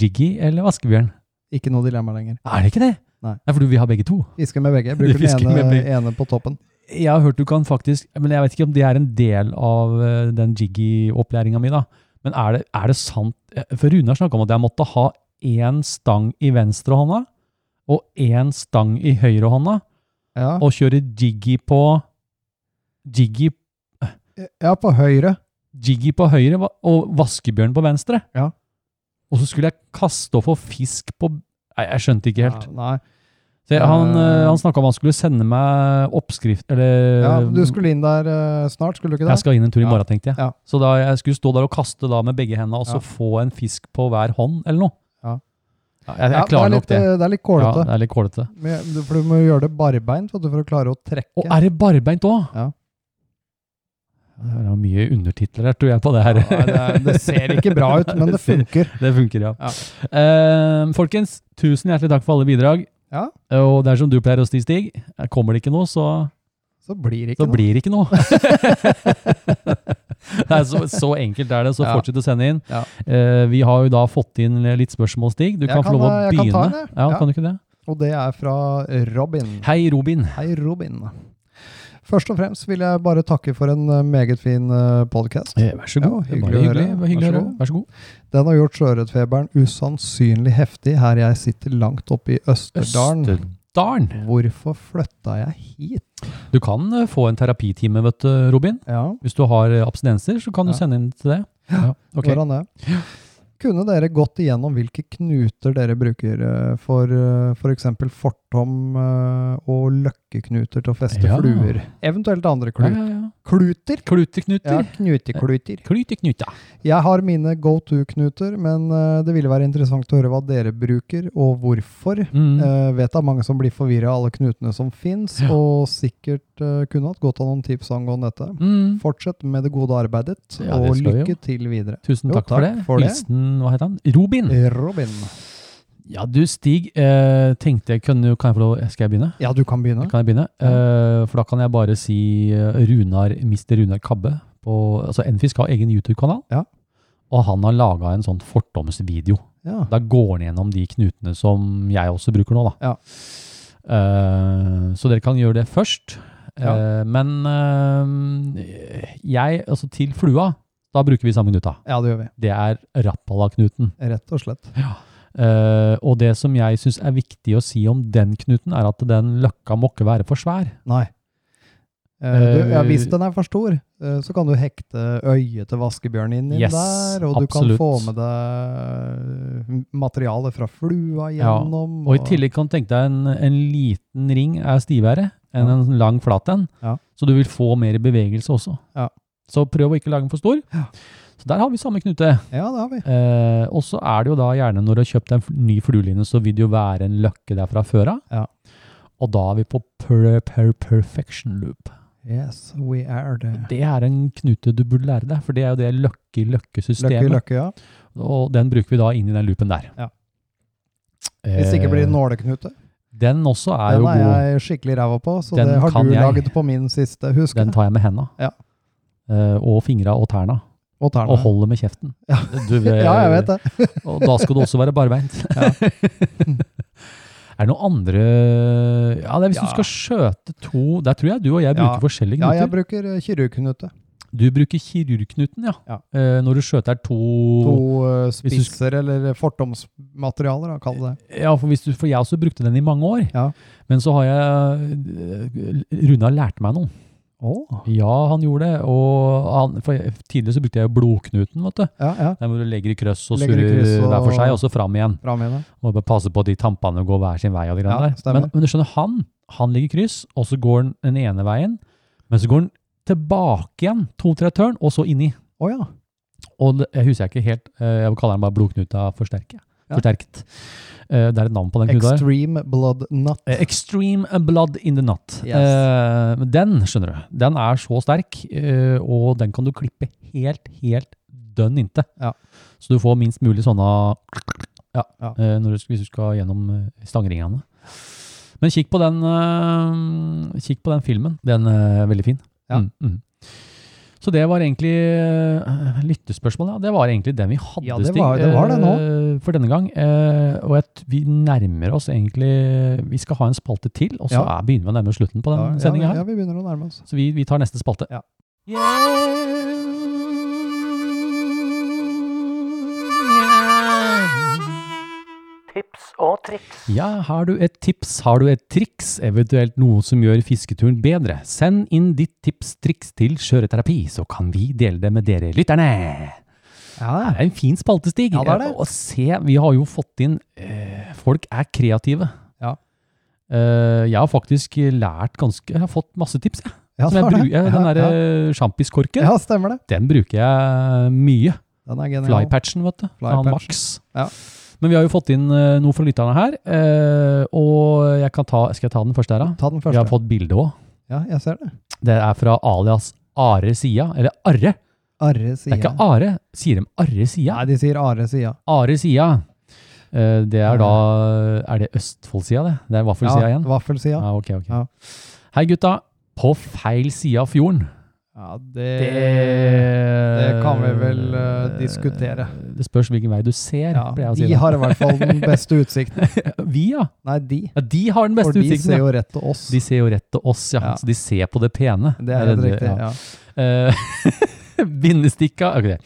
Speaker 5: Jiggy eller vaskebjørn?
Speaker 6: Ikke noe dilemma lenger.
Speaker 5: Er det ikke det?
Speaker 6: Nei.
Speaker 5: Nei, for du vil ha begge to.
Speaker 6: Fisker med begge.
Speaker 5: Du
Speaker 6: Bruker
Speaker 5: fisker
Speaker 6: den
Speaker 5: med
Speaker 6: ene,
Speaker 5: begge.
Speaker 6: ene på toppen.
Speaker 5: Jeg har hørt du kan faktisk, men jeg vet ikke om det er en del av eh, den jiggy-opplæringa mi, da. Men er det, er det sant eh, For Rune har snakka om at jeg måtte ha én stang i venstrehånda og én stang i høyrehånda,
Speaker 6: Ja,
Speaker 5: og kjøre jiggy på Jiggy,
Speaker 6: ja på høyre.
Speaker 5: jiggy på høyre va- og vaskebjørn på venstre.
Speaker 6: Ja.
Speaker 5: Og så skulle jeg kaste opp og fisk på Nei, jeg skjønte ikke helt.
Speaker 6: Ja, nei.
Speaker 5: Så jeg, han
Speaker 6: Eh.
Speaker 5: eh, han snakka om han skulle sende meg oppskrift, eller
Speaker 6: Ja, du skulle inn der eh, snart, skulle du ikke det?
Speaker 5: Um, Jeg skal inn en tur i
Speaker 6: Ja.
Speaker 5: morgen, tenkte jeg.
Speaker 6: Ja.
Speaker 5: Så da jeg skulle stå der og kaste da med begge hendene, og så
Speaker 6: Ja.
Speaker 5: få en fisk på hver hånd, eller noe.
Speaker 6: Ja.
Speaker 5: Jeg, jeg
Speaker 6: Ja,
Speaker 5: klarer
Speaker 6: det er
Speaker 5: nok
Speaker 6: litt,
Speaker 5: det.
Speaker 6: eh, Det er litt
Speaker 5: Ja,
Speaker 6: kålete.
Speaker 5: det er litt kålete.
Speaker 6: Men du- For du må gjøre det barbeint for at du får klare å trekke.
Speaker 5: Og er det barbeint òg?
Speaker 6: Ja.
Speaker 5: Det er mye undertitler her, tror jeg, på det her.
Speaker 6: Ja, det, er- det ser ikke bra ut, men det funker.
Speaker 5: Det funker, ja.
Speaker 6: Ja.
Speaker 5: Eh, folkens, tusen hjertelig takk for alle bidrag.
Speaker 6: Ja.
Speaker 5: Og det er som du pleier å si, Stig. Kommer det ikke noe, så,
Speaker 6: Så blir det
Speaker 5: så
Speaker 6: ikke noe.
Speaker 5: blir det ikke noe. Nei, så, så enkelt er det, så
Speaker 6: Ja.
Speaker 5: fortsett å sende inn.
Speaker 6: Ja.
Speaker 5: Eh, vi har jo da fått inn litt spørsmål, Stig. Du
Speaker 6: Jeg
Speaker 5: kan,
Speaker 6: kan,
Speaker 5: få lov å
Speaker 6: eh, jeg kan
Speaker 5: begynne.
Speaker 6: ta en, jeg.
Speaker 5: ja,
Speaker 6: Ja.
Speaker 5: kan du ikke det?
Speaker 6: Og det er fra Robin.
Speaker 5: Hei, Robin.
Speaker 6: Hei, Robin. Først og fremst vil jeg bare takke for en eh, meget fin podkast.
Speaker 5: Eh, Vær så god.
Speaker 6: Ja,
Speaker 5: Det var
Speaker 6: hyggelig å
Speaker 5: hyggelig.
Speaker 6: høre.
Speaker 5: Det var hyggelig å
Speaker 6: Vær så
Speaker 5: høre. Vær så god.
Speaker 6: Den har gjort sjøørretfeberen usannsynlig heftig her jeg sitter langt oppe i Østerdalen.
Speaker 5: Østerdalen.
Speaker 6: Hvorfor flytta jeg hit?
Speaker 5: Du kan eh, få en terapitime, vet du, Robin.
Speaker 6: Ja,
Speaker 5: Hvis du har eh, abstinenser, så kan du
Speaker 6: Ja.
Speaker 5: sende inn til det. Ja. ok.
Speaker 6: Hvordan det? Kunne dere gått igjennom hvilke knuter dere bruker eh, for f.eks. For fortom eh, og løkkeknuter til å feste
Speaker 5: Ja.
Speaker 6: fluer? Eventuelt andre
Speaker 5: Ja,
Speaker 6: klut.
Speaker 5: ja, ja.
Speaker 6: kluter. Ja,
Speaker 5: Kluteknuter.
Speaker 6: knutekluter.
Speaker 5: Klyteknuta.
Speaker 6: Jeg har mine go to-knuter, men eh, det ville være interessant å høre hva dere bruker, og hvorfor.
Speaker 5: Mm.
Speaker 6: Eh, vet det er mange som blir forvirra av alle knutene som fins,
Speaker 5: Ja.
Speaker 6: og sikkert eh, kunne hatt godt av noen tips angående dette.
Speaker 5: Mm.
Speaker 6: Fortsett med det gode arbeidet,
Speaker 5: Ja, det skal
Speaker 6: og
Speaker 5: vi jo.
Speaker 6: lykke til videre.
Speaker 5: Tusen
Speaker 6: Jo,
Speaker 5: takk, for det.
Speaker 6: takk for det.
Speaker 5: Hilsen, hva heter han? Robin.
Speaker 6: Robin.
Speaker 5: Ja, du Stig, eh, tenkte jeg kunne, kan jeg få lov, skal jeg begynne?
Speaker 6: Ja, du kan begynne.
Speaker 5: Kan jeg begynne? Eh, for da kan jeg bare si eh, Runar, Mr. Runar Kabbe. På, altså Enfisk har egen YouTube-kanal.
Speaker 6: Ja.
Speaker 5: Og han har laga en sånn fortomsvideo.
Speaker 6: Ja.
Speaker 5: Da går han gjennom de knutene som jeg også bruker nå, da.
Speaker 6: Ja.
Speaker 5: Eh, så dere kan gjøre det først.
Speaker 6: Ja.
Speaker 5: Eh, men eh, jeg, altså til flua, da bruker vi samme knuta.
Speaker 6: ja, det gjør vi.
Speaker 5: Det er Rappala-knuten.
Speaker 6: Rett og slett.
Speaker 5: Eh, og det som jeg syns er viktig å si om den knuten, er at den løkka må ikke være for svær.
Speaker 6: Nei. Eh, du, ja, hvis
Speaker 5: Eh,
Speaker 6: den er for stor, eh, så kan du hekte øyet til vaskebjørn inn inn
Speaker 5: Yes,
Speaker 6: der, og du
Speaker 5: absolutt.
Speaker 6: kan få med deg eh, materiale fra flua
Speaker 5: Ja,
Speaker 6: gjennom.
Speaker 5: Og i tillegg kan du tenke deg en, en liten ring er stivere enn
Speaker 6: Ja.
Speaker 5: en sånn lang flat en.
Speaker 6: Ja.
Speaker 5: Så du vil få mer bevegelse også.
Speaker 6: Ja.
Speaker 5: Så prøv å ikke lage den for stor.
Speaker 6: Ja.
Speaker 5: Så der har vi samme knute.
Speaker 6: Ja, det har vi.
Speaker 5: Eh, og så er det jo da gjerne når du har kjøpt en f- ny flueline, så vil det jo være en løkke der fra før av.
Speaker 6: Ja.
Speaker 5: Og da er vi på per, per perfection loop.
Speaker 6: Yes, we are there.
Speaker 5: Det er en knute du burde lære deg, for det er jo det løkke-løkke-systemet.
Speaker 6: Løkke, løkke, ja.
Speaker 5: Og den bruker vi da inn i den loopen der.
Speaker 6: Ja. Hvis det ikke
Speaker 5: Eh.
Speaker 6: blir nåleknute.
Speaker 5: Den også er
Speaker 6: Den
Speaker 5: jo
Speaker 6: er
Speaker 5: god.
Speaker 6: jeg skikkelig ræva på, så
Speaker 5: Den
Speaker 6: det har
Speaker 5: kan
Speaker 6: du
Speaker 5: jeg.
Speaker 6: laget på min siste, husk
Speaker 5: Den
Speaker 6: det.
Speaker 5: tar jeg med henda.
Speaker 6: Ja.
Speaker 5: Eh, og fingra og tærne.
Speaker 6: Og tærne.
Speaker 5: Og holder med kjeften.
Speaker 6: Ja.
Speaker 5: Du, eh,
Speaker 6: Ja, jeg vet det.
Speaker 5: Og da skal du også være barbeint. Er det noen andre Ja, det er hvis
Speaker 6: Ja.
Speaker 5: du skal skjøte to Der tror jeg du og jeg bruker
Speaker 6: Ja.
Speaker 5: forskjellige
Speaker 6: Ja,
Speaker 5: knuter.
Speaker 6: jeg bruker eh, kirurgknute.
Speaker 5: Du bruker kirurgknuten, ja.
Speaker 6: Ja.
Speaker 5: Eh, når du skjøter to,
Speaker 6: To eh,
Speaker 5: hvis du sk-
Speaker 6: spisser eller fortomsmaterialer, da, kall det det.
Speaker 5: Ja, for, hvis du, for jeg også brukte den i mange år.
Speaker 6: Ja.
Speaker 5: Men så har jeg Runa lærte meg noe. Ja, han gjorde det. Og han, for jeg, tidligere så brukte jeg jo blodknuten, vet du.
Speaker 6: Ja, ja.
Speaker 5: Der hvor du legger i krøss og
Speaker 6: Legger i
Speaker 5: surrer
Speaker 6: kryss og-
Speaker 5: hver for seg, og så fram igjen.
Speaker 6: Bra med det.
Speaker 5: Og bare passe på at de tampene går hver sin vei. og de
Speaker 6: Ja,
Speaker 5: greiene der.
Speaker 6: stemmer.
Speaker 5: Men, men du skjønner, han, han ligger i kryss, og så går han den ene veien, men så går han tilbake igjen, to-tre tørn, og så inni.
Speaker 6: Å ja.
Speaker 5: Og det- jeg husker jeg ikke helt, eh, jeg kaller den bare blodknuta forsterke.
Speaker 6: Ja.
Speaker 5: forsterket. Eh, Det er et navn på den knuta her.
Speaker 6: Extreme blood nut.
Speaker 5: Eh, Extreme Blood in the Nut.
Speaker 6: Yes.
Speaker 5: Eh, men den, skjønner du, den er så sterk, eh, og den kan du klippe helt, helt dønn inntil.
Speaker 6: Ja.
Speaker 5: Så du får minst mulig sånne ja,
Speaker 6: Ja.
Speaker 5: eh, når du, hvis du skal gjennom eh, stangringene. Men kikk på den, eh, kikk på den filmen. Den er veldig fin.
Speaker 6: Ja.
Speaker 5: Mm, mm. Så det var egentlig eh, lyttespørsmålet. Ja. Det var egentlig den vi hadde.
Speaker 6: Ja, det
Speaker 5: Stig,
Speaker 6: var- det var det
Speaker 5: eh, For denne gang. Eh, og jeg t- vi nærmer oss egentlig Vi skal ha en spalte til, og så
Speaker 6: Ja.
Speaker 5: er, begynner vi å nærme oss slutten på
Speaker 6: Ja,
Speaker 5: den
Speaker 6: ja, vi-
Speaker 5: sendinga her.
Speaker 6: ja, vi begynner å nærme oss.
Speaker 5: Så vi, vi tar neste spalte.
Speaker 6: Ja.
Speaker 2: Tips og triks.
Speaker 5: Ja, har du et tips, har du et triks, eventuelt noe som gjør fisketuren bedre? Send inn ditt tips-triks til Skjøreterapi, så kan vi dele det med dere lytterne.
Speaker 6: Ja,
Speaker 5: Det er en fin spaltestig.
Speaker 6: Ja, det er det.
Speaker 5: Og se, vi har jo fått inn eh, Folk er kreative.
Speaker 6: Ja.
Speaker 5: Eh, jeg har faktisk lært ganske Jeg har fått masse tips, jeg.
Speaker 6: ja,
Speaker 5: som jeg
Speaker 6: det var det.
Speaker 5: bruker, den eh,
Speaker 6: Ja,
Speaker 5: derre
Speaker 6: ja.
Speaker 5: sjampiskorken,
Speaker 6: ja, stemmer det.
Speaker 5: den bruker jeg mye.
Speaker 6: Den er genial.
Speaker 5: Flypatchen, vet du. fra han
Speaker 6: Flypatchen.
Speaker 5: Max.
Speaker 6: Ja.
Speaker 5: Men vi har jo fått inn eh, noe fra lytterne her. eh, og jeg kan ta Skal jeg ta den første her, da?
Speaker 6: Ta den
Speaker 5: Vi har
Speaker 6: første.
Speaker 5: fått bilde òg.
Speaker 6: Ja, jeg ser det.
Speaker 5: Det er fra alias Are Sia. Eller Arre.
Speaker 6: Arre
Speaker 5: Det er
Speaker 6: sida.
Speaker 5: ikke Are. Sier de Arre Sia?
Speaker 6: Nei, de sier Are sida.
Speaker 5: Are sida. Eh, Det er da Er det Østfold-sida, det? Det er vaffelsida
Speaker 6: Ja,
Speaker 5: igjen?
Speaker 6: vaffelsida.
Speaker 5: Ja, ok, ok.
Speaker 6: Ja.
Speaker 5: Hei, gutta. På feil side av fjorden.
Speaker 6: Ja, det,
Speaker 5: Det,
Speaker 6: det kan vi vel, eh, diskutere.
Speaker 5: Det spørs hvilken vei du ser.
Speaker 6: ja,
Speaker 5: pleier jeg å si
Speaker 6: De
Speaker 5: det.
Speaker 6: har i hvert fall den beste utsikten.
Speaker 5: Vi, ja.
Speaker 6: Nei, de.
Speaker 5: ja. De har den
Speaker 6: For
Speaker 5: beste
Speaker 6: de
Speaker 5: utsikten.
Speaker 6: ser
Speaker 5: ja.
Speaker 6: jo rett til oss.
Speaker 5: De ser jo rett til oss, ja.
Speaker 6: Ja.
Speaker 5: Så de ser på det pene.
Speaker 6: Det er helt
Speaker 5: Eller,
Speaker 6: riktig. ja.
Speaker 5: Eh, Bindestikka ok, det.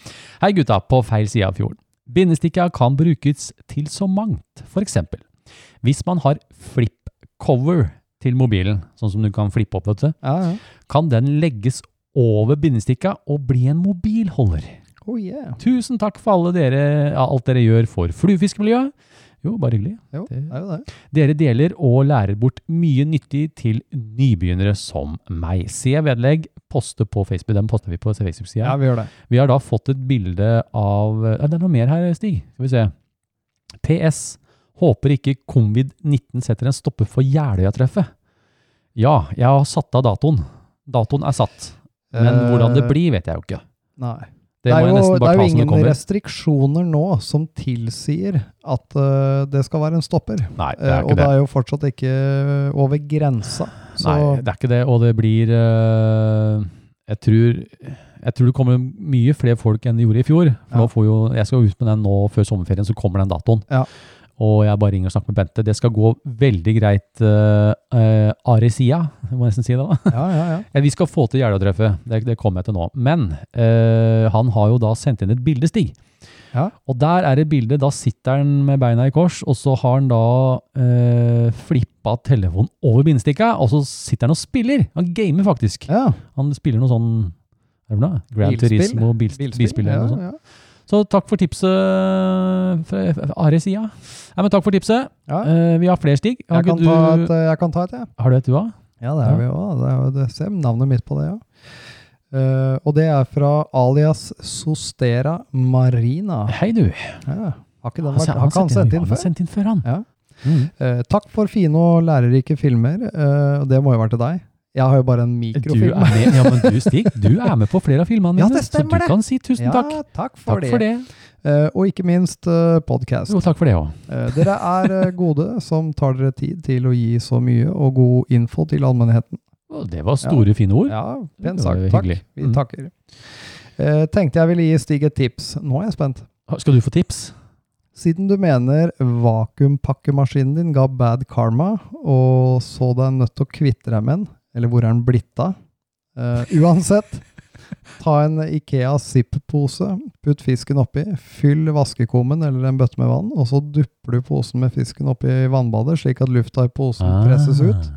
Speaker 5: Hei gutta, på feil side av fjorden. Bindestikka kan brukes til så mangt. For eksempel, hvis man har flip-cover til mobilen, sånn som du kan flippe opp, vet du,
Speaker 6: Ja, ja.
Speaker 5: kan den legges over bindestikka og bli en mobilholder.
Speaker 6: Oh yeah.
Speaker 5: Tusen takk for alle dere, ja, alt dere gjør for fluefiskemiljøet. Jo, bare hyggelig.
Speaker 6: Jo, det er jo det.
Speaker 5: Dere deler og lærer bort mye nyttig til nybegynnere som meg. Se vedlegg, poste på Facebook. Den poster vi på Facebook-sida.
Speaker 6: Ja, vi gjør det.
Speaker 5: Vi har da fått et bilde av eh, Det er noe mer her, Stig. Skal vi se. PS. Håper ikke covid-19 setter en stopper for Jeløya-treffet. Ja, jeg har satt av datoen. Datoen er satt. Men
Speaker 6: Eh,
Speaker 5: hvordan det blir, vet jeg jo ikke.
Speaker 6: Nei.
Speaker 5: Det, må jeg nesten bare
Speaker 6: det er
Speaker 5: ta
Speaker 6: jo
Speaker 5: som det
Speaker 6: ingen
Speaker 5: kommer.
Speaker 6: restriksjoner nå som tilsier at eh, det skal være en stopper.
Speaker 5: Nei, det
Speaker 6: Eh,
Speaker 5: er
Speaker 6: og
Speaker 5: ikke
Speaker 6: det
Speaker 5: det.
Speaker 6: er jo fortsatt ikke over grensa. Så
Speaker 5: Nei, det er ikke det. Og det blir eh, jeg, tror, jeg tror det kommer mye flere folk enn det gjorde i fjor. For
Speaker 6: Ja.
Speaker 5: nå får jo, jeg skal ut med den nå før sommerferien, så kommer den datoen.
Speaker 6: Ja.
Speaker 5: Og jeg bare ringer og snakker med Bente. Det skal gå veldig greit. Uh, Aresia, jeg må nesten si det da.
Speaker 6: ja, ja, ja.
Speaker 5: Ja, Vi skal få til Jeløya-treffet, det, det kommer jeg til nå. Men eh, han har jo da sendt inn et bilde, Stig.
Speaker 6: Ja.
Speaker 5: Og der er det bildet, da sitter han med beina i kors, og så har han da eh, flippa telefonen over bindestikka, og så sitter han og spiller. Han gamer faktisk.
Speaker 6: ja.
Speaker 5: Han spiller noe sånn hva er det for noe? Grand
Speaker 6: Bilspill.
Speaker 5: Turismo, bil, bilspill, eller noe sånt.
Speaker 6: ja, ja.
Speaker 5: Så takk for tipset fra fra Are Sia. Nei, men takk for tipset.
Speaker 6: Ja.
Speaker 5: Eh, vi har flere, Stig. Har,
Speaker 6: Jeg,
Speaker 5: ikke
Speaker 6: kan ta
Speaker 5: du,
Speaker 6: et, eh, jeg kan ta et, jeg.
Speaker 5: har du et du har?
Speaker 6: Ja, det er
Speaker 5: Ja.
Speaker 6: vi òg. Det, er jo- det ser navnet mitt på det, ja. Eh, og det er fra alias Sostera Marina.
Speaker 5: Hei, du.
Speaker 6: Ja. Har ikke den
Speaker 5: Han
Speaker 6: vært,
Speaker 5: sen-
Speaker 6: Ah. har ikke han sendt
Speaker 5: mye.
Speaker 6: inn
Speaker 5: Han har
Speaker 6: før?
Speaker 5: sendt inn før, han.
Speaker 6: Ja.
Speaker 5: Mm.
Speaker 6: Eh, takk for fine og lærerike filmer. eh, Og det må jo være til deg. Jeg har jo bare en
Speaker 5: Du er
Speaker 6: mikrofilm.
Speaker 5: med, ja, men du, Stig, du er med på flere av filmene mine,
Speaker 6: Ja, det stemmer
Speaker 5: så
Speaker 6: det.
Speaker 5: du kan si tusen
Speaker 6: Ja,
Speaker 5: takk.
Speaker 6: takk for
Speaker 5: Takk
Speaker 6: det.
Speaker 5: for det.
Speaker 6: Eh, Og ikke minst eh, podcast.
Speaker 5: Jo, takk for det òg.
Speaker 6: Eh, Dere er eh, gode som tar dere tid til å gi så mye og god info til allmennheten.
Speaker 5: Det var store, fine ord.
Speaker 6: Ja,
Speaker 5: Det
Speaker 6: pent
Speaker 5: var
Speaker 6: sagt.
Speaker 5: jo
Speaker 6: Takk.
Speaker 5: hyggelig.
Speaker 6: Vi
Speaker 5: Mm.
Speaker 6: takker. Eh, Tenkte jeg ville gi Stig et tips. Nå er jeg spent.
Speaker 5: Skal du få tips?
Speaker 6: Siden du mener vakuumpakkemaskinen din ga bad karma, og så deg nødt til å kvitte deg med den, eller hvor er den blitt av? Eh, uansett, ta en Ikea Zipp-pose, putt fisken oppi, fyll vaskekummen eller en bøtte med vann, og så dupper du posen med fisken oppi vannbadet, slik at lufta i posen presses ut,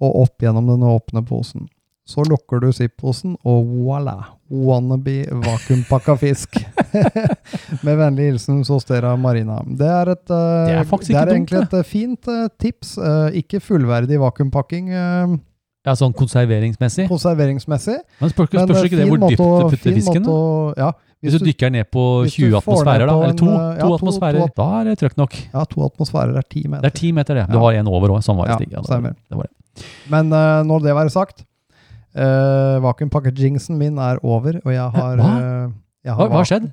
Speaker 6: og opp gjennom den åpne posen. Så lukker du Zipp-posen, og voilà! Wannabe vakuumpakka fisk. Med vennlig hilsen Sostera Marina. Det er et eh,
Speaker 5: Det er faktisk ikke
Speaker 6: det er
Speaker 5: dumt,
Speaker 6: egentlig et eh, fint eh, tips. eh, ikke fullverdig vakuumpakking eh,
Speaker 5: Ja, sånn konserveringsmessig.
Speaker 6: konserveringsmessig.
Speaker 5: Men spørs,
Speaker 6: men,
Speaker 5: spørs
Speaker 6: eh,
Speaker 5: ikke det
Speaker 6: fin
Speaker 5: hvor
Speaker 6: måte
Speaker 5: dypt
Speaker 6: å-
Speaker 5: du putter
Speaker 6: fin
Speaker 5: fisken?
Speaker 6: måte
Speaker 5: da?
Speaker 6: å- Ja,
Speaker 5: Hvis du dykker ned på
Speaker 6: hvis du
Speaker 5: 20
Speaker 6: får
Speaker 5: atmosfærer,
Speaker 6: ned
Speaker 5: da,
Speaker 6: på
Speaker 5: eller to,
Speaker 6: en, eh, ja,
Speaker 5: to
Speaker 6: to-
Speaker 5: atmosfærer,
Speaker 6: to-
Speaker 5: da er det trøkk nok.
Speaker 6: ja, to atmosfærer er ti
Speaker 5: Det
Speaker 6: meter.
Speaker 5: er ti meter, det. Du
Speaker 6: Ja.
Speaker 5: har en over òg. Sånn var
Speaker 6: Ja,
Speaker 5: det. Stig. Ja, det var
Speaker 6: stemmer.
Speaker 5: det. det var det.
Speaker 6: Men eh, når det være sagt, uh, vakuumpakke-jingsen min er over, og jeg har
Speaker 5: Hva?
Speaker 6: eh, jeg
Speaker 5: Hva
Speaker 6: har
Speaker 5: hva
Speaker 6: va-
Speaker 5: har skjedd?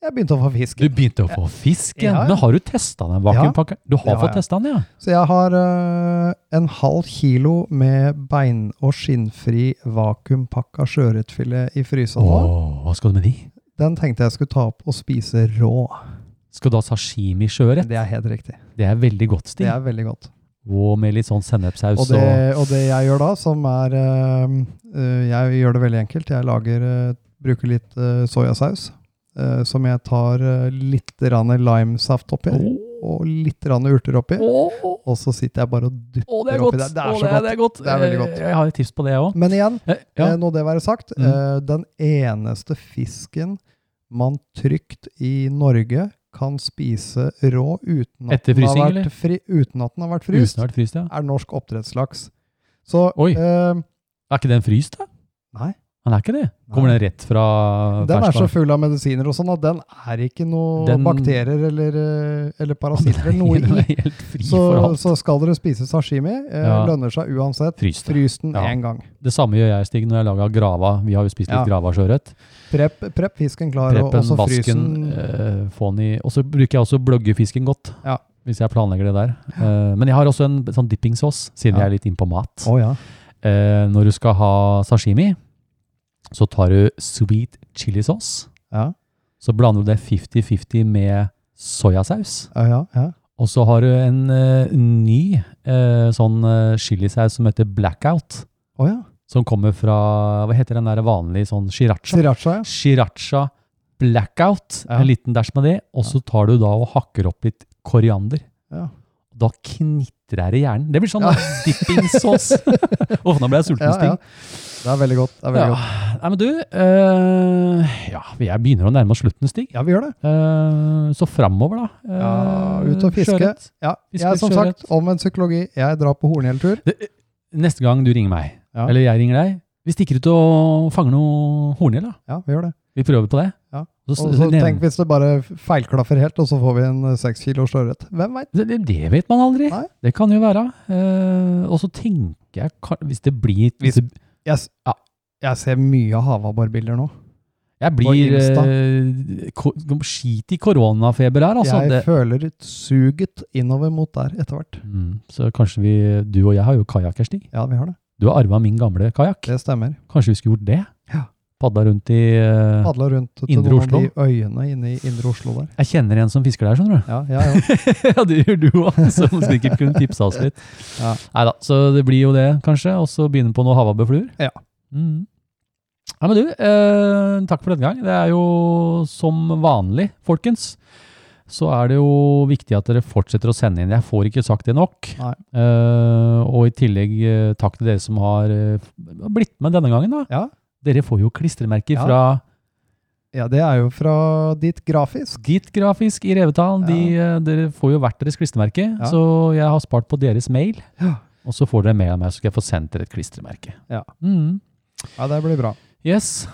Speaker 6: Jeg begynte å få fisk.
Speaker 5: Du begynte å få fisk igjen.
Speaker 6: Ja, ja.
Speaker 5: Men har du testa den vakuumpakken? Du
Speaker 6: Det
Speaker 5: har
Speaker 6: har
Speaker 5: fått
Speaker 6: jeg.
Speaker 5: testa den, ja?
Speaker 6: Så jeg har eh, en halv kilo med bein- og skinnfri vakuumpakka sjøørretfilet i frysa nå.
Speaker 5: Åh, hva skal du med de?
Speaker 6: Den tenkte jeg skulle ta opp og spise rå.
Speaker 5: Skal du ha sashimi sjøørret?
Speaker 6: Det er helt riktig.
Speaker 5: Det er veldig godt,
Speaker 6: Det
Speaker 5: Stig.
Speaker 6: er veldig godt.
Speaker 5: Og med litt sånn sennepsaus
Speaker 6: Og
Speaker 5: og,
Speaker 6: det, og det jeg gjør da, som er eh, eh, Jeg gjør det veldig enkelt. Jeg lager, eh, bruker litt eh, soyasaus, eh, som jeg tar eh, litt grann limesaft oppi, og litt grann urter oppi.
Speaker 5: Åh,
Speaker 6: Og så sitter jeg bare og
Speaker 5: åh, det
Speaker 6: dupper
Speaker 5: er
Speaker 6: oppi
Speaker 5: godt!
Speaker 6: der. Det er
Speaker 5: Åh,
Speaker 6: så godt.
Speaker 5: Det er godt.
Speaker 6: Det er veldig godt.
Speaker 5: Eh, Jeg har et tips på det, jeg òg.
Speaker 6: Men igjen,
Speaker 5: Ja.
Speaker 6: eh, når det være sagt,
Speaker 5: Mm.
Speaker 6: eh, den eneste fisken man trygt i Norge kan spise rå uten at,
Speaker 5: Etter
Speaker 6: den har,
Speaker 5: frysing, eller?
Speaker 6: vært fri, uten at den har vært fryst,
Speaker 5: Usnart fryst, ja.
Speaker 6: er norsk oppdrettslaks. Så
Speaker 5: Oi.
Speaker 6: eh,
Speaker 5: Er ikke den fryst, da?
Speaker 6: Nei.
Speaker 5: Han er ikke det? Kommer den rett fra
Speaker 6: Den er så
Speaker 5: ferskvaren?
Speaker 6: full av medisiner og sånn at den er ikke noe
Speaker 5: Den-
Speaker 6: bakterier eller, eh, eller parasitter eller
Speaker 5: Den
Speaker 6: noe
Speaker 5: er
Speaker 6: i.
Speaker 5: helt fri
Speaker 6: Så,
Speaker 5: for alt.
Speaker 6: så skal dere spise sashimi. Eh,
Speaker 5: Ja.
Speaker 6: Lønner seg uansett.
Speaker 5: Frys det.
Speaker 6: Frys den
Speaker 5: Ja.
Speaker 6: én gang.
Speaker 5: Det samme gjør jeg, Stig, når jeg lager grava. Vi har jo spist litt
Speaker 6: Ja.
Speaker 5: grava sjøørret.
Speaker 6: Prepp, prepp fisken klar, og- og
Speaker 5: Preppen,
Speaker 6: så frys
Speaker 5: vasken,
Speaker 6: den.
Speaker 5: eh, få den i Og så bruker jeg også bløggefisken godt.
Speaker 6: Ja.
Speaker 5: Hvis jeg planlegger det der. Eh, men jeg har også en sånn dipping sauce, siden
Speaker 6: Ja.
Speaker 5: jeg er litt innpå mat.
Speaker 6: Å ja.
Speaker 5: Eh, når du skal ha sashimi, så tar du sweet chili sauce.
Speaker 6: Ja.
Speaker 5: Så blander du det 50-50 med soyasaus.
Speaker 6: Ja, ja, ja.
Speaker 5: Og så har du en eh, ny eh, sånn eh, chilisaus som heter blackout.
Speaker 6: Å ja.
Speaker 5: Som kommer fra Hva heter den der vanlige sånn shiracha?
Speaker 6: Sriracha, ja.
Speaker 5: Shiracha blackout.
Speaker 6: Ja.
Speaker 5: En liten dash med det. Og så tar du da og hakker opp litt koriander.
Speaker 6: Ja.
Speaker 5: Da knitrer jeg i hjernen. Det blir sånn dipping sauce. Åh, nå ble jeg sulten,
Speaker 6: Ja,
Speaker 5: Stig.
Speaker 6: ja. Det er veldig godt. Det er veldig
Speaker 5: Ja.
Speaker 6: godt.
Speaker 5: Nei, men du, eh, ja, jeg begynner å nærme oss slutten, Stig.
Speaker 6: Ja, vi gjør det.
Speaker 5: Eh, så framover, da. eh,
Speaker 6: Ja, ut og fiske.
Speaker 5: sjøørret.
Speaker 6: Ja,
Speaker 5: Fisk
Speaker 6: jeg er
Speaker 5: med
Speaker 6: som
Speaker 5: sjøørret.
Speaker 6: sagt omvendt psykologi. Jeg drar på hornhjeltur.
Speaker 5: Det- eh, Neste gang du ringer meg,
Speaker 6: Ja.
Speaker 5: eller jeg ringer deg, vi stikker ut og fanger noe horngjell, da.
Speaker 6: Ja, vi gjør det.
Speaker 5: Vi prøver på det.
Speaker 6: Ja.
Speaker 5: Og så,
Speaker 6: Og så
Speaker 5: nevn-
Speaker 6: tenk hvis det bare feilklaffer helt, og så får vi en eh, seks kilos sjøørret. Hvem veit?
Speaker 5: det, det- det vet man aldri.
Speaker 6: Nei.
Speaker 5: Det kan jo være. Eh, og så tenker jeg, kan- hvis det blir
Speaker 6: Hvis-
Speaker 5: det-
Speaker 6: Jeg, s-
Speaker 5: Ja.
Speaker 6: jeg ser mye havabborbilder nå.
Speaker 5: Jeg
Speaker 6: på
Speaker 5: blir eh, ko, skit i koronafeber her, altså.
Speaker 6: jeg
Speaker 5: det,
Speaker 6: føler et suget innover mot der etter hvert.
Speaker 5: mm, så kanskje vi, du og jeg har jo kajakk her, Stig.
Speaker 6: Ja, vi har det.
Speaker 5: Du har arva min gamle kajakk.
Speaker 6: Det stemmer.
Speaker 5: Kanskje vi skulle gjort det?
Speaker 6: Ja.
Speaker 5: Padda rundt i eh,
Speaker 6: Padla rundt til
Speaker 5: Indre
Speaker 6: noen
Speaker 5: Oslo.
Speaker 6: av de øyene inne i Indre Oslo der.
Speaker 5: Jeg kjenner en som fisker der, skjønner du.
Speaker 6: Ja, ja, ja.
Speaker 5: ja, det gjør du òg, som sikkert kunne tipsa oss litt.
Speaker 6: Ja.
Speaker 5: Nei da, så det blir jo det, kanskje. Og så begynne på noe havabbefluer.
Speaker 6: Ja.
Speaker 5: Mm. Nei, men du, eh, takk for denne gang. Det er jo som vanlig, folkens. Så er det jo viktig at dere fortsetter å sende inn. Jeg får ikke sagt det nok.
Speaker 6: Nei.
Speaker 5: Eh, og i tillegg eh, takk til dere som har eh, blitt med denne gangen. da.
Speaker 6: Ja.
Speaker 5: Dere får jo klistremerker
Speaker 6: Ja.
Speaker 5: fra
Speaker 6: ja, det er jo fra dit grafisk.
Speaker 5: Ditt grafisk i Revetal, de, eh, dere får jo hvert deres klistremerke,
Speaker 6: Ja.
Speaker 5: så jeg har spart på deres mail.
Speaker 6: Ja.
Speaker 5: Og så får dere en mail av meg, så skal jeg få sendt dere et klistremerke.
Speaker 6: Ja.
Speaker 5: Mm.
Speaker 6: Ja, det blir bra.
Speaker 5: Yes.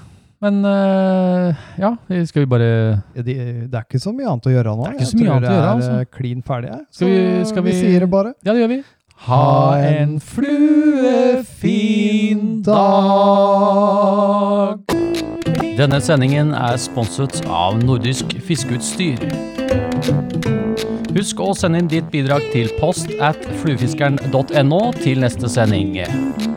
Speaker 5: Men eh, ja, skal vi bare
Speaker 6: Det, det er ikke så mye annet å gjøre nå.
Speaker 5: Det er ikke så mye annet å gjøre,
Speaker 6: Jeg tror det
Speaker 5: altså.
Speaker 6: er eh, klin ferdig. jeg.
Speaker 5: Skal vi- skal
Speaker 6: vi
Speaker 5: vi-
Speaker 6: sier det bare.
Speaker 5: Ja, det gjør vi.
Speaker 6: Ha en fluefin dag.
Speaker 1: Denne sendingen er sponset av Nordisk Fiskeutstyr. Husk å sende inn ditt bidrag til post at fluefiskeren.no til neste sending.